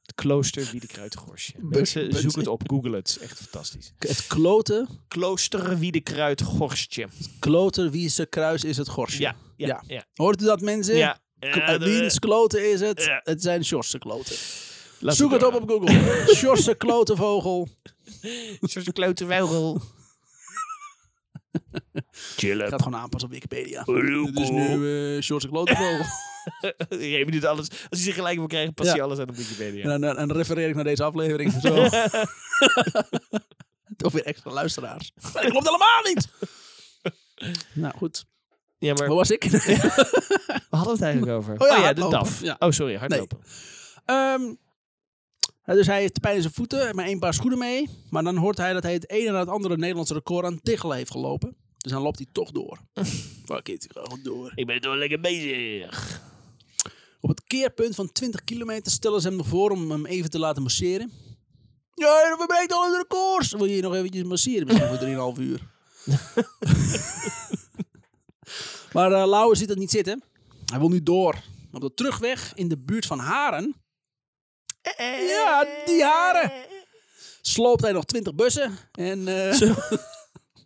Speaker 2: Het klooster Wiedekruidgorsje. Mensen,
Speaker 1: Bus-
Speaker 2: zoek het op, google het. Het is echt fantastisch.
Speaker 1: K- Het kloten,
Speaker 2: Klooster Wiedekruidgorsje.
Speaker 1: kloten, wie ze kruis is het gorsje.
Speaker 2: Ja, ja,
Speaker 1: Ja.
Speaker 2: ja.
Speaker 1: Hoort u dat mensen?
Speaker 2: ja. eh,
Speaker 1: K- eh,
Speaker 2: Ja, de-
Speaker 1: Wiens kloten is het?
Speaker 2: Ja.
Speaker 1: Het zijn Sjorse kloten.
Speaker 2: Laten
Speaker 1: Zoek
Speaker 2: we
Speaker 1: het op op
Speaker 2: doorgaan.
Speaker 1: Google. Sjorse klotenvogel.
Speaker 2: Zoals een kleuterwelrol. Chillen.
Speaker 1: Ik ga het gewoon aanpassen op Wikipedia.
Speaker 2: Roekoe.
Speaker 1: Dit is nu eh Sjorse klotenvogel.
Speaker 2: Je doet alles. Als je ze gelijk wil krijgen, pas
Speaker 1: Ja.
Speaker 2: je alles aan op Wikipedia.
Speaker 1: En dan, dan- dan refereer ik naar deze aflevering. Zo. Toch weer extra luisteraars. Maar dat klopt allemaal niet. Nou goed,
Speaker 2: Ja, maar
Speaker 1: waar was ik?
Speaker 2: we hadden het eigenlijk over.
Speaker 1: Oh ja,
Speaker 2: de
Speaker 1: hardlopen.
Speaker 2: DAF.
Speaker 1: Ja.
Speaker 2: Oh, sorry, hardlopen.
Speaker 1: Ehm, ja, dus hij heeft pijn in zijn voeten en maar één paar schoenen mee. Maar dan hoort hij dat hij het ene na het andere Nederlandse record aan Tichelen heeft gelopen. Dus dan loopt hij toch door. Fuck it, ik ga gewoon door.
Speaker 2: Ik ben toch lekker bezig.
Speaker 1: Op het keerpunt van 20 kilometer stellen ze hem nog voor om hem even te laten masseren. Ja, we verbreekt alle records. Wil je nog eventjes masseren? Misschien voor 3,5 uur. maar eh Lauwe ziet dat niet zitten. Hij wil nu door. Op de terugweg in de buurt van Haren. Ja, die haren. Sloopt hij nog 20 bussen. En eh,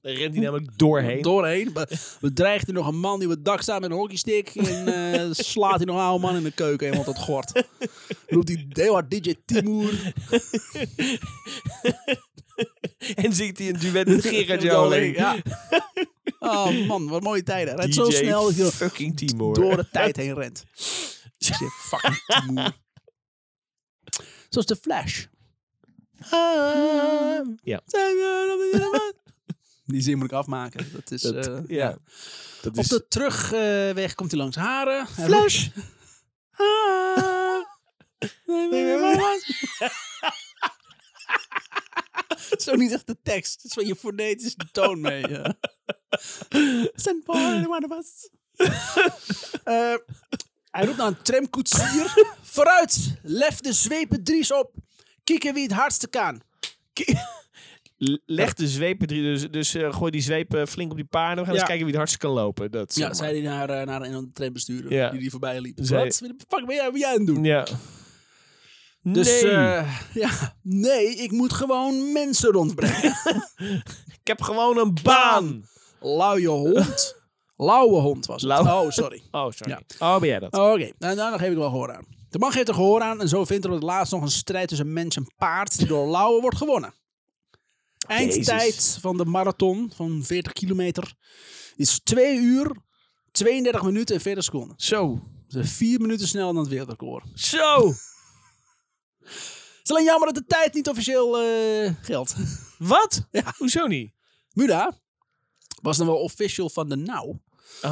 Speaker 2: Daar rent hij namelijk doorheen.
Speaker 1: doorheen. Be- Bedreigt hij nog een man die op het dak staat met een hockeystick. En eh, slaat hij nog een oude man in de keuken helemaal tot gort. Roept hij heel hard DJ Timur.
Speaker 2: en zingt hij een duet met Gerard Joling.
Speaker 1: Ja. Oh man, wat mooie tijden. Hij
Speaker 2: DJ
Speaker 1: rent zo snel dat hij
Speaker 2: fucking Timor.
Speaker 1: door de tijd heen rent. DJ fucking Timur. Zoals de Flash.
Speaker 2: Ja.
Speaker 1: Die zin moet ik afmaken. Dat is,
Speaker 2: Dat-
Speaker 1: eh,
Speaker 2: ja. Dat
Speaker 1: Op
Speaker 2: is...
Speaker 1: de terugweg komt hij langs Haren. Hij
Speaker 2: Flash!
Speaker 1: roept Zo niet echt de tekst. Het is van je fonetische toon mee. Ja. Stand by, one of us. Eh, hij roept naar een tramkoetsier. Vooruit, lef de zwepen Dries op. Kieken wie het hardste kan.
Speaker 2: Leg de zwepen drie, dus, dus eh, gooi die zwepen flink op die paarden. We gaan
Speaker 1: Ja.
Speaker 2: eens kijken wie het hardst kan lopen. Dat, zeg
Speaker 1: Ja,
Speaker 2: maar.
Speaker 1: zei hij naar, eh, naar een trambestuurder
Speaker 2: Ja.
Speaker 1: die die voorbij liep.
Speaker 2: Zei-
Speaker 1: Wat? Wie de fuck ben jij, ben jij aan het doen?
Speaker 2: Ja.
Speaker 1: Dus
Speaker 2: nee,
Speaker 1: eh, ja, nee, ik moet gewoon mensen rondbrengen.
Speaker 2: ik heb gewoon een baan.
Speaker 1: Luie hond. Lauwe hond was het.
Speaker 2: Lauwe-
Speaker 1: Oh, sorry.
Speaker 2: Oh, sorry. Oh, ben jij dat?
Speaker 1: Oké, nou, nou, daar geef ik wel gehoor aan. De man geeft er gehoor aan en zo vindt er op het laatst nog een strijd tussen mens en paard die door Lauwe wordt gewonnen. Eindtijd
Speaker 2: Jezus.
Speaker 1: van de marathon van 40 kilometer is 2 uur, 32 minuten en 40 seconden.
Speaker 2: Zo.
Speaker 1: Dus 4 minuten sneller dan het wereldrecord. Het
Speaker 2: Zo.
Speaker 1: is alleen jammer dat de tijd niet officieel eh, geldt.
Speaker 2: Wat?
Speaker 1: Ja.
Speaker 2: Hoezo niet?
Speaker 1: Muda was dan wel official van de NOW.
Speaker 2: Oh,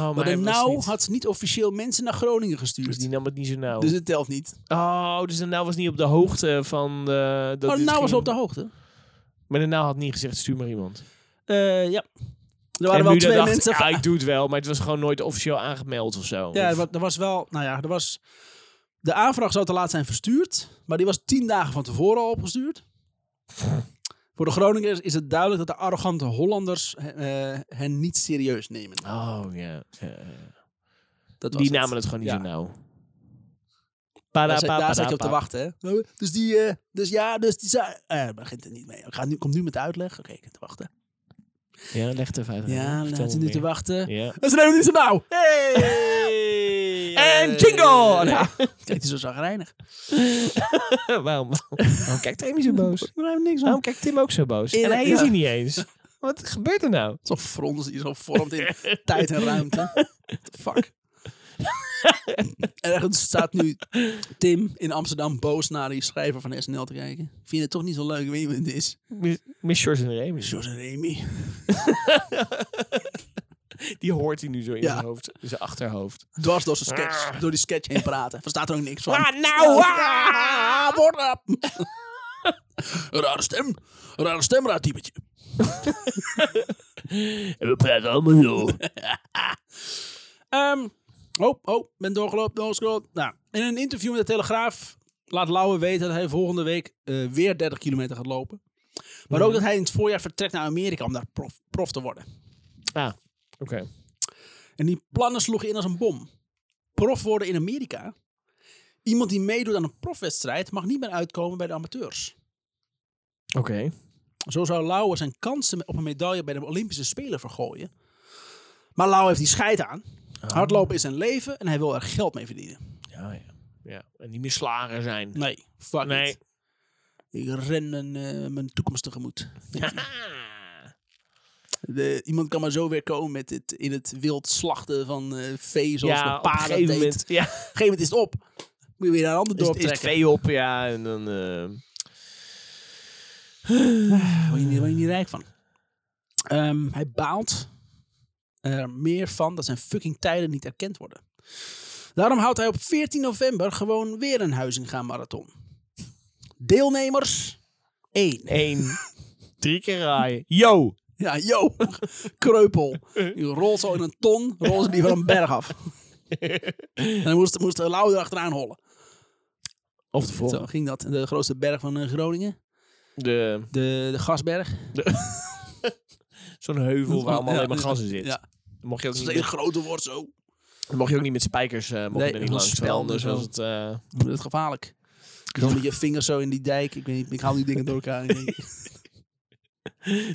Speaker 2: maar
Speaker 1: Maar de
Speaker 2: hij was
Speaker 1: NOW
Speaker 2: niet-
Speaker 1: had niet officieel mensen naar Groningen
Speaker 2: Dus
Speaker 1: gestuurd.
Speaker 2: die nam het niet zo nauw.
Speaker 1: Dus het telt niet.
Speaker 2: oh, dus de nauw was niet op de hoogte van... eh dat
Speaker 1: oh, de
Speaker 2: dit
Speaker 1: NOW was
Speaker 2: ging.
Speaker 1: op de hoogte.
Speaker 2: Maar de nauw had niet gezegd, stuur maar iemand.
Speaker 1: Eh, ja. Er
Speaker 2: En
Speaker 1: waren wel
Speaker 2: Muda
Speaker 1: twee
Speaker 2: dacht,
Speaker 1: mensen.
Speaker 2: Ja,
Speaker 1: van-
Speaker 2: ik doe het wel, maar het was gewoon nooit officieel aangemeld of zo.
Speaker 1: Ja,
Speaker 2: Of-
Speaker 1: er wa- er was wel. Nou ja, er was. De aanvraag zou te laat zijn verstuurd, maar die was tien dagen van tevoren al opgestuurd. Voor de Groningers is het duidelijk dat de arrogante Hollanders eh, hen niet serieus nemen.
Speaker 2: Oh, ja. ja, ja.
Speaker 1: Dat was
Speaker 2: Die
Speaker 1: het.
Speaker 2: namen het gewoon niet
Speaker 1: Ja.
Speaker 2: zo nauw.
Speaker 1: Daar, zat- daar zat je op te
Speaker 2: Parapapa.
Speaker 1: wachten, hè? Dus die, eh, dus ja, dus die zei... Eh, begint er niet mee. Ik ga nu, kom nu met de uitleg. Oké, ik heb te wachten.
Speaker 2: Ja, leg het even uit.
Speaker 1: Ja,
Speaker 2: Eh, Vertel
Speaker 1: laat je nu
Speaker 2: me meer.
Speaker 1: te wachten.
Speaker 2: Ja.
Speaker 1: En ze nemen het niet zo nauw.
Speaker 2: Hey!
Speaker 1: En
Speaker 2: Oh,
Speaker 1: jingle! Ja. Kijk, die is zo zagrijnig.
Speaker 2: Waarom? Waarom kijkt Tim zo boos?
Speaker 1: Daar hebben we niks aan.
Speaker 2: Waarom kijkt Tim ook zo boos?
Speaker 1: In-
Speaker 2: En hij is
Speaker 1: ja.
Speaker 2: hier niet eens. Wat gebeurt er nou?
Speaker 1: Zo'n frons die zo vormt in tijd en ruimte. What the fuck? Ergens staat nu Tim in Amsterdam boos naar die schrijver van SNL te kijken. Vind je het toch niet zo leuk? Ik weet niet wie het is.
Speaker 2: Miss- Miss Shores en Remy.
Speaker 1: George en Remy.
Speaker 2: Die hoort hij nu zo in
Speaker 1: Ja.
Speaker 2: zijn hoofd, in zijn achterhoofd.
Speaker 1: Dwars door zijn sketch, door die sketch heen praten. Verstaat er ook niks van.
Speaker 2: nou!
Speaker 1: Ah, word op. Rare stem. Rare stem, raar typetje.
Speaker 2: En we praten allemaal zo.
Speaker 1: Ehm, oh, oh, ben doorgelopen, doorgescrollt. Nou, in een interview met de Telegraaf laat Lauwe weten dat hij volgende week eh, weer 30 kilometer gaat lopen. Maar ook dat hij in het voorjaar vertrekt naar Amerika om daar prof, prof te worden.
Speaker 2: Ah, oké.
Speaker 1: En die plannen sloegen in als een bom. Prof worden in Amerika? Iemand die meedoet aan een profwedstrijd mag niet meer uitkomen bij de amateurs.
Speaker 2: Oké.
Speaker 1: Zo zou Lauwe zijn kansen op een medaille bij de Olympische Spelen vergooien. Maar Lauwe heeft die scheid aan. Hardlopen is zijn leven en hij wil er geld mee verdienen.
Speaker 2: Ja, ja. ja. En niet meer slagen zijn.
Speaker 1: Nee, fuck
Speaker 2: Nee.
Speaker 1: it. Ik ren een, eh, mijn toekomst tegemoet. De, iemand kan maar zo weer komen met het in het wild slachten van eh vee zoals
Speaker 2: ja,
Speaker 1: mijn
Speaker 2: op een
Speaker 1: pa dat
Speaker 2: gegeven
Speaker 1: deed.
Speaker 2: moment. Ja.
Speaker 1: Op een gegeven moment is het op. Moet je weer naar een ander
Speaker 2: Is,
Speaker 1: dorp
Speaker 2: is het
Speaker 1: trekken.
Speaker 2: vee op, ja. En dan... eh,
Speaker 1: Word je, niet- word je niet rijk van. Ehm, hij baalt er meer van dat zijn fucking tijden niet erkend worden. Daarom houdt hij op 14 november gewoon weer een Huizinga-marathon. Deelnemers 1.
Speaker 2: Eén. Drie keer raaien. Yo!
Speaker 1: Ja, yo, kreupel.
Speaker 2: Eh.
Speaker 1: Die rolt zo in een ton, rolt ze die van een berg af. En dan moest, moest de Lau erachteraan hollen.
Speaker 2: Of de
Speaker 1: Zo ging dat. De grootste berg van eh, Groningen.
Speaker 2: De,
Speaker 1: De, de Gasberg.
Speaker 2: zo'n heuvel waar allemaal
Speaker 1: Ja,
Speaker 2: alleen maar
Speaker 1: dus-
Speaker 2: gas in zit.
Speaker 1: Ja,
Speaker 2: Dan, mocht je ook
Speaker 1: dat
Speaker 2: niet
Speaker 1: is een
Speaker 2: met,
Speaker 1: grote woord zo.
Speaker 2: dan mocht je ook niet met spijkers eh mocht
Speaker 1: Nee,
Speaker 2: je er niet
Speaker 1: dat
Speaker 2: langs.
Speaker 1: is
Speaker 2: want
Speaker 1: spel,
Speaker 2: Anders
Speaker 1: dus
Speaker 2: was
Speaker 1: wel.
Speaker 2: het... eh,
Speaker 1: Dat is gevaarlijk. Dan met je vingers zo in die dijk. Ik, weet niet, ik haal die dingen door elkaar. Ik denk-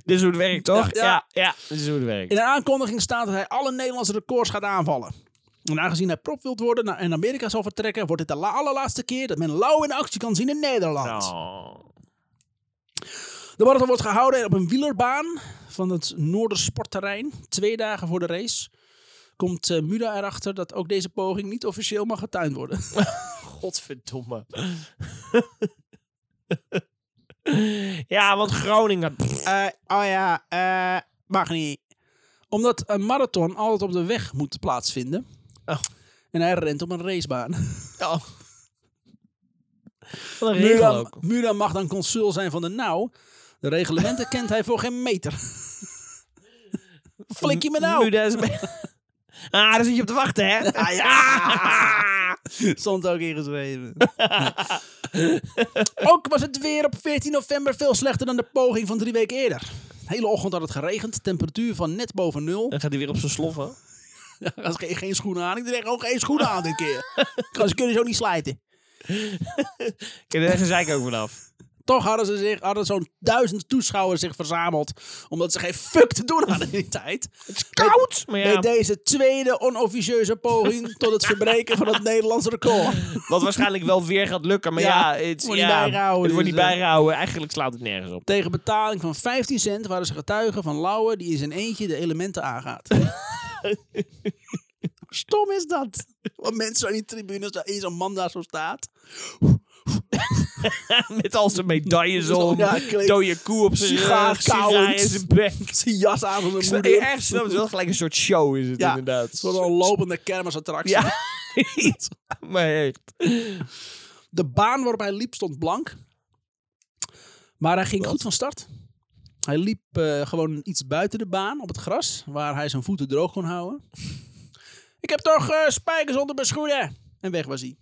Speaker 2: dit is hoe het werkt, toch?
Speaker 1: Ja,
Speaker 2: Ja,
Speaker 1: ja.
Speaker 2: ja. dit is hoe het werkt.
Speaker 1: In een aankondiging staat dat hij alle Nederlandse records gaat aanvallen. En aangezien hij prop wilt worden en naar Amerika zal vertrekken, wordt dit de la- allerlaatste keer dat men Lau in actie kan zien in Nederland.
Speaker 2: Oh.
Speaker 1: De marathon wordt gehouden op een wielerbaan van het Noordersportterrein. Twee dagen voor de race komt eh, Muda erachter dat ook deze poging niet officieel mag getuind worden.
Speaker 2: Godverdomme. ja, want Groningen...
Speaker 1: Eh, oh ja, eh, mag niet. Omdat een marathon altijd op de weg moet plaatsvinden.
Speaker 2: Oh.
Speaker 1: En hij rent op een racebaan.
Speaker 2: Oh. Wat een regel
Speaker 1: Muda,
Speaker 2: ook.
Speaker 1: Muda mag dan consul zijn van de NOW. De reglementen kent hij voor geen meter. Flik je me nou?
Speaker 2: Muda is mee- Ah, daar zit je op te wachten, hè?
Speaker 1: Ah, ja. Stond ook ingeschreven. Nee. ook was het weer op 14 november veel slechter dan de poging van drie weken eerder. De hele ochtend had het geregend. Temperatuur van net boven nul.
Speaker 2: Dan gaat hij weer op zijn sloffen.
Speaker 1: Ja, Als geen, geen schoenen aan. Ik draag ook geen schoenen aan dit keer. Kan- Ze kunnen zo niet slijten.
Speaker 2: Ik heb er echt een zeik ook vanaf.
Speaker 1: toch hadden ze zich, hadden zo'n duizend toeschouwers zich verzameld. Omdat ze geen fuck te doen hadden in die tijd. Het is
Speaker 2: Koud! Maar ja,
Speaker 1: Bij deze tweede onofficieuze poging tot het verbreken van het Nederlands record.
Speaker 2: wat waarschijnlijk wel weer gaat lukken. Maar
Speaker 1: Ja,
Speaker 2: ja, het
Speaker 1: wordt niet
Speaker 2: ja,
Speaker 1: bijgehouden,
Speaker 2: het wordt
Speaker 1: dus,
Speaker 2: niet
Speaker 1: eh.
Speaker 2: bijgehouden. Eigenlijk slaat het nergens op.
Speaker 1: Tegen betaling van 15 cent waren ze getuigen van Lauwe die in zijn eentje de elementen aangaat. Stom is dat. Want mensen aan die tribunes, daar is een man daar zo staat.
Speaker 2: Met al zijn medailles om.
Speaker 1: Ja, klinkt-
Speaker 2: dode koe op zijn
Speaker 1: Sigaar
Speaker 2: rug. Sigaar in
Speaker 1: kauwend.
Speaker 2: zijn bek.
Speaker 1: Zijn jas aan van
Speaker 2: Ik
Speaker 1: de
Speaker 2: snap-
Speaker 1: moeder.
Speaker 2: Ergens snap ik het wel gelijk een soort show is het
Speaker 1: Ja,
Speaker 2: inderdaad.
Speaker 1: Zo'n een lopende kermisattractie.
Speaker 2: Ja. maar echt.
Speaker 1: De baan waarop hij liep stond blank. Maar hij ging goed van start. Hij liep eh, gewoon iets buiten de baan op het gras, waar hij zijn voeten droog kon houden. Ik heb toch eh, spijkers onder mijn schoenen. En weg was hij.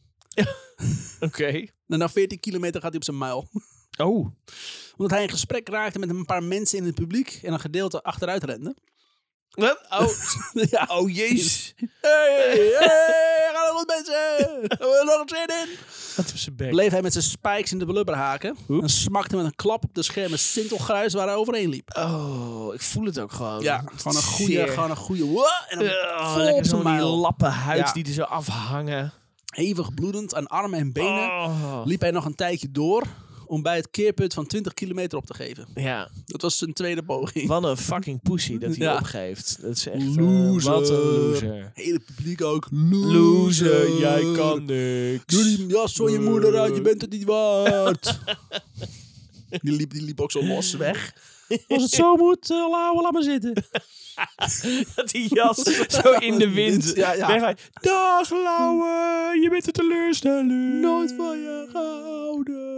Speaker 2: Oké.
Speaker 1: En na 14 Nou, kilometer gaat hij op zijn muil.
Speaker 2: Oh.
Speaker 1: Omdat hij in gesprek raakte met een paar mensen in het publiek en een gedeelte achteruit rende.
Speaker 2: Wat? Oh,
Speaker 1: ja.
Speaker 2: oh jezus.
Speaker 1: Hey, hey, gaan er goed mensen! Hebben we er nog zin in?
Speaker 2: Wat op zijn bek.
Speaker 1: Bleef hij met zijn spikes in de blubberhaken
Speaker 2: Oep.
Speaker 1: en smakte met een klap op de schermen sintelgruis waar hij overheen liep.
Speaker 2: Oh, ik voel het ook gewoon.
Speaker 1: Ja, gewoon een goede,
Speaker 2: Zeer.
Speaker 1: gewoon een goede. Wa- En dan
Speaker 2: Oh,
Speaker 1: vol op
Speaker 2: lekker
Speaker 1: zijn
Speaker 2: zo'n die
Speaker 1: muil.
Speaker 2: lappen huid
Speaker 1: Ja.
Speaker 2: die er zo afhangen.
Speaker 1: Hevig bloedend aan armen en benen
Speaker 2: Oh.
Speaker 1: liep hij nog een tijdje door om bij het keerpunt van 20 kilometer op te geven.
Speaker 2: Ja,
Speaker 1: Dat was zijn tweede poging.
Speaker 2: wat een fucking pussy dat hij
Speaker 1: Ja.
Speaker 2: opgeeft. Dat is echt... eh,
Speaker 1: Loser.
Speaker 2: wat een loser.
Speaker 1: Hele publiek ook. Loser,
Speaker 2: Loser, jij kan niks.
Speaker 1: Doe die jas van je moeder uit, je bent het niet waard. die, liep, die liep ook zo los weg. Als het zo moet, uh, laat maar zitten.
Speaker 2: Dat die jas zo in de wind.
Speaker 1: Ja, ja.
Speaker 2: Weggaat. Dag Lauwe, je bent een teleurstelling.
Speaker 1: Nooit van je gehouden.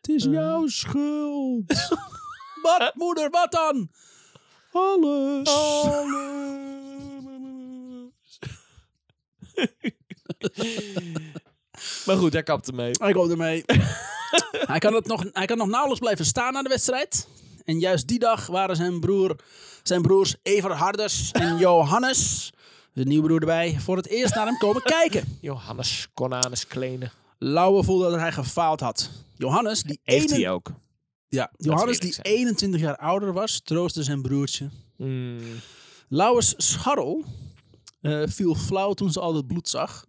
Speaker 1: Het is jouw schuld. Eh. wat, moeder, wat dan? Alles.
Speaker 2: maar goed, hij kapte mee.
Speaker 1: Ik hoop ermee. hij, kan het nog, hij kan nog nauwelijks blijven staan na de wedstrijd. En juist die dag waren zijn, broer, zijn broers Evert Harders en Johannes, de nieuwe broer erbij, voor het eerst naar hem komen kijken.
Speaker 2: Johannes Conanus Kleene.
Speaker 1: Lauwe voelde dat hij gefaald had. Johannes, die,
Speaker 2: Heeft
Speaker 1: enen-
Speaker 2: hij ook.
Speaker 1: ja, Johannes, die
Speaker 2: eerlijk zijn.
Speaker 1: 21 jaar ouder was, troostte zijn broertje.
Speaker 2: Mm.
Speaker 1: Lauwers scharrel eh, viel flauw toen ze al het bloed zag.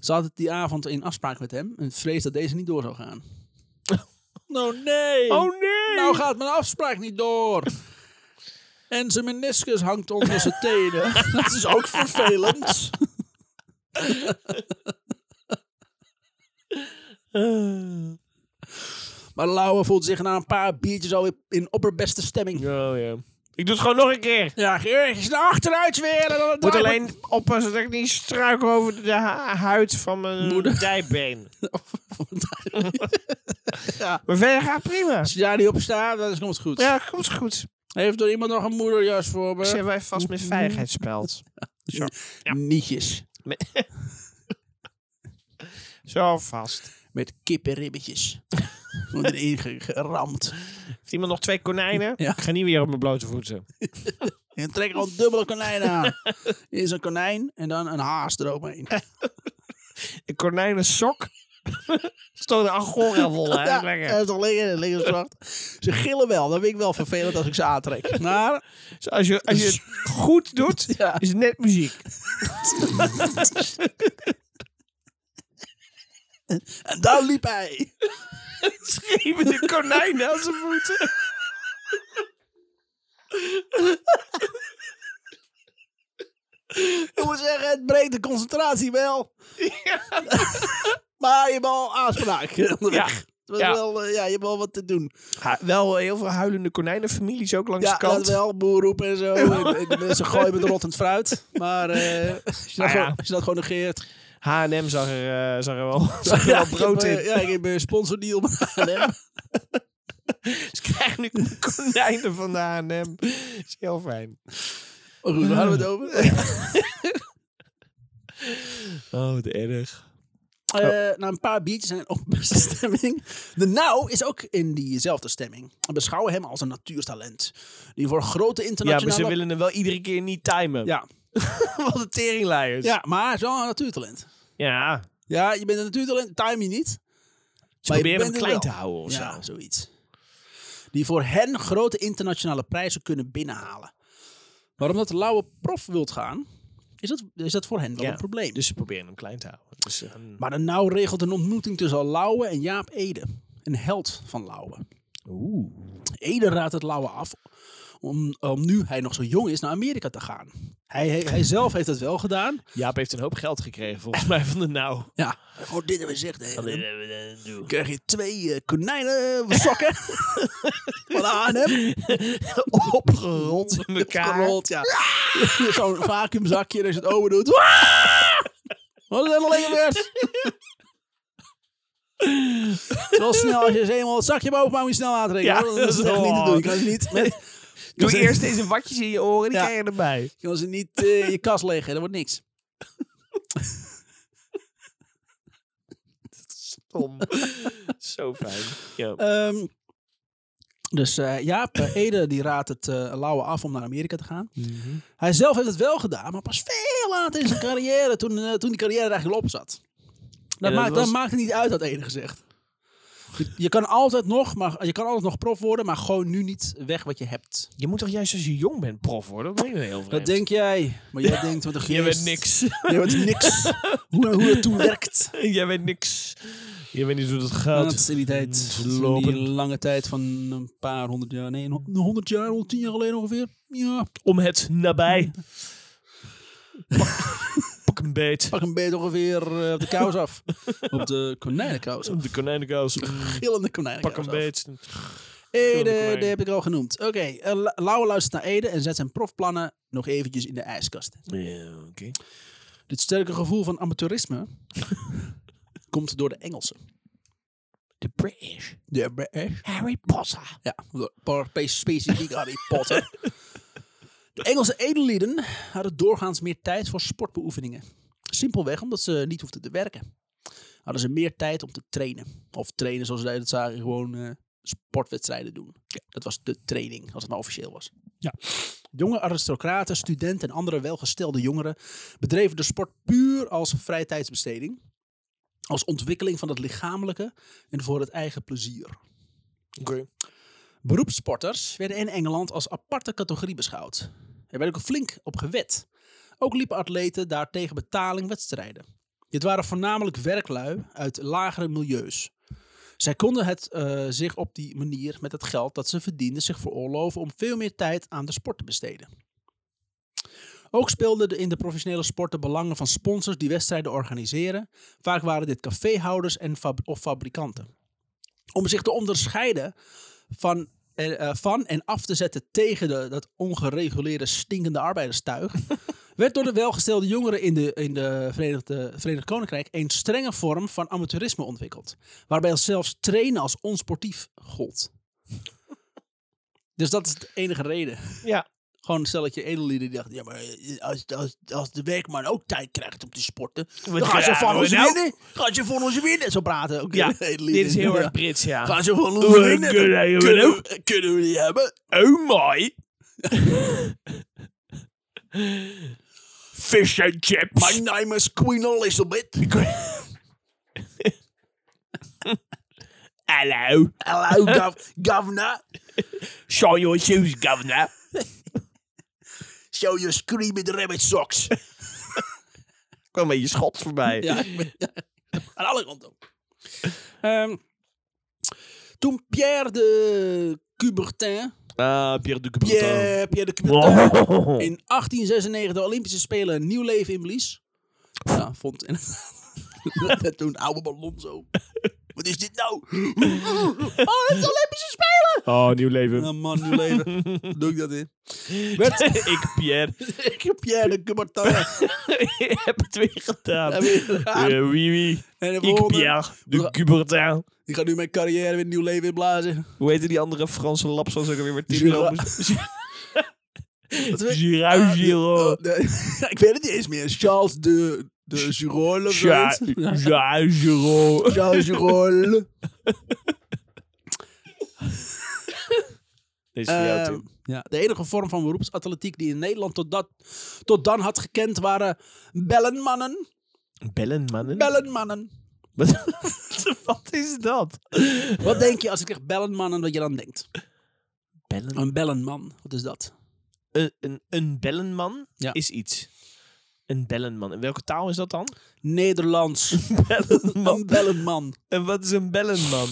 Speaker 1: ze had het die avond in afspraak met hem en vrees dat deze niet door zou gaan. nou nee!
Speaker 2: Oh nee!
Speaker 1: Nou gaat mijn afspraak niet door. En zijn meniscus hangt onder zijn tenen. Dat is ook vervelend. Ah. Maar Lauwe voelt zich na een paar biertjes alweer in opperbeste stemming.
Speaker 2: Oh ja. Ik doe het gewoon nog een keer.
Speaker 1: Ja, Geurtjes, naar achteruit weer. En dan het
Speaker 2: Moet
Speaker 1: draaipunt-
Speaker 2: alleen oppassen dat ik niet struikel over de ha- huid van mijn
Speaker 1: Moeder.
Speaker 2: dijbeen.
Speaker 1: Ja.
Speaker 2: Maar verder gaat prima.
Speaker 1: Als je daar niet op staat, dan komt het goed.
Speaker 2: Ja, komt goed.
Speaker 1: Heeft er iemand nog een moederjas voor me?
Speaker 2: Zijn wij vast met veiligheidsspeld.
Speaker 1: Nietjes.
Speaker 2: Zo vast.
Speaker 1: Met kippenribbetjes. Wordt erin ge- geramd.
Speaker 2: Heeft iemand nog twee konijnen?
Speaker 1: Ja.
Speaker 2: Ik ga niet weer op mijn blote voeten.
Speaker 1: En trek gewoon dubbele konijnen aan. Eerst een konijn en dan een haas eromheen.
Speaker 2: Een konijnen sok. Stoot een angora wol
Speaker 1: dat
Speaker 2: uit.
Speaker 1: is toch lekker, dat is lekker zwart. Ze gillen wel, dat vind ik wel vervelend als ik ze aantrek. Maar
Speaker 2: Dus als, je, als je het goed doet,
Speaker 1: Ja.
Speaker 2: is het net muziek.
Speaker 1: en dan liep hij.
Speaker 2: Schreven de konijnen aan zijn voeten.
Speaker 1: Ik moet zeggen, het breekt de concentratie wel. maar je hebt al aanspraak onderweg.
Speaker 2: Ja.
Speaker 1: Het was
Speaker 2: Ja.
Speaker 1: Wel, eh, ja, je hebt wel wat te doen.
Speaker 2: wel heel veel huilende konijnenfamilies ook langs
Speaker 1: Ja,
Speaker 2: de kant.
Speaker 1: dat wel, boerroepen en zo. En- en de mensen gooien met rottend fruit. Maar eh, als, je dat
Speaker 2: Ah, ja.
Speaker 1: gewoon, als je dat gewoon negeert...
Speaker 2: H&M zag er, eh, zag er wel, zag er
Speaker 1: Ja,
Speaker 2: wel brood
Speaker 1: ik heb,
Speaker 2: in.
Speaker 1: eh, Ja, ik heb een sponsordeal met H&M.
Speaker 2: Ze krijgen nu konijnen van de H&M. is heel fijn.
Speaker 1: Maar goed, waar hadden we het over?
Speaker 2: Oh, wat erg.
Speaker 1: Eh, na een paar biertjes en een opbeste stemming. De nou is ook in diezelfde stemming. We beschouwen hem als een natuurtalent. Die voor grote
Speaker 2: Ja, maar
Speaker 1: internationale...
Speaker 2: ze willen hem wel iedere keer niet timen.
Speaker 1: Ja,
Speaker 2: Wat een teringleiers.
Speaker 1: ja, maar hij is wel een natuurtalent.
Speaker 2: ja.
Speaker 1: Ja, je bent een natuurtalent, time je niet.
Speaker 2: Ze
Speaker 1: Maar je
Speaker 2: proberen hem
Speaker 1: bent er
Speaker 2: klein te
Speaker 1: wel.
Speaker 2: houden of
Speaker 1: ja,
Speaker 2: zo.
Speaker 1: zoiets. Die voor hen grote internationale prijzen kunnen binnenhalen. Maar omdat de lauwe prof wilt gaan, is dat, is dat voor hen wel
Speaker 2: Ja.
Speaker 1: een probleem.
Speaker 2: Dus ze proberen hem klein te houden. Dus, eh,
Speaker 1: Maar de nauw regelt een ontmoeting tussen Lauwe en Jaap Ede. Een held van Lauwe.
Speaker 2: Oeh.
Speaker 1: Ede raadt het Lauwe af om, om nu hij nog zo jong is naar Amerika te gaan. Hij, hij, hij zelf heeft het wel gedaan.
Speaker 2: Jaap heeft een hoop geld gekregen volgens mij van de nou.
Speaker 1: Ja. Gewoon dit hebben gezegd. hè. Dan krijg je twee eh, konijnen sokken van Arnhem.
Speaker 2: Opgerold in elkaar.
Speaker 1: Gerold, ja. Zo'n vacuümzakje en als je het open doet. Wat is dat alleen gebeurd? Zo snel als je eens eenmaal het zakje boven moet je snel aantrekken.
Speaker 2: Ja,
Speaker 1: hoor. dat is echt niet te doen. Je kan ze niet, met,
Speaker 2: Doe eerst eens een watjes in je oren, die
Speaker 1: Ja.
Speaker 2: krijg je erbij.
Speaker 1: je, kan ze niet eh, je kast leggen, dat wordt niks.
Speaker 2: Tom. Zo fijn. Ja.
Speaker 1: Ehm, dus ja, Jaap eh, Ede die raadt het eh, Lauwe af om naar Amerika te gaan.
Speaker 2: Mhm.
Speaker 1: Hij zelf heeft het wel gedaan, maar pas veel later in zijn carrière, toen, eh, toen die carrière er eigenlijk al op zat. Dat,
Speaker 2: dat
Speaker 1: maakt, dat
Speaker 2: was-
Speaker 1: maakt het niet uit, had Ede gezegd. Je, je kan altijd nog, maar je kan altijd nog prof worden, maar gewoon nu niet weg wat je hebt.
Speaker 2: Je moet toch juist als je jong bent prof worden? Dat denk ik heel vreemd.
Speaker 1: Dat denk jij, maar jij denkt wat een geest.
Speaker 2: Jij bent niks.
Speaker 1: Je bent niks. hoe, hoe het toen werkt.
Speaker 2: Jij bent niks. Je weet niet hoe dat
Speaker 1: Dat
Speaker 2: gaat. Mm,
Speaker 1: is in die tijd,
Speaker 2: Ze
Speaker 1: in
Speaker 2: lopen.
Speaker 1: die lange tijd van een paar honderd jaar, nee, een honderd jaar, honderd tien jaar geleden ongeveer. Ja,
Speaker 2: Om het nabij. pak, pak een beet.
Speaker 1: pak een beetje ongeveer eh, op de kous af. op de konijnenkous. Op
Speaker 2: De konijnenkaus.
Speaker 1: de gillende konijnenkous
Speaker 2: Pak een
Speaker 1: af.
Speaker 2: beet.
Speaker 1: Ede,
Speaker 2: Gillende konijn.
Speaker 1: die heb ik al genoemd. Oké, eh, La- Lauwe luistert naar Ede en zet zijn profplannen nog eventjes in de ijskast.
Speaker 2: Ja, oké.
Speaker 1: Dit sterke gevoel van amateurisme komt door de Engelsen.
Speaker 2: De British.
Speaker 1: De British.
Speaker 2: Harry Potter.
Speaker 1: Ja, door- door specifiek Harry Potter. De Engelse edellieden hadden doorgaans meer tijd voor sportbeoefeningen. Simpelweg omdat ze niet hoefden te werken. Hadden ze meer tijd om te trainen. Of trainen zoals zij dat zagen, gewoon eh, sportwedstrijden doen. Dat was de training, als het maar officieel was.
Speaker 2: Ja.
Speaker 1: Jonge aristocraten, studenten en andere welgestelde jongeren bedreven de sport puur als vrijtijdsbesteding. Als ontwikkeling van het lichamelijke en voor het eigen plezier.
Speaker 2: Oké.
Speaker 1: Beroepssporters werden in Engeland als aparte categorie beschouwd. Er werd ook flink op gewet. Ook liepen atleten daar tegen betaling wedstrijden. Dit waren voornamelijk werklui uit lagere milieus. Zij konden het eh, zich op die manier met het geld dat ze verdienden zich veroorloven om veel meer tijd aan de sport te besteden. Ook speelden de- in de professionele sport de belangen van sponsors die wedstrijden organiseren. Vaak waren dit caféhouders en fab- of fabrikanten. Om zich te onderscheiden van, eh, eh, van en af te zetten tegen de, dat ongereguleerde stinkende arbeiderstuig. werd door de welgestelde jongeren in de, in de Verenigde, Verenigd Koninkrijk een strenge vorm van amateurisme ontwikkeld. Waarbij zelfs trainen als onsportief gold. Dus dat is de enige reden.
Speaker 2: Ja.
Speaker 1: Gewoon stel dat je edellieden die dachten, ja maar eh, als, als, als de werkman ook tijd krijgt om te sporten, dan gaan ze
Speaker 2: krijgen
Speaker 1: van
Speaker 2: we
Speaker 1: ons
Speaker 2: nou?
Speaker 1: winnen. Gaan ze van ons winnen. Zo praten ook
Speaker 2: Ja,
Speaker 1: de edellieden.
Speaker 2: Dit is heel
Speaker 1: Ja.
Speaker 2: erg Brits, ja. Oh,
Speaker 1: Gaan ze van ons
Speaker 2: Kunnen
Speaker 1: winnen.
Speaker 2: we-
Speaker 1: Kunnen we, kunnen we die hebben?
Speaker 2: Oh my. Fish and chips.
Speaker 1: My name is Queen Elizabeth.
Speaker 2: Hello.
Speaker 1: Hello, gov governor.
Speaker 2: Shine your shoes, governor.
Speaker 1: Show your screaming rabbit socks.
Speaker 2: kwam een beetje schots voorbij.
Speaker 1: ja, ik ben- aan alle kanten. Ehm, toen Pierre de Coubertin,
Speaker 2: Ah, Pierre de Coubertin.
Speaker 1: Pierre, Pierre de Coubertin
Speaker 2: Oh.
Speaker 1: in 1896 de Olympische Spelen een nieuw leven in blies. Ja, vond en dat toen oude ballon zo. Wat is dit nou? Oh, dat is Olympische Spelen!
Speaker 2: Oh, nieuw leven.
Speaker 1: Ja, man, nieuw leven. Doe ik dat in? Werd,
Speaker 2: ik, Pierre,
Speaker 1: ik heb Pierre de Coubertin.
Speaker 2: heb het weer gedaan.
Speaker 1: Heb je gedaan?
Speaker 2: Eh, oui, oui.
Speaker 1: En de
Speaker 2: Ik,
Speaker 1: volgende,
Speaker 2: Pierre de Coubertin.
Speaker 1: die gaat nu mijn carrière weer een nieuw leven inblazen.
Speaker 2: Hoe heette die andere Franse lap zoals ik alweer met
Speaker 1: Gira-
Speaker 2: Tino? Girou
Speaker 1: Ah,
Speaker 2: Giro.
Speaker 1: eh, nee, ik weet het niet eens meer. Charles de, de Girol of
Speaker 2: Ja,
Speaker 1: zoiets.
Speaker 2: ja, Giro.
Speaker 1: Charles Girol.
Speaker 2: Deze is voor jou,
Speaker 1: Ehm,
Speaker 2: Tim.
Speaker 1: ja, de enige vorm van beroepsatletiek die in Nederland tot, dat, tot dan had gekend waren bellenmannen.
Speaker 2: Bellen, mannen.
Speaker 1: Bellenmannen.
Speaker 2: Wat, wat is dat?
Speaker 1: Wat denk je als ik zeg bellenman en wat je dan denkt?
Speaker 2: Bellen?
Speaker 1: Een bellenman, wat is dat?
Speaker 2: Een, Eh, een, een bellenman
Speaker 1: Ja.
Speaker 2: is iets. Een bellenman. In welke taal is dat dan?
Speaker 1: Nederlands. Een
Speaker 2: Bellenman.
Speaker 1: bellenman.
Speaker 2: En wat is een bellenman?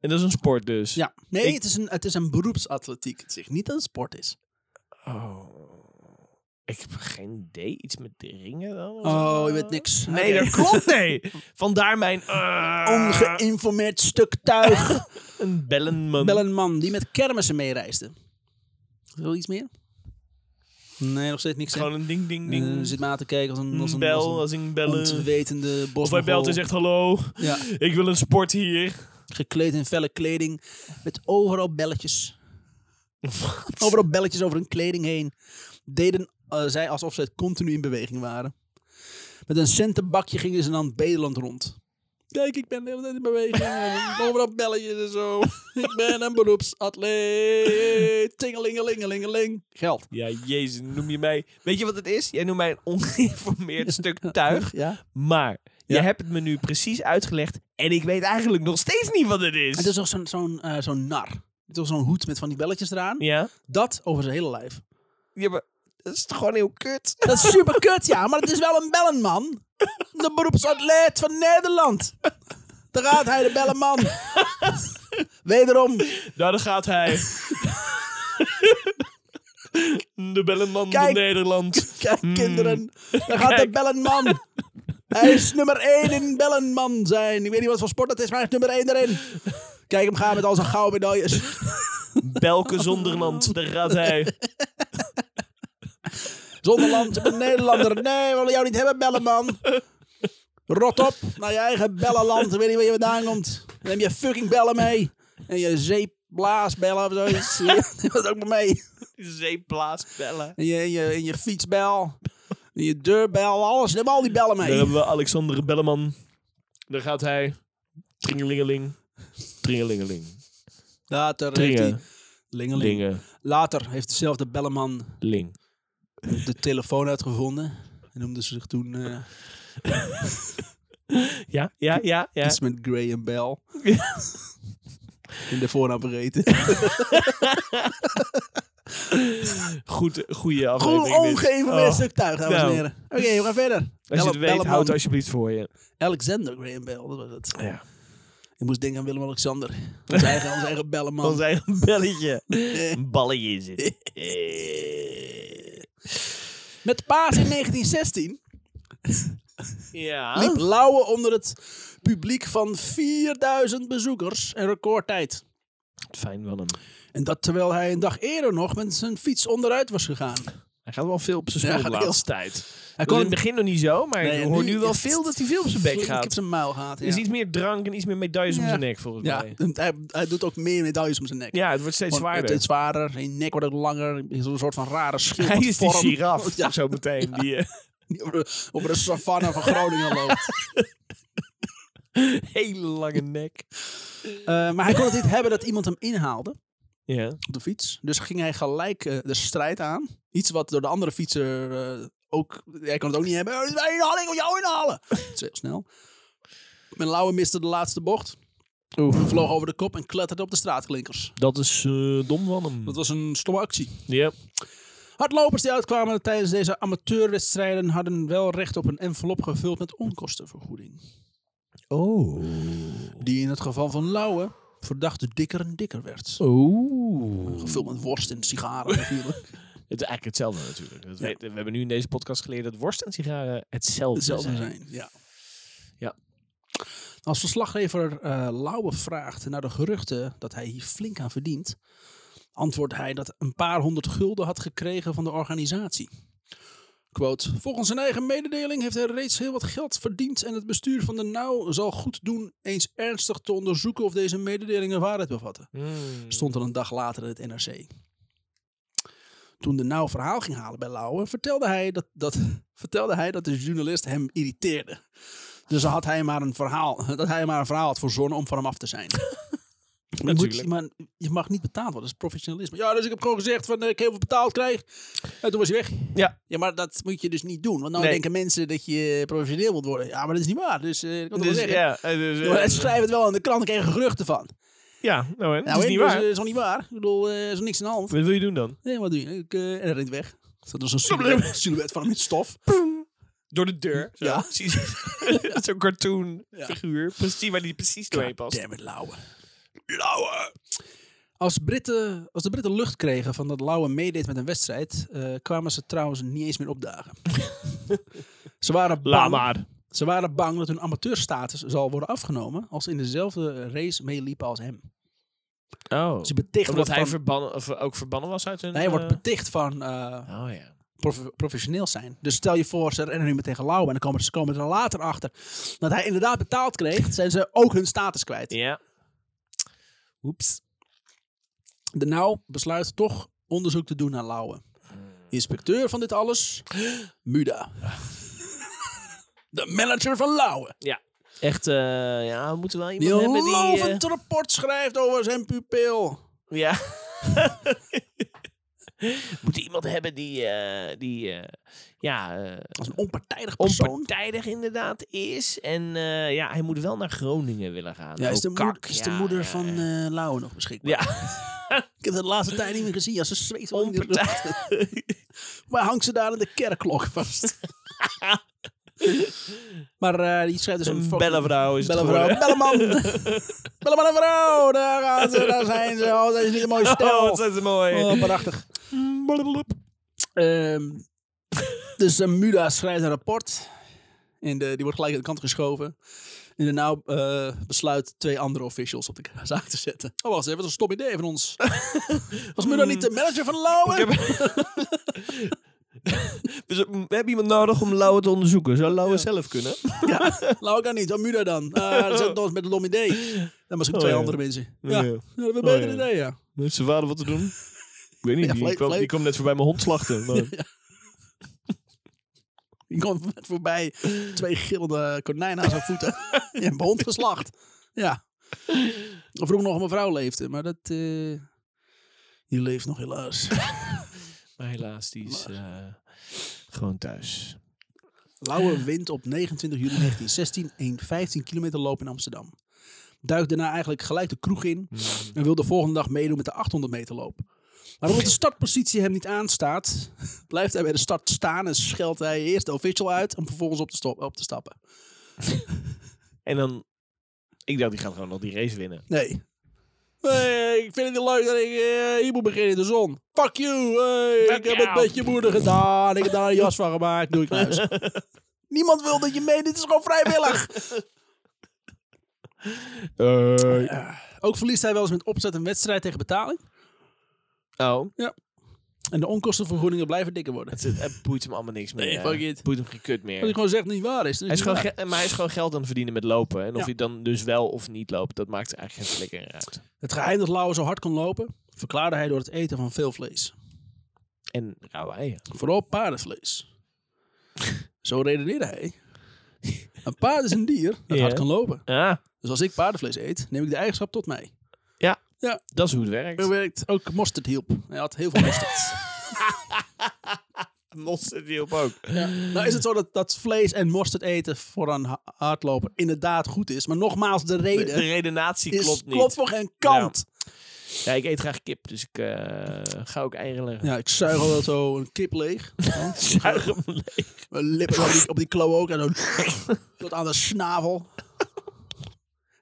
Speaker 2: En dat is een sport dus.
Speaker 1: Ja. Nee,
Speaker 2: Ik-
Speaker 1: het, is een, het is een beroepsatletiek. Het zegt niet dat het sport is.
Speaker 2: Oh. Ik heb geen idee. Iets met de ringen dan? of
Speaker 1: Oh,
Speaker 2: zo?
Speaker 1: je weet niks.
Speaker 2: Nee,
Speaker 1: Oké.
Speaker 2: dat klopt. Nee. Vandaar mijn... eh,
Speaker 1: Ongeïnformeerd stuk tuig.
Speaker 2: een bellenman.
Speaker 1: Bel een man die met kermissen meereisde. Wil je iets meer? Nee, nog steeds niks. hè?
Speaker 2: Gewoon een ding, ding,
Speaker 1: Eh,
Speaker 2: ding.
Speaker 1: zit maar aan te kijken als een, als
Speaker 2: een
Speaker 1: een,
Speaker 2: bel,
Speaker 1: als
Speaker 2: als ik
Speaker 1: een
Speaker 2: bellen.
Speaker 1: ontwetende bos.
Speaker 2: Of hij belt en zegt hallo.
Speaker 1: Ja,
Speaker 2: Ik wil een sport hier.
Speaker 1: gekleed in felle kleding. Met overal belletjes. Overal belletjes over hun kleding heen. Deden eh, zij alsof ze continu in beweging waren. Met een centenbakje gingen ze dan bedelend rond. Kijk, ik ben de hele tijd in beweging. en Overal belletjes en zo. Ik ben een beroepsatleet. Tingelingelingelingeling. Geld.
Speaker 2: Ja, jezus, noem je mij... Weet je wat het is? Jij noemt mij een ongeïnformeerd stuk tuig.
Speaker 1: Ja.
Speaker 2: Maar je
Speaker 1: Ja.
Speaker 2: hebt het me nu precies uitgelegd. En ik weet eigenlijk nog steeds niet wat het is.
Speaker 1: Het is toch zo'n zo'n eh, zo'n nar. Het is toch zo'n hoed met van die belletjes eraan.
Speaker 2: Ja?
Speaker 1: Dat over zijn hele lijf.
Speaker 2: Ja, maar dat is toch gewoon heel kut?
Speaker 1: Dat is super kut, ja, maar het is wel een bellenman. De beroepsatleet van Nederland. Daar gaat hij, de bellenman. Wederom,
Speaker 2: Nou, daar gaat hij. De bellenman
Speaker 1: Kijk.
Speaker 2: van Nederland.
Speaker 1: kijk
Speaker 2: Hmm.
Speaker 1: kinderen, daar gaat de
Speaker 2: Kijk.
Speaker 1: bellenman. Hij is nummer één in bellenman zijn. Ik weet niet wat voor sport dat is, maar hij is nummer één erin. Kijk hem gaan met al zijn gouden medailles.
Speaker 2: Belke Zonderland, daar gaat hij.
Speaker 1: Zonder land, ik ben Nederlander. Nee, we willen jou niet hebben, bellenman. Rot op naar je eigen bellenland. Ik weet niet waar je vandaan komt. Dan neem je fucking bellen mee. En je zeepblaasbellen of zoiets. Neem dat ook maar mee.
Speaker 2: Zeeplaats bellen.
Speaker 1: En je, en je, en je fietsbel. En je deurbel, alles. Neem al die bellen
Speaker 2: Daar
Speaker 1: mee.
Speaker 2: hebben we Alexander Belleman. Daar gaat hij. Tringelingeling. Tringelingeling.
Speaker 1: Later heeft hij...
Speaker 2: Tringen.
Speaker 1: Lingeling.
Speaker 2: Dingen.
Speaker 1: Later heeft dezelfde bellenman
Speaker 2: Ling.
Speaker 1: de telefoon uitgevonden. En noemde ze zich toen eh,
Speaker 2: Ja, ja, ja, ja.
Speaker 1: iets met Gray en Bell. In de voornaam vergeten.
Speaker 2: Goed, goede aflevering.
Speaker 1: Goed
Speaker 2: dit.
Speaker 1: omgeven
Speaker 2: Oh.
Speaker 1: met stuk tuig, dames
Speaker 2: Nou.
Speaker 1: en heren. Oké, we gaan verder.
Speaker 2: Als je het
Speaker 1: Belle-
Speaker 2: weet,
Speaker 1: Belleman.
Speaker 2: houd het alsjeblieft voor je.
Speaker 1: Alexander Graham Bell, dat was het.
Speaker 2: Ja.
Speaker 1: Ik moest denken aan Willem-Alexander. Ons eigen, ons eigen bellenman.
Speaker 2: Ons eigen belletje. Een balletje is het.
Speaker 1: Met paas in 1916
Speaker 2: Ja.
Speaker 1: liep Lauwe onder het publiek van 4000 bezoekers. Een recordtijd.
Speaker 2: Fijn wel hem.
Speaker 1: En dat terwijl hij een dag eerder nog met zijn fiets onderuit was gegaan.
Speaker 2: Hij gaat wel veel op zijn
Speaker 1: Ja,
Speaker 2: smoel de
Speaker 1: gaat heel-
Speaker 2: laatste tijd.
Speaker 1: Hij
Speaker 2: Dat was in het begin nog niet zo, maar
Speaker 1: Nee,
Speaker 2: ik
Speaker 1: en
Speaker 2: hoor nu,
Speaker 1: nu
Speaker 2: wel
Speaker 1: is
Speaker 2: veel
Speaker 1: het-
Speaker 2: dat hij veel op zijn bek
Speaker 1: Ik
Speaker 2: gaat.
Speaker 1: heb zijn muil gehad. Ja.
Speaker 2: Er is iets meer drank en iets meer medailles om
Speaker 1: Ja.
Speaker 2: zijn nek, volgens
Speaker 1: ja,
Speaker 2: mij.
Speaker 1: en hij, hij doet ook meer medailles om zijn nek.
Speaker 2: Ja, het wordt steeds
Speaker 1: Gewoon,
Speaker 2: zwaarder.
Speaker 1: Steeds zwaarder. Zijn nek wordt ook langer. Is een soort van rare schild.
Speaker 2: Hij is die
Speaker 1: vorm.
Speaker 2: giraf,
Speaker 1: Ja,
Speaker 2: zo meteen. Die, eh,
Speaker 1: die over de, over de savanne van Groningen loopt.
Speaker 2: eh, hele lange nek.
Speaker 1: Eh, maar hij kon het niet hebben dat iemand hem inhaalde
Speaker 2: Ja.
Speaker 1: op de fiets. Dus ging hij gelijk eh, de strijd aan. Iets wat door de andere fietser eh, ook... Hij kon het ook niet hebben. Eh, Mijn inhaling, ik wil jou inhalen. Het is heel snel. Mijn lauwe miste de laatste bocht. Vloog over de kop en kletterde op de straatklinkers.
Speaker 2: Dat is eh, dom van hem.
Speaker 1: Dat was een stomme actie.
Speaker 2: Ja.
Speaker 1: Hardlopers die uitkwamen tijdens deze amateurwedstrijden hadden wel recht op een envelop gevuld met onkostenvergoeding.
Speaker 2: Oh.
Speaker 1: Die in het geval van Lauwe verdachte dikker en dikker werd.
Speaker 2: Oh.
Speaker 1: Gevuld met worst en sigaren natuurlijk.
Speaker 2: Het is eigenlijk hetzelfde natuurlijk. Dat weet- we hebben nu in deze podcast geleerd dat worst en sigaren hetzelfde,
Speaker 1: Hetzelfde
Speaker 2: zijn.
Speaker 1: zijn, ja.
Speaker 2: Ja.
Speaker 1: Als verslaggever eh, Lauwe vraagt naar de geruchten dat hij hier flink aan verdient, antwoordt hij dat een paar honderd gulden had gekregen van de organisatie. Quote, volgens zijn eigen mededeling heeft hij reeds heel wat geld verdiend en het bestuur van de NOW zal goed doen eens ernstig te onderzoeken of deze mededelingen waarheid bevatten
Speaker 2: Hmm.
Speaker 1: stond er een dag later in het NRC. Toen de nauw verhaal ging halen bij Lauwe, vertelde hij dat, dat, vertelde hij dat de journalist hem irriteerde. Dus had hij maar een verhaal, dat hij maar een verhaal had verzonnen om van hem af te zijn. Maar je, moet,
Speaker 2: Natuurlijk.
Speaker 1: maar je mag niet betaald worden, dat is professionalisme. Ja, dus ik heb gewoon gezegd van eh, ik heel veel betaald krijg. En toen was hij weg.
Speaker 2: Ja.
Speaker 1: Ja, maar dat moet je dus niet doen. Want nou
Speaker 2: Nee.
Speaker 1: denken mensen dat je professioneel moet worden. Ja, maar dat is niet waar. Dus eh ik kan het wel
Speaker 2: Dus,
Speaker 1: zeggen.
Speaker 2: ja, eh, dus, eh,
Speaker 1: Maar ze schrijven het wel in de krant, ik kreeg er geruchten van.
Speaker 2: ja, nou hè, dat
Speaker 1: Nou,
Speaker 2: is
Speaker 1: hè,
Speaker 2: niet
Speaker 1: dus,
Speaker 2: waar.
Speaker 1: eh, is nog niet waar. Ik bedoel, eh, er is niks aan de hand.
Speaker 2: Wat wil je doen dan?
Speaker 1: Nee, wat doe je? Ik, eh en hij rent weg. Er Zat er zo'n silhouet, silhouet van hem in stof.
Speaker 2: Door de deur. zo.
Speaker 1: Ja.
Speaker 2: Precies. Zo'n cartoon figuur. Precies waar die precies doorheen past.
Speaker 1: Damn it, Lauwe. Lauwe! Als, Britten, als de Britten lucht kregen van dat Lauwe meedeed met een wedstrijd, eh, kwamen ze trouwens niet eens meer opdagen. ze, waren bang,
Speaker 2: Laat maar.
Speaker 1: ze waren bang dat hun amateurstatus zal worden afgenomen als ze in dezelfde race meeliepen als hem.
Speaker 2: Oh.
Speaker 1: Ze betichten
Speaker 2: Omdat
Speaker 1: dat
Speaker 2: hij
Speaker 1: van-
Speaker 2: verbannen, of ook verbannen was uit hun...
Speaker 1: hij wordt
Speaker 2: eh,
Speaker 1: beticht van eh,
Speaker 2: Oh ja.
Speaker 1: prof- professioneel zijn. Dus stel je voor, ze rennen nu meteen tegen Lauwe en dan komen ze komen er later achter dat hij inderdaad betaald kreeg, zijn ze ook hun status kwijt.
Speaker 2: Ja. Oeps.
Speaker 1: De NAU besluit toch onderzoek te doen naar Lauwe.
Speaker 2: Hmm.
Speaker 1: Inspecteur van dit alles, Muda. De manager van Lauwe.
Speaker 2: Ja. Echt, eh, ja, we moeten wel
Speaker 1: Die
Speaker 2: iemand
Speaker 1: een
Speaker 2: hebben die... eh,
Speaker 1: lovend rapport schrijft over zijn pupil.
Speaker 2: Ja. Moet iemand hebben die, eh, die eh, ja, eh,
Speaker 1: Als een onpartijdig persoon.
Speaker 2: onpartijdig inderdaad is. En eh, ja, hij moet wel naar Groningen willen gaan.
Speaker 1: ja, is de,
Speaker 2: Ook
Speaker 1: moed-
Speaker 2: Oh, kak,
Speaker 1: is
Speaker 2: ja,
Speaker 1: de moeder
Speaker 2: ja,
Speaker 1: van
Speaker 2: ja.
Speaker 1: eh Lauwe nog beschikbaar?
Speaker 2: Ja,
Speaker 1: Ik heb het de laatste tijd niet meer gezien. Ja, ze zweet wel in die
Speaker 2: onpartijdig.
Speaker 1: rug. Maar hangt ze daar aan de kerkklok vast? maar eh, die schrijft dus een
Speaker 2: Een
Speaker 1: fucking-
Speaker 2: bellenvrouw is het
Speaker 1: Bellenvrouw,
Speaker 2: geworden.
Speaker 1: Belleman. Belleman en vrouw, daar gaan ze, daar zijn ze. Oh, dat is niet een mooi
Speaker 2: Oh,
Speaker 1: stel.
Speaker 2: wat zijn ze mooi.
Speaker 1: Oh, prachtig. Ehm, dus eh, Muda schrijft een rapport. En de, die wordt gelijk aan de kant geschoven. En de nou eh, besluit twee andere officials op de k- zaak te zetten. Oh, wacht eens even, dat is een stom idee van ons. Was Muda niet de manager van Lauwe?
Speaker 2: Ik heb- Dus we hebben iemand nodig om Lauwe te onderzoeken. Zou Lauwe zelf kunnen?
Speaker 1: Ja, Lauwe kan niet. Oh, Muda dan. Ah, dat zit ons met een dom idee. Dan misschien
Speaker 2: Oh,
Speaker 1: twee
Speaker 2: ja.
Speaker 1: andere mensen. Ja,
Speaker 2: Ja. Oh,
Speaker 1: dat hebben we beter
Speaker 2: ja.
Speaker 1: idee, ja.
Speaker 2: Heeft zijn vader wat te doen? Ik weet niet,
Speaker 1: Ja,
Speaker 2: die,
Speaker 1: vlees-
Speaker 2: kwam,
Speaker 1: vlees-
Speaker 2: die kwam net voorbij mijn hond slachten. maar-
Speaker 1: Die kwam net voorbij. Twee gillende konijnen aan zijn voeten. en een hond geslacht. Ja. Of vroeg nog een mevrouw leefde, maar dat... eh, die leeft nog helaas.
Speaker 2: Maar helaas, die is eh, gewoon thuis.
Speaker 1: Lauwe wint op 29 juli 1916 een 15 kilometer loop in Amsterdam. Duikt daarna eigenlijk gelijk de kroeg in en wil de volgende dag meedoen met de 800 meter loop. Maar omdat de startpositie hem niet aanstaat, blijft hij bij de start staan en scheldt hij eerst de official uit om vervolgens op te, stop- op te stappen.
Speaker 2: En dan... Ik dacht, die gaat gewoon nog die race winnen.
Speaker 1: Nee. Hey, ik vind het niet leuk dat ik eh, hier moet beginnen in de zon. Fuck you. Hey,
Speaker 2: Fuck
Speaker 1: ik heb
Speaker 2: jou.
Speaker 1: het met je moeder gedaan. Ik heb daar een jas van gemaakt. Doe ik naar huis. Niemand wil dat je mee. Dit is gewoon vrijwillig. Eh, Ook verliest hij wel eens met opzet een wedstrijd tegen betaling.
Speaker 2: oh.
Speaker 1: En de onkostenvergoedingen blijven dikker worden.
Speaker 2: Het, het boeit hem allemaal niks meer.
Speaker 1: Nee,
Speaker 2: eh.
Speaker 1: fuck it.
Speaker 2: Het boeit hem geen kut meer.
Speaker 1: Wat ik gewoon zeg niet waar is. dat
Speaker 2: Hij is
Speaker 1: niet
Speaker 2: gewoon
Speaker 1: waar.
Speaker 2: ge- maar hij is gewoon geld aan het verdienen met lopen. En of
Speaker 1: Ja.
Speaker 2: hij dan dus wel of niet loopt, dat maakt eigenlijk geen flikker uit.
Speaker 1: Het geheim dat Lauwe zo hard kon lopen, verklaarde hij door het eten van veel vlees.
Speaker 2: En rauwe eieren.
Speaker 1: Vooral paardenvlees. Zo redeneerde hij. Een paard is een dier dat
Speaker 2: Ja.
Speaker 1: hard kan lopen.
Speaker 2: Ah,
Speaker 1: Dus als ik paardenvlees eet, neem ik de eigenschap tot mij.
Speaker 2: dat is hoe het werkt.
Speaker 1: Zo werkt ook mosterd hielp. Hij had heel veel mosterd.
Speaker 2: Mosterd hielp ook.
Speaker 1: nou is het zo dat, dat vlees en mosterd eten voor een ha- hardloper inderdaad goed is. Maar nogmaals, de
Speaker 2: De,
Speaker 1: reden
Speaker 2: de redenatie
Speaker 1: is,
Speaker 2: klopt niet.
Speaker 1: voor geen kant.
Speaker 2: Ja, ik eet graag kip, dus ik eh, ga ook eieren leggen.
Speaker 1: Ja, ik zuig al zo een kip leeg. Ja.
Speaker 2: Zuig hem leeg.
Speaker 1: Mijn lippen op die, op die klo ook. En dan tot aan de snavel.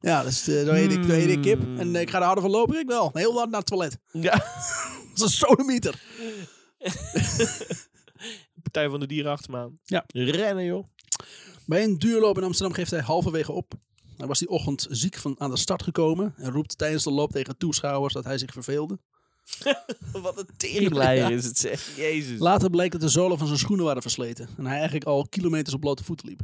Speaker 1: Ja, dus, eh, zo, eet ik, zo eet ik kip. En eh, ik ga er harder van lopen, ik wel. Heel hard naar het toilet.
Speaker 2: Ja,
Speaker 1: Dat is een sodomieter.
Speaker 2: Partij van de Dieren achter me aan.
Speaker 1: Ja.
Speaker 2: Rennen, joh.
Speaker 1: Bij een duurloop in Amsterdam geeft hij halverwege op. Hij was die ochtend ziek van aan de start gekomen en roept tijdens de loop tegen toeschouwers dat hij zich verveelde.
Speaker 2: Wat een teringleier is het, zeg. Jezus.
Speaker 1: Later bleek dat de zolen van zijn schoenen waren versleten en hij eigenlijk al kilometers op blote voeten liep.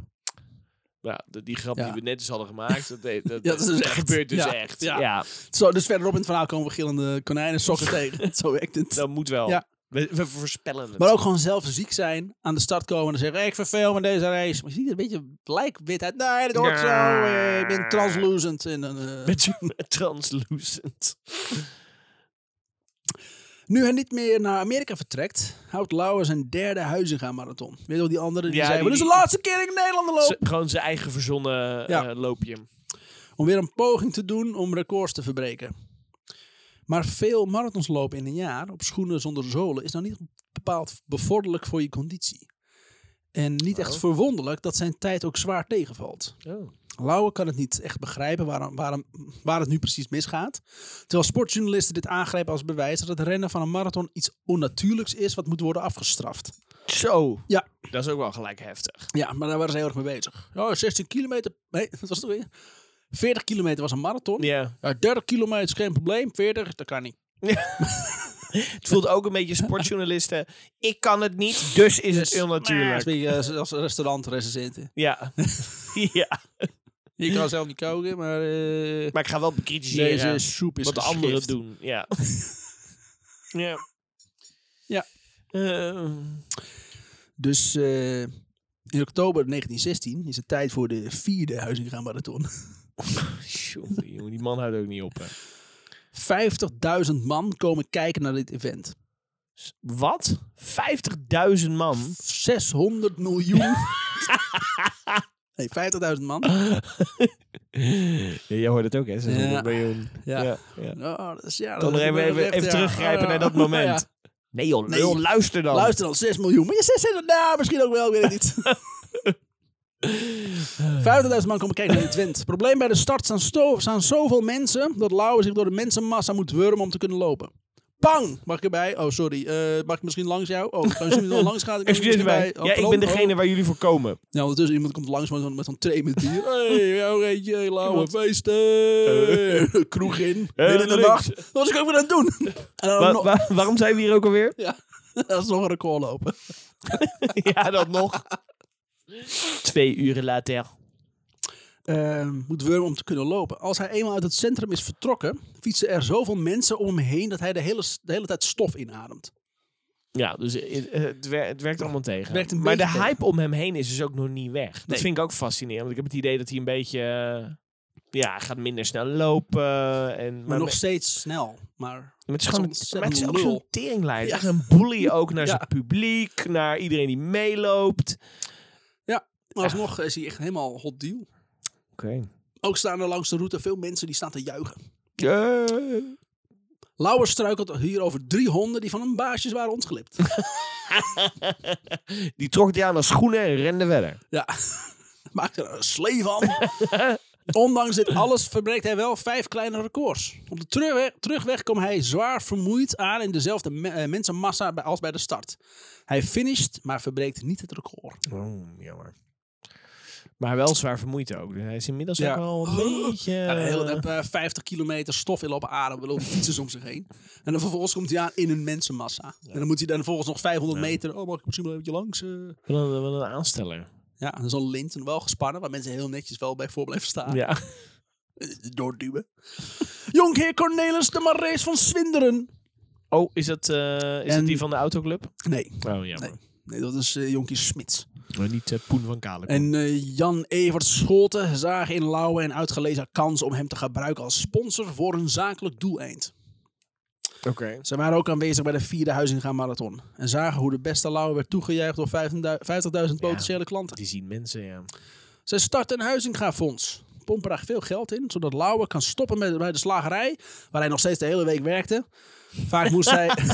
Speaker 2: Ja, de- die grap
Speaker 1: Ja.
Speaker 2: die we net dus hadden gemaakt, dat, deed- dat,
Speaker 1: Ja, dat is dus echt.
Speaker 2: gebeurt dus
Speaker 1: Ja,
Speaker 2: echt.
Speaker 1: ja.
Speaker 2: Ja.
Speaker 1: Zo, dus verderop in het verhaal komen we gillende konijnen sokken tegen. Zo werkt het.
Speaker 2: dat moet wel.
Speaker 1: Ja.
Speaker 2: We, we voorspellen het.
Speaker 1: Maar ook gewoon zelf ziek zijn, aan de start komen en zeggen: "Hey, Ik verveel me deze race. Maar je ziet er een beetje lijkwit uit. Nee, dat hoort
Speaker 2: Ja.
Speaker 1: zo. eh, Ik ben translucent. En, dan, eh,
Speaker 2: Met je translucent.
Speaker 1: Nu hij niet meer naar Amerika vertrekt, houdt Lauwer zijn derde Huizinga-marathon. Weet je wel, die andere die
Speaker 2: Ja,
Speaker 1: zei,
Speaker 2: die-
Speaker 1: "Dit is de
Speaker 2: die-
Speaker 1: laatste keer dat ik Nederlander loop.
Speaker 2: Z- gewoon zijn eigen verzonnen
Speaker 1: Oh. Ja.
Speaker 2: eh, loopje.
Speaker 1: Om weer een poging te doen om records te verbreken. Maar veel marathons lopen in een jaar op schoenen zonder zolen is nou niet bepaald bevorderlijk voor je conditie. En niet echt
Speaker 2: Oh.
Speaker 1: verwonderlijk dat zijn tijd ook zwaar tegenvalt.
Speaker 2: Oh.
Speaker 1: Lauwe kan het niet echt begrijpen waarom, waarom, waar het nu precies misgaat. Terwijl sportjournalisten dit aangrijpen als bewijs dat het rennen van een marathon iets onnatuurlijks is wat moet worden afgestraft.
Speaker 2: Zo.
Speaker 1: Ja.
Speaker 2: Dat is ook wel gelijk heftig.
Speaker 1: Ja, maar daar waren ze heel erg mee bezig. Ja, 16 kilometer. Nee, dat was het toch weer? 40 kilometer was een marathon. Ja.
Speaker 2: Ja.
Speaker 1: 30 kilometer is geen probleem. 40, dat kan niet.
Speaker 2: Het voelt ook een beetje sportjournalisten. Ik kan het niet, dus is
Speaker 1: Dus,
Speaker 2: het
Speaker 1: Dat is
Speaker 2: onnatuurlijk.
Speaker 1: een beetje eh, als restaurantrecensenten.
Speaker 2: Ja. ja.
Speaker 1: Je kan zelf niet koken, maar eh,
Speaker 2: Maar ik ga wel bekritiseren
Speaker 1: deze soep is
Speaker 2: wat de
Speaker 1: geschift.
Speaker 2: anderen doen. Ja. ja.
Speaker 1: Ja.
Speaker 2: Eh,
Speaker 1: Dus eh, in oktober 1916 is het tijd voor de vierde Huizinga-marathon.
Speaker 2: jongen, jongen, die man houdt ook niet op. Hè.
Speaker 1: 50.000 man komen kijken naar dit event.
Speaker 2: Wat? 50.000 man?
Speaker 1: 600 miljoen. nee, 50.000 man.
Speaker 2: Ah, Ja, jij hoort het ook, hè? Ze
Speaker 1: Ja.
Speaker 2: doen miljoen.
Speaker 1: Ja.
Speaker 2: Ja, ja.
Speaker 1: Oh, dat is, ja,
Speaker 2: Kan
Speaker 1: dat
Speaker 2: er
Speaker 1: is
Speaker 2: even,
Speaker 1: wel
Speaker 2: even,
Speaker 1: echt,
Speaker 2: even
Speaker 1: ja.
Speaker 2: teruggrijpen naar dat
Speaker 1: Ja.
Speaker 2: moment. Nee joh,
Speaker 1: Nee.
Speaker 2: joh, luister dan.
Speaker 1: Luister dan, 6 miljoen. Maar je zegt het, nou, misschien ook wel, ik weet het niet. 50.000 man komen kijken naar dit event. Probleem bij de start staan, sto- staan zoveel mensen dat Lauwe zich door de mensenmassa moet wurmen om te kunnen lopen. Bang! Mag ik erbij? Oh, sorry. Eh, mag ik misschien langs jou? Oh, kan je misschien langs gaan? Ik kan
Speaker 2: Excuseer
Speaker 1: misschien
Speaker 2: mij.
Speaker 1: bij- Oh,
Speaker 2: ja, ik ben
Speaker 1: pardon. Oh.
Speaker 2: degene waar jullie voor komen.
Speaker 1: Ja, ondertussen iemand komt langs met zo'n met zo'n tray met bier. hey, jou eentje, hey, lauwe
Speaker 2: Iemand-
Speaker 1: feesten. Kroeg in,
Speaker 2: Eh,
Speaker 1: midden in de
Speaker 2: links.
Speaker 1: nacht. Wat was ik ook weer aan het doen? En dan
Speaker 2: Wa-
Speaker 1: nog,
Speaker 2: wa- waarom zijn we hier ook alweer?
Speaker 1: ja, dat is nog een record lopen.
Speaker 2: ja, dat nog. Twee uren later.
Speaker 1: Ehm, moet Wurm om te kunnen lopen. Als hij eenmaal uit het centrum is vertrokken, fietsen er zoveel mensen om hem heen dat hij de hele, de hele tijd stof inademt.
Speaker 2: Ja, dus het, het wer- het werkt allemaal tegen.
Speaker 1: werkt een
Speaker 2: maar de
Speaker 1: beetje tegen.
Speaker 2: hype om hem heen is dus ook nog niet weg. Dat
Speaker 1: Nee.
Speaker 2: vind ik ook fascinerend. Want ik heb het idee dat hij een beetje... eh, ja, hij gaat minder snel lopen. En,
Speaker 1: Maar, nog steeds snel. Maar
Speaker 2: Maar het is
Speaker 1: Dat
Speaker 2: gewoon
Speaker 1: is
Speaker 2: een-
Speaker 1: ontzettend
Speaker 2: maar het is ook
Speaker 1: lul.
Speaker 2: zo'n teringlijst.
Speaker 1: Ja.
Speaker 2: Echt Een bully ook naar
Speaker 1: Ja.
Speaker 2: zijn publiek, naar iedereen die meeloopt.
Speaker 1: maar alsnog is hij echt helemaal hot deal.
Speaker 2: Oké.
Speaker 1: Ook staan er langs de route veel mensen die staan te juichen. Lauwers struikelt hier over drie honden die van hun baasjes waren ontglipt.
Speaker 2: die trok hij aan als schoenen en rende verder.
Speaker 1: Ja, maakt er een slee van. Ondanks dit alles verbreekt hij wel vijf kleine records. Op de terugweg, terugweg kwam hij zwaar vermoeid aan in dezelfde me- eh, mensenmassa bij- als bij de start. Hij finisht, maar verbreekt niet het record.
Speaker 2: Oh, jammer. Maar wel zwaar vermoeid ook. Dus hij is inmiddels
Speaker 1: Ja.
Speaker 2: ook wel een
Speaker 1: Oh.
Speaker 2: beetje...
Speaker 1: Ja, de hele tijd, eh, 50 kilometer stof in op adem, wil fietsen om zich heen. En dan vervolgens komt hij aan in een mensenmassa. En dan moet hij dan vervolgens nog 500 meter. Oh, mag ik misschien wel eventjes langs? eh?
Speaker 2: Wat een, wat een aansteller.
Speaker 1: Ja, en zo'n lint en wel gespannen, waar mensen heel netjes wel bij voor blijven staan.
Speaker 2: Ja.
Speaker 1: doorduwen. Jonkheer Cornelis de Marees van Swinderen.
Speaker 2: Oh, is dat, eh, is
Speaker 1: En-
Speaker 2: dat die van de autoclub?
Speaker 1: Nee,
Speaker 2: Oh, jammer.
Speaker 1: nee dat is eh Jonkheer Smits.
Speaker 2: Maar niet eh, Poen van Kalen.
Speaker 1: En eh, Jan Evert Scholten zag in Lauwe en uitgelezen kans om hem te gebruiken als sponsor voor een zakelijk doeleind.
Speaker 2: Oké.
Speaker 1: Ze waren ook aanwezig bij de vierde Huizinga Marathon. En zagen hoe de beste Lauwe werd toegejuicht door 15.000 50.000 potentiële klanten.
Speaker 2: Die zien mensen, ja.
Speaker 1: Zij starten een Huizinga-fonds. Pompen daar veel geld in, zodat Lauwe kan stoppen met, bij de slagerij, waar hij nog steeds de hele week werkte. Vaak moest hij...
Speaker 2: Eh,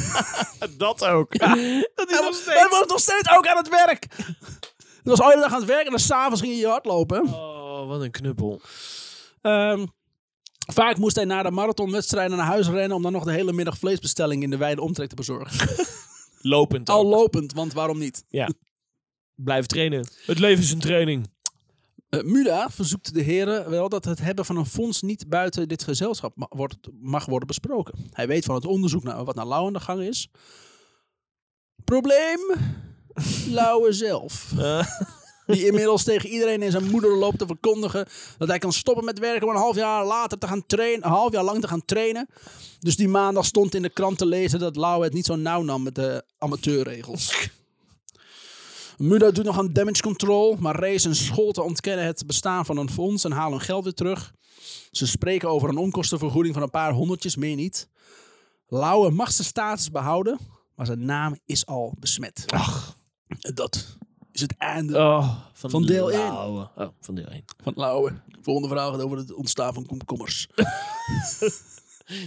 Speaker 2: Dat ook. Dat is
Speaker 1: Hij
Speaker 2: nog
Speaker 1: was,
Speaker 2: steeds...
Speaker 1: hij was nog steeds ook aan het werk. Het was al de dag aan het werk en dan s'avonds ging hij hardlopen.
Speaker 2: Oh, wat een knuppel.
Speaker 1: Ehm, vaak moest hij na de marathonwedstrijden naar huis rennen om dan nog de hele middag vleesbestelling in de wijde omtrek te bezorgen.
Speaker 2: Lopend
Speaker 1: Al
Speaker 2: ook.
Speaker 1: lopend, want waarom niet?
Speaker 2: Blijf trainen. Het leven is een training.
Speaker 1: Eh, Muda verzoekt de heren wel dat het hebben van een fonds niet buiten dit gezelschap ma- wordt, mag worden besproken. Hij weet van het onderzoek naar, wat naar Lau aan de gang is. Probleem? Lauwe zelf.
Speaker 2: Eh,
Speaker 1: Die inmiddels tegen iedereen en zijn moeder loopt te verkondigen. Dat hij kan stoppen met werken om een half jaar later te gaan trainen. Een half jaar lang te gaan trainen. Dus die maandag stond in de krant te lezen dat Lau het niet zo nauw nam met de amateurregels. Muda doet nog aan damage control, maar Race en Scholten ontkennen het bestaan van een fonds en halen hun geld weer terug. Ze spreken over een onkostenvergoeding van een paar honderdjes, meer niet. Lauwe mag zijn status behouden, maar zijn naam is al besmet.
Speaker 2: Ach.
Speaker 1: En dat is het einde
Speaker 2: Oh, van,
Speaker 1: Van deel één.
Speaker 2: lauwe. Oh, van deel 1.
Speaker 1: van Lauwe. Volgende vraag gaat over het ontstaan van komkommers.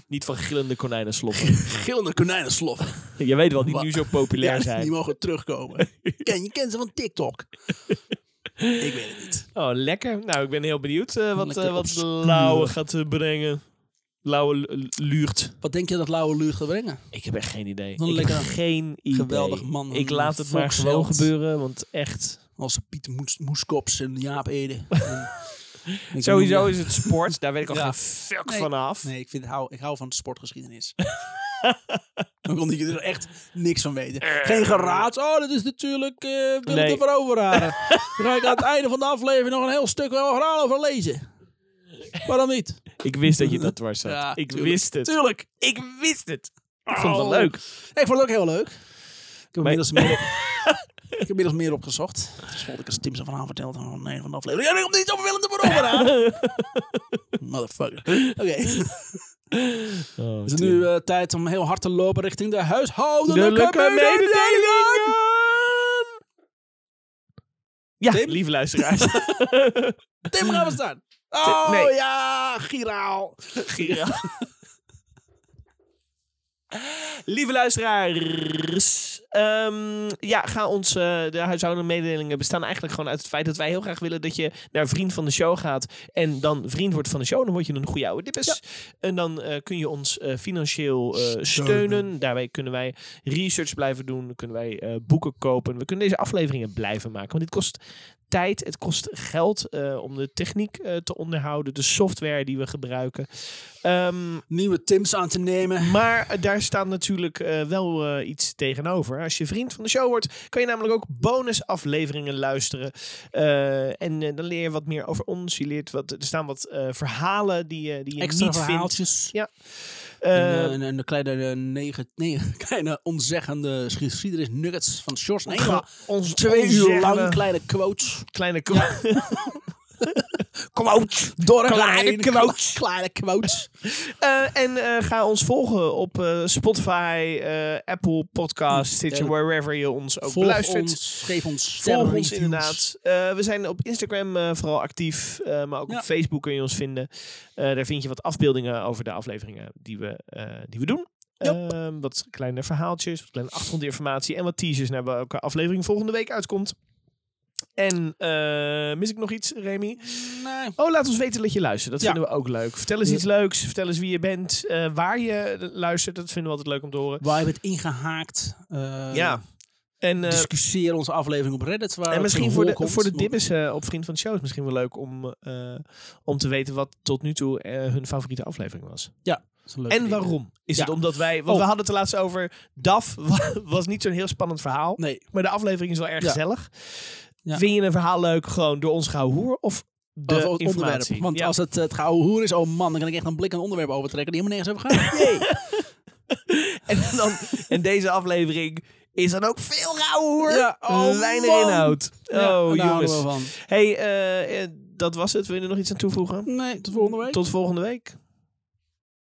Speaker 2: Niet van gillende konijnen sloppen.
Speaker 1: Gillende konijnensloffen.
Speaker 2: Je weet wel, die
Speaker 1: Wa-
Speaker 2: nu zo populair
Speaker 1: Ja,
Speaker 2: zijn.
Speaker 1: die mogen terugkomen. Ken, je kent ze van TikTok. Ik weet het niet.
Speaker 2: Oh, lekker. Nou, ik ben heel benieuwd eh, wat,
Speaker 1: Lekker
Speaker 2: eh, wat
Speaker 1: obscuur.
Speaker 2: Lauwe gaat eh, brengen. Lauwe lu- lu- luurt.
Speaker 1: Wat denk je dat Lauwe Luur gaat brengen?
Speaker 2: Ik heb echt geen idee.
Speaker 1: Wat een
Speaker 2: ik heb
Speaker 1: lekker
Speaker 2: geen idee.
Speaker 1: geweldig man,
Speaker 2: Ik
Speaker 1: een
Speaker 2: laat het maar gewoon
Speaker 1: volksheld.
Speaker 2: gebeuren, want echt...
Speaker 1: Als Piet Moes, Moeskops en Jaap Ede. En- Ik
Speaker 2: Sowieso
Speaker 1: noem-
Speaker 2: is het sport. Daar weet ik al
Speaker 1: Ja.
Speaker 2: geen fuck
Speaker 1: Nee.
Speaker 2: van af.
Speaker 1: Nee, ik, vind, ik hou, ik hou van sportgeschiedenis. Dan kon ik er echt niks van weten. Geen geraad. Oh, dat is natuurlijk eh Willem
Speaker 2: Nee.
Speaker 1: de Veroveraar. Daar ga ik aan het einde van de aflevering nog een heel stuk wel verhaal over lezen. Waarom niet?
Speaker 2: Ik wist dat je dat dwars zat.
Speaker 1: Ja,
Speaker 2: ik
Speaker 1: tuurlijk.
Speaker 2: wist het.
Speaker 1: Tuurlijk.
Speaker 2: Ik wist het. Ik vond het wel leuk.
Speaker 1: Ik vond het ook heel leuk. Ik heb
Speaker 2: Maar-
Speaker 1: inmiddels meer, op, ik heb inmiddels meer opgezocht. Dus vond ik als Tim zijn verhaal verteld aan het einde van de aflevering. Ja, ik komt niet over Willem de Veroveraar. Motherfucker. Oké.
Speaker 2: Oh,
Speaker 1: Is het nu eh, tijd om heel hard te lopen richting de huishoudelijke
Speaker 2: Duidelijke
Speaker 1: mededeling?
Speaker 2: mededelingen! Ja,
Speaker 1: Tim?
Speaker 2: lieve luisteraars.
Speaker 1: Tim gaan we staan. Oh
Speaker 2: nee.
Speaker 1: ja, giraal.
Speaker 2: Lieve luisteraars, ehm, ja, ga ons, eh, de huishoudelijke mededelingen bestaan eigenlijk gewoon uit het feit dat wij heel graag willen dat je naar vriend van de show gaat en dan vriend wordt van de show. Dan word je een goede oude dippes. En dan eh, kun je ons eh, financieel eh, steunen. Daarbij kunnen wij research blijven doen, dan kunnen wij eh, boeken kopen. We kunnen deze afleveringen blijven maken, want dit kost tijd, het kost geld eh, om de techniek eh, te onderhouden, de software die we gebruiken. Ehm,
Speaker 1: Nieuwe Tims aan te nemen.
Speaker 2: maar eh, daar staat natuurlijk eh, wel eh, iets tegenover. Als je vriend van de show wordt, kan je namelijk ook bonusafleveringen luisteren. Eh, en eh, dan leer je wat meer over ons. Je leert wat, er staan wat eh, verhalen die, je- die je
Speaker 1: Extra
Speaker 2: niet
Speaker 1: verhaaltjes.
Speaker 2: vindt. Ja.
Speaker 1: En,
Speaker 2: Eh,
Speaker 1: eh, en, en de kleine, eh, negen, nee, kleine onzeggende geschiedenis nuggets van Sjors. Nee, maar
Speaker 2: ons
Speaker 1: twee uur lang
Speaker 2: onzeggende
Speaker 1: kleine quotes.
Speaker 2: kleine ko-
Speaker 1: Quotes. Door
Speaker 2: Kleine
Speaker 1: kleine quotes.
Speaker 2: quotes.
Speaker 1: Kleine quotes.
Speaker 2: Eh, en eh, ga ons volgen op eh, Spotify, eh, Apple Podcasts, Stitcher,
Speaker 1: Ja.
Speaker 2: wherever je ons ook
Speaker 1: eh, Volg
Speaker 2: luistert.
Speaker 1: ons, geef ons
Speaker 2: Volg
Speaker 1: sterrenreviews.
Speaker 2: ons inderdaad. Eh, we zijn op Instagram eh, vooral actief, eh, maar ook
Speaker 1: Ja.
Speaker 2: op Facebook kun je ons vinden. Eh, daar vind je wat afbeeldingen over de afleveringen die we, eh, die we doen. Eh, wat kleine verhaaltjes, wat kleine achtergrondinformatie en wat teasers naar welke aflevering volgende week uitkomt. En eh, mis ik nog iets, Remy?
Speaker 1: Nee.
Speaker 2: Oh, laat ons weten dat je luistert. Dat
Speaker 1: Ja.
Speaker 2: vinden we ook leuk. Vertel eens
Speaker 1: Ja.
Speaker 2: iets leuks. Vertel eens wie je bent. eh, waar je luistert. Dat vinden we altijd leuk om te horen.
Speaker 1: Waar hebben het ingehaakt? eh,
Speaker 2: En eh,
Speaker 1: Dus discussieer onze aflevering op Reddit. Waar
Speaker 2: En
Speaker 1: het
Speaker 2: misschien
Speaker 1: een
Speaker 2: voor
Speaker 1: hol
Speaker 2: de,
Speaker 1: komt.
Speaker 2: voor de dibbes eh, op Vriend van de Show is misschien wel leuk om, eh, om te weten wat tot nu toe eh, hun favoriete aflevering was.
Speaker 1: Dat is een leuk
Speaker 2: en
Speaker 1: idee.
Speaker 2: waarom? Is
Speaker 1: Ja.
Speaker 2: het omdat wij... Want
Speaker 1: Oh.
Speaker 2: we hadden het er laatst over... DAF wa- was niet zo'n heel spannend verhaal.
Speaker 1: Nee,
Speaker 2: Maar de aflevering is wel erg
Speaker 1: Ja.
Speaker 2: gezellig.
Speaker 1: Ja.
Speaker 2: Vind je een verhaal leuk gewoon door ons gauw hoer? Of de
Speaker 1: over het
Speaker 2: informatie?
Speaker 1: onderwerp. Want
Speaker 2: Ja.
Speaker 1: als het eh, het gouden hoer is, oh man, dan kan ik echt een blik aan het onderwerp overtrekken die helemaal nergens over gaat. Jee.
Speaker 2: en, dan, en deze aflevering is dan ook veel rauw hoer.
Speaker 1: Ja, oh
Speaker 2: Weinig
Speaker 1: man.
Speaker 2: inhoud. Oh,
Speaker 1: Ja, daar houden
Speaker 2: jongens.
Speaker 1: we van.
Speaker 2: hey, eh, eh, dat was het. Wil je er nog iets aan toevoegen?
Speaker 1: Nee, tot volgende week.
Speaker 2: Tot volgende week.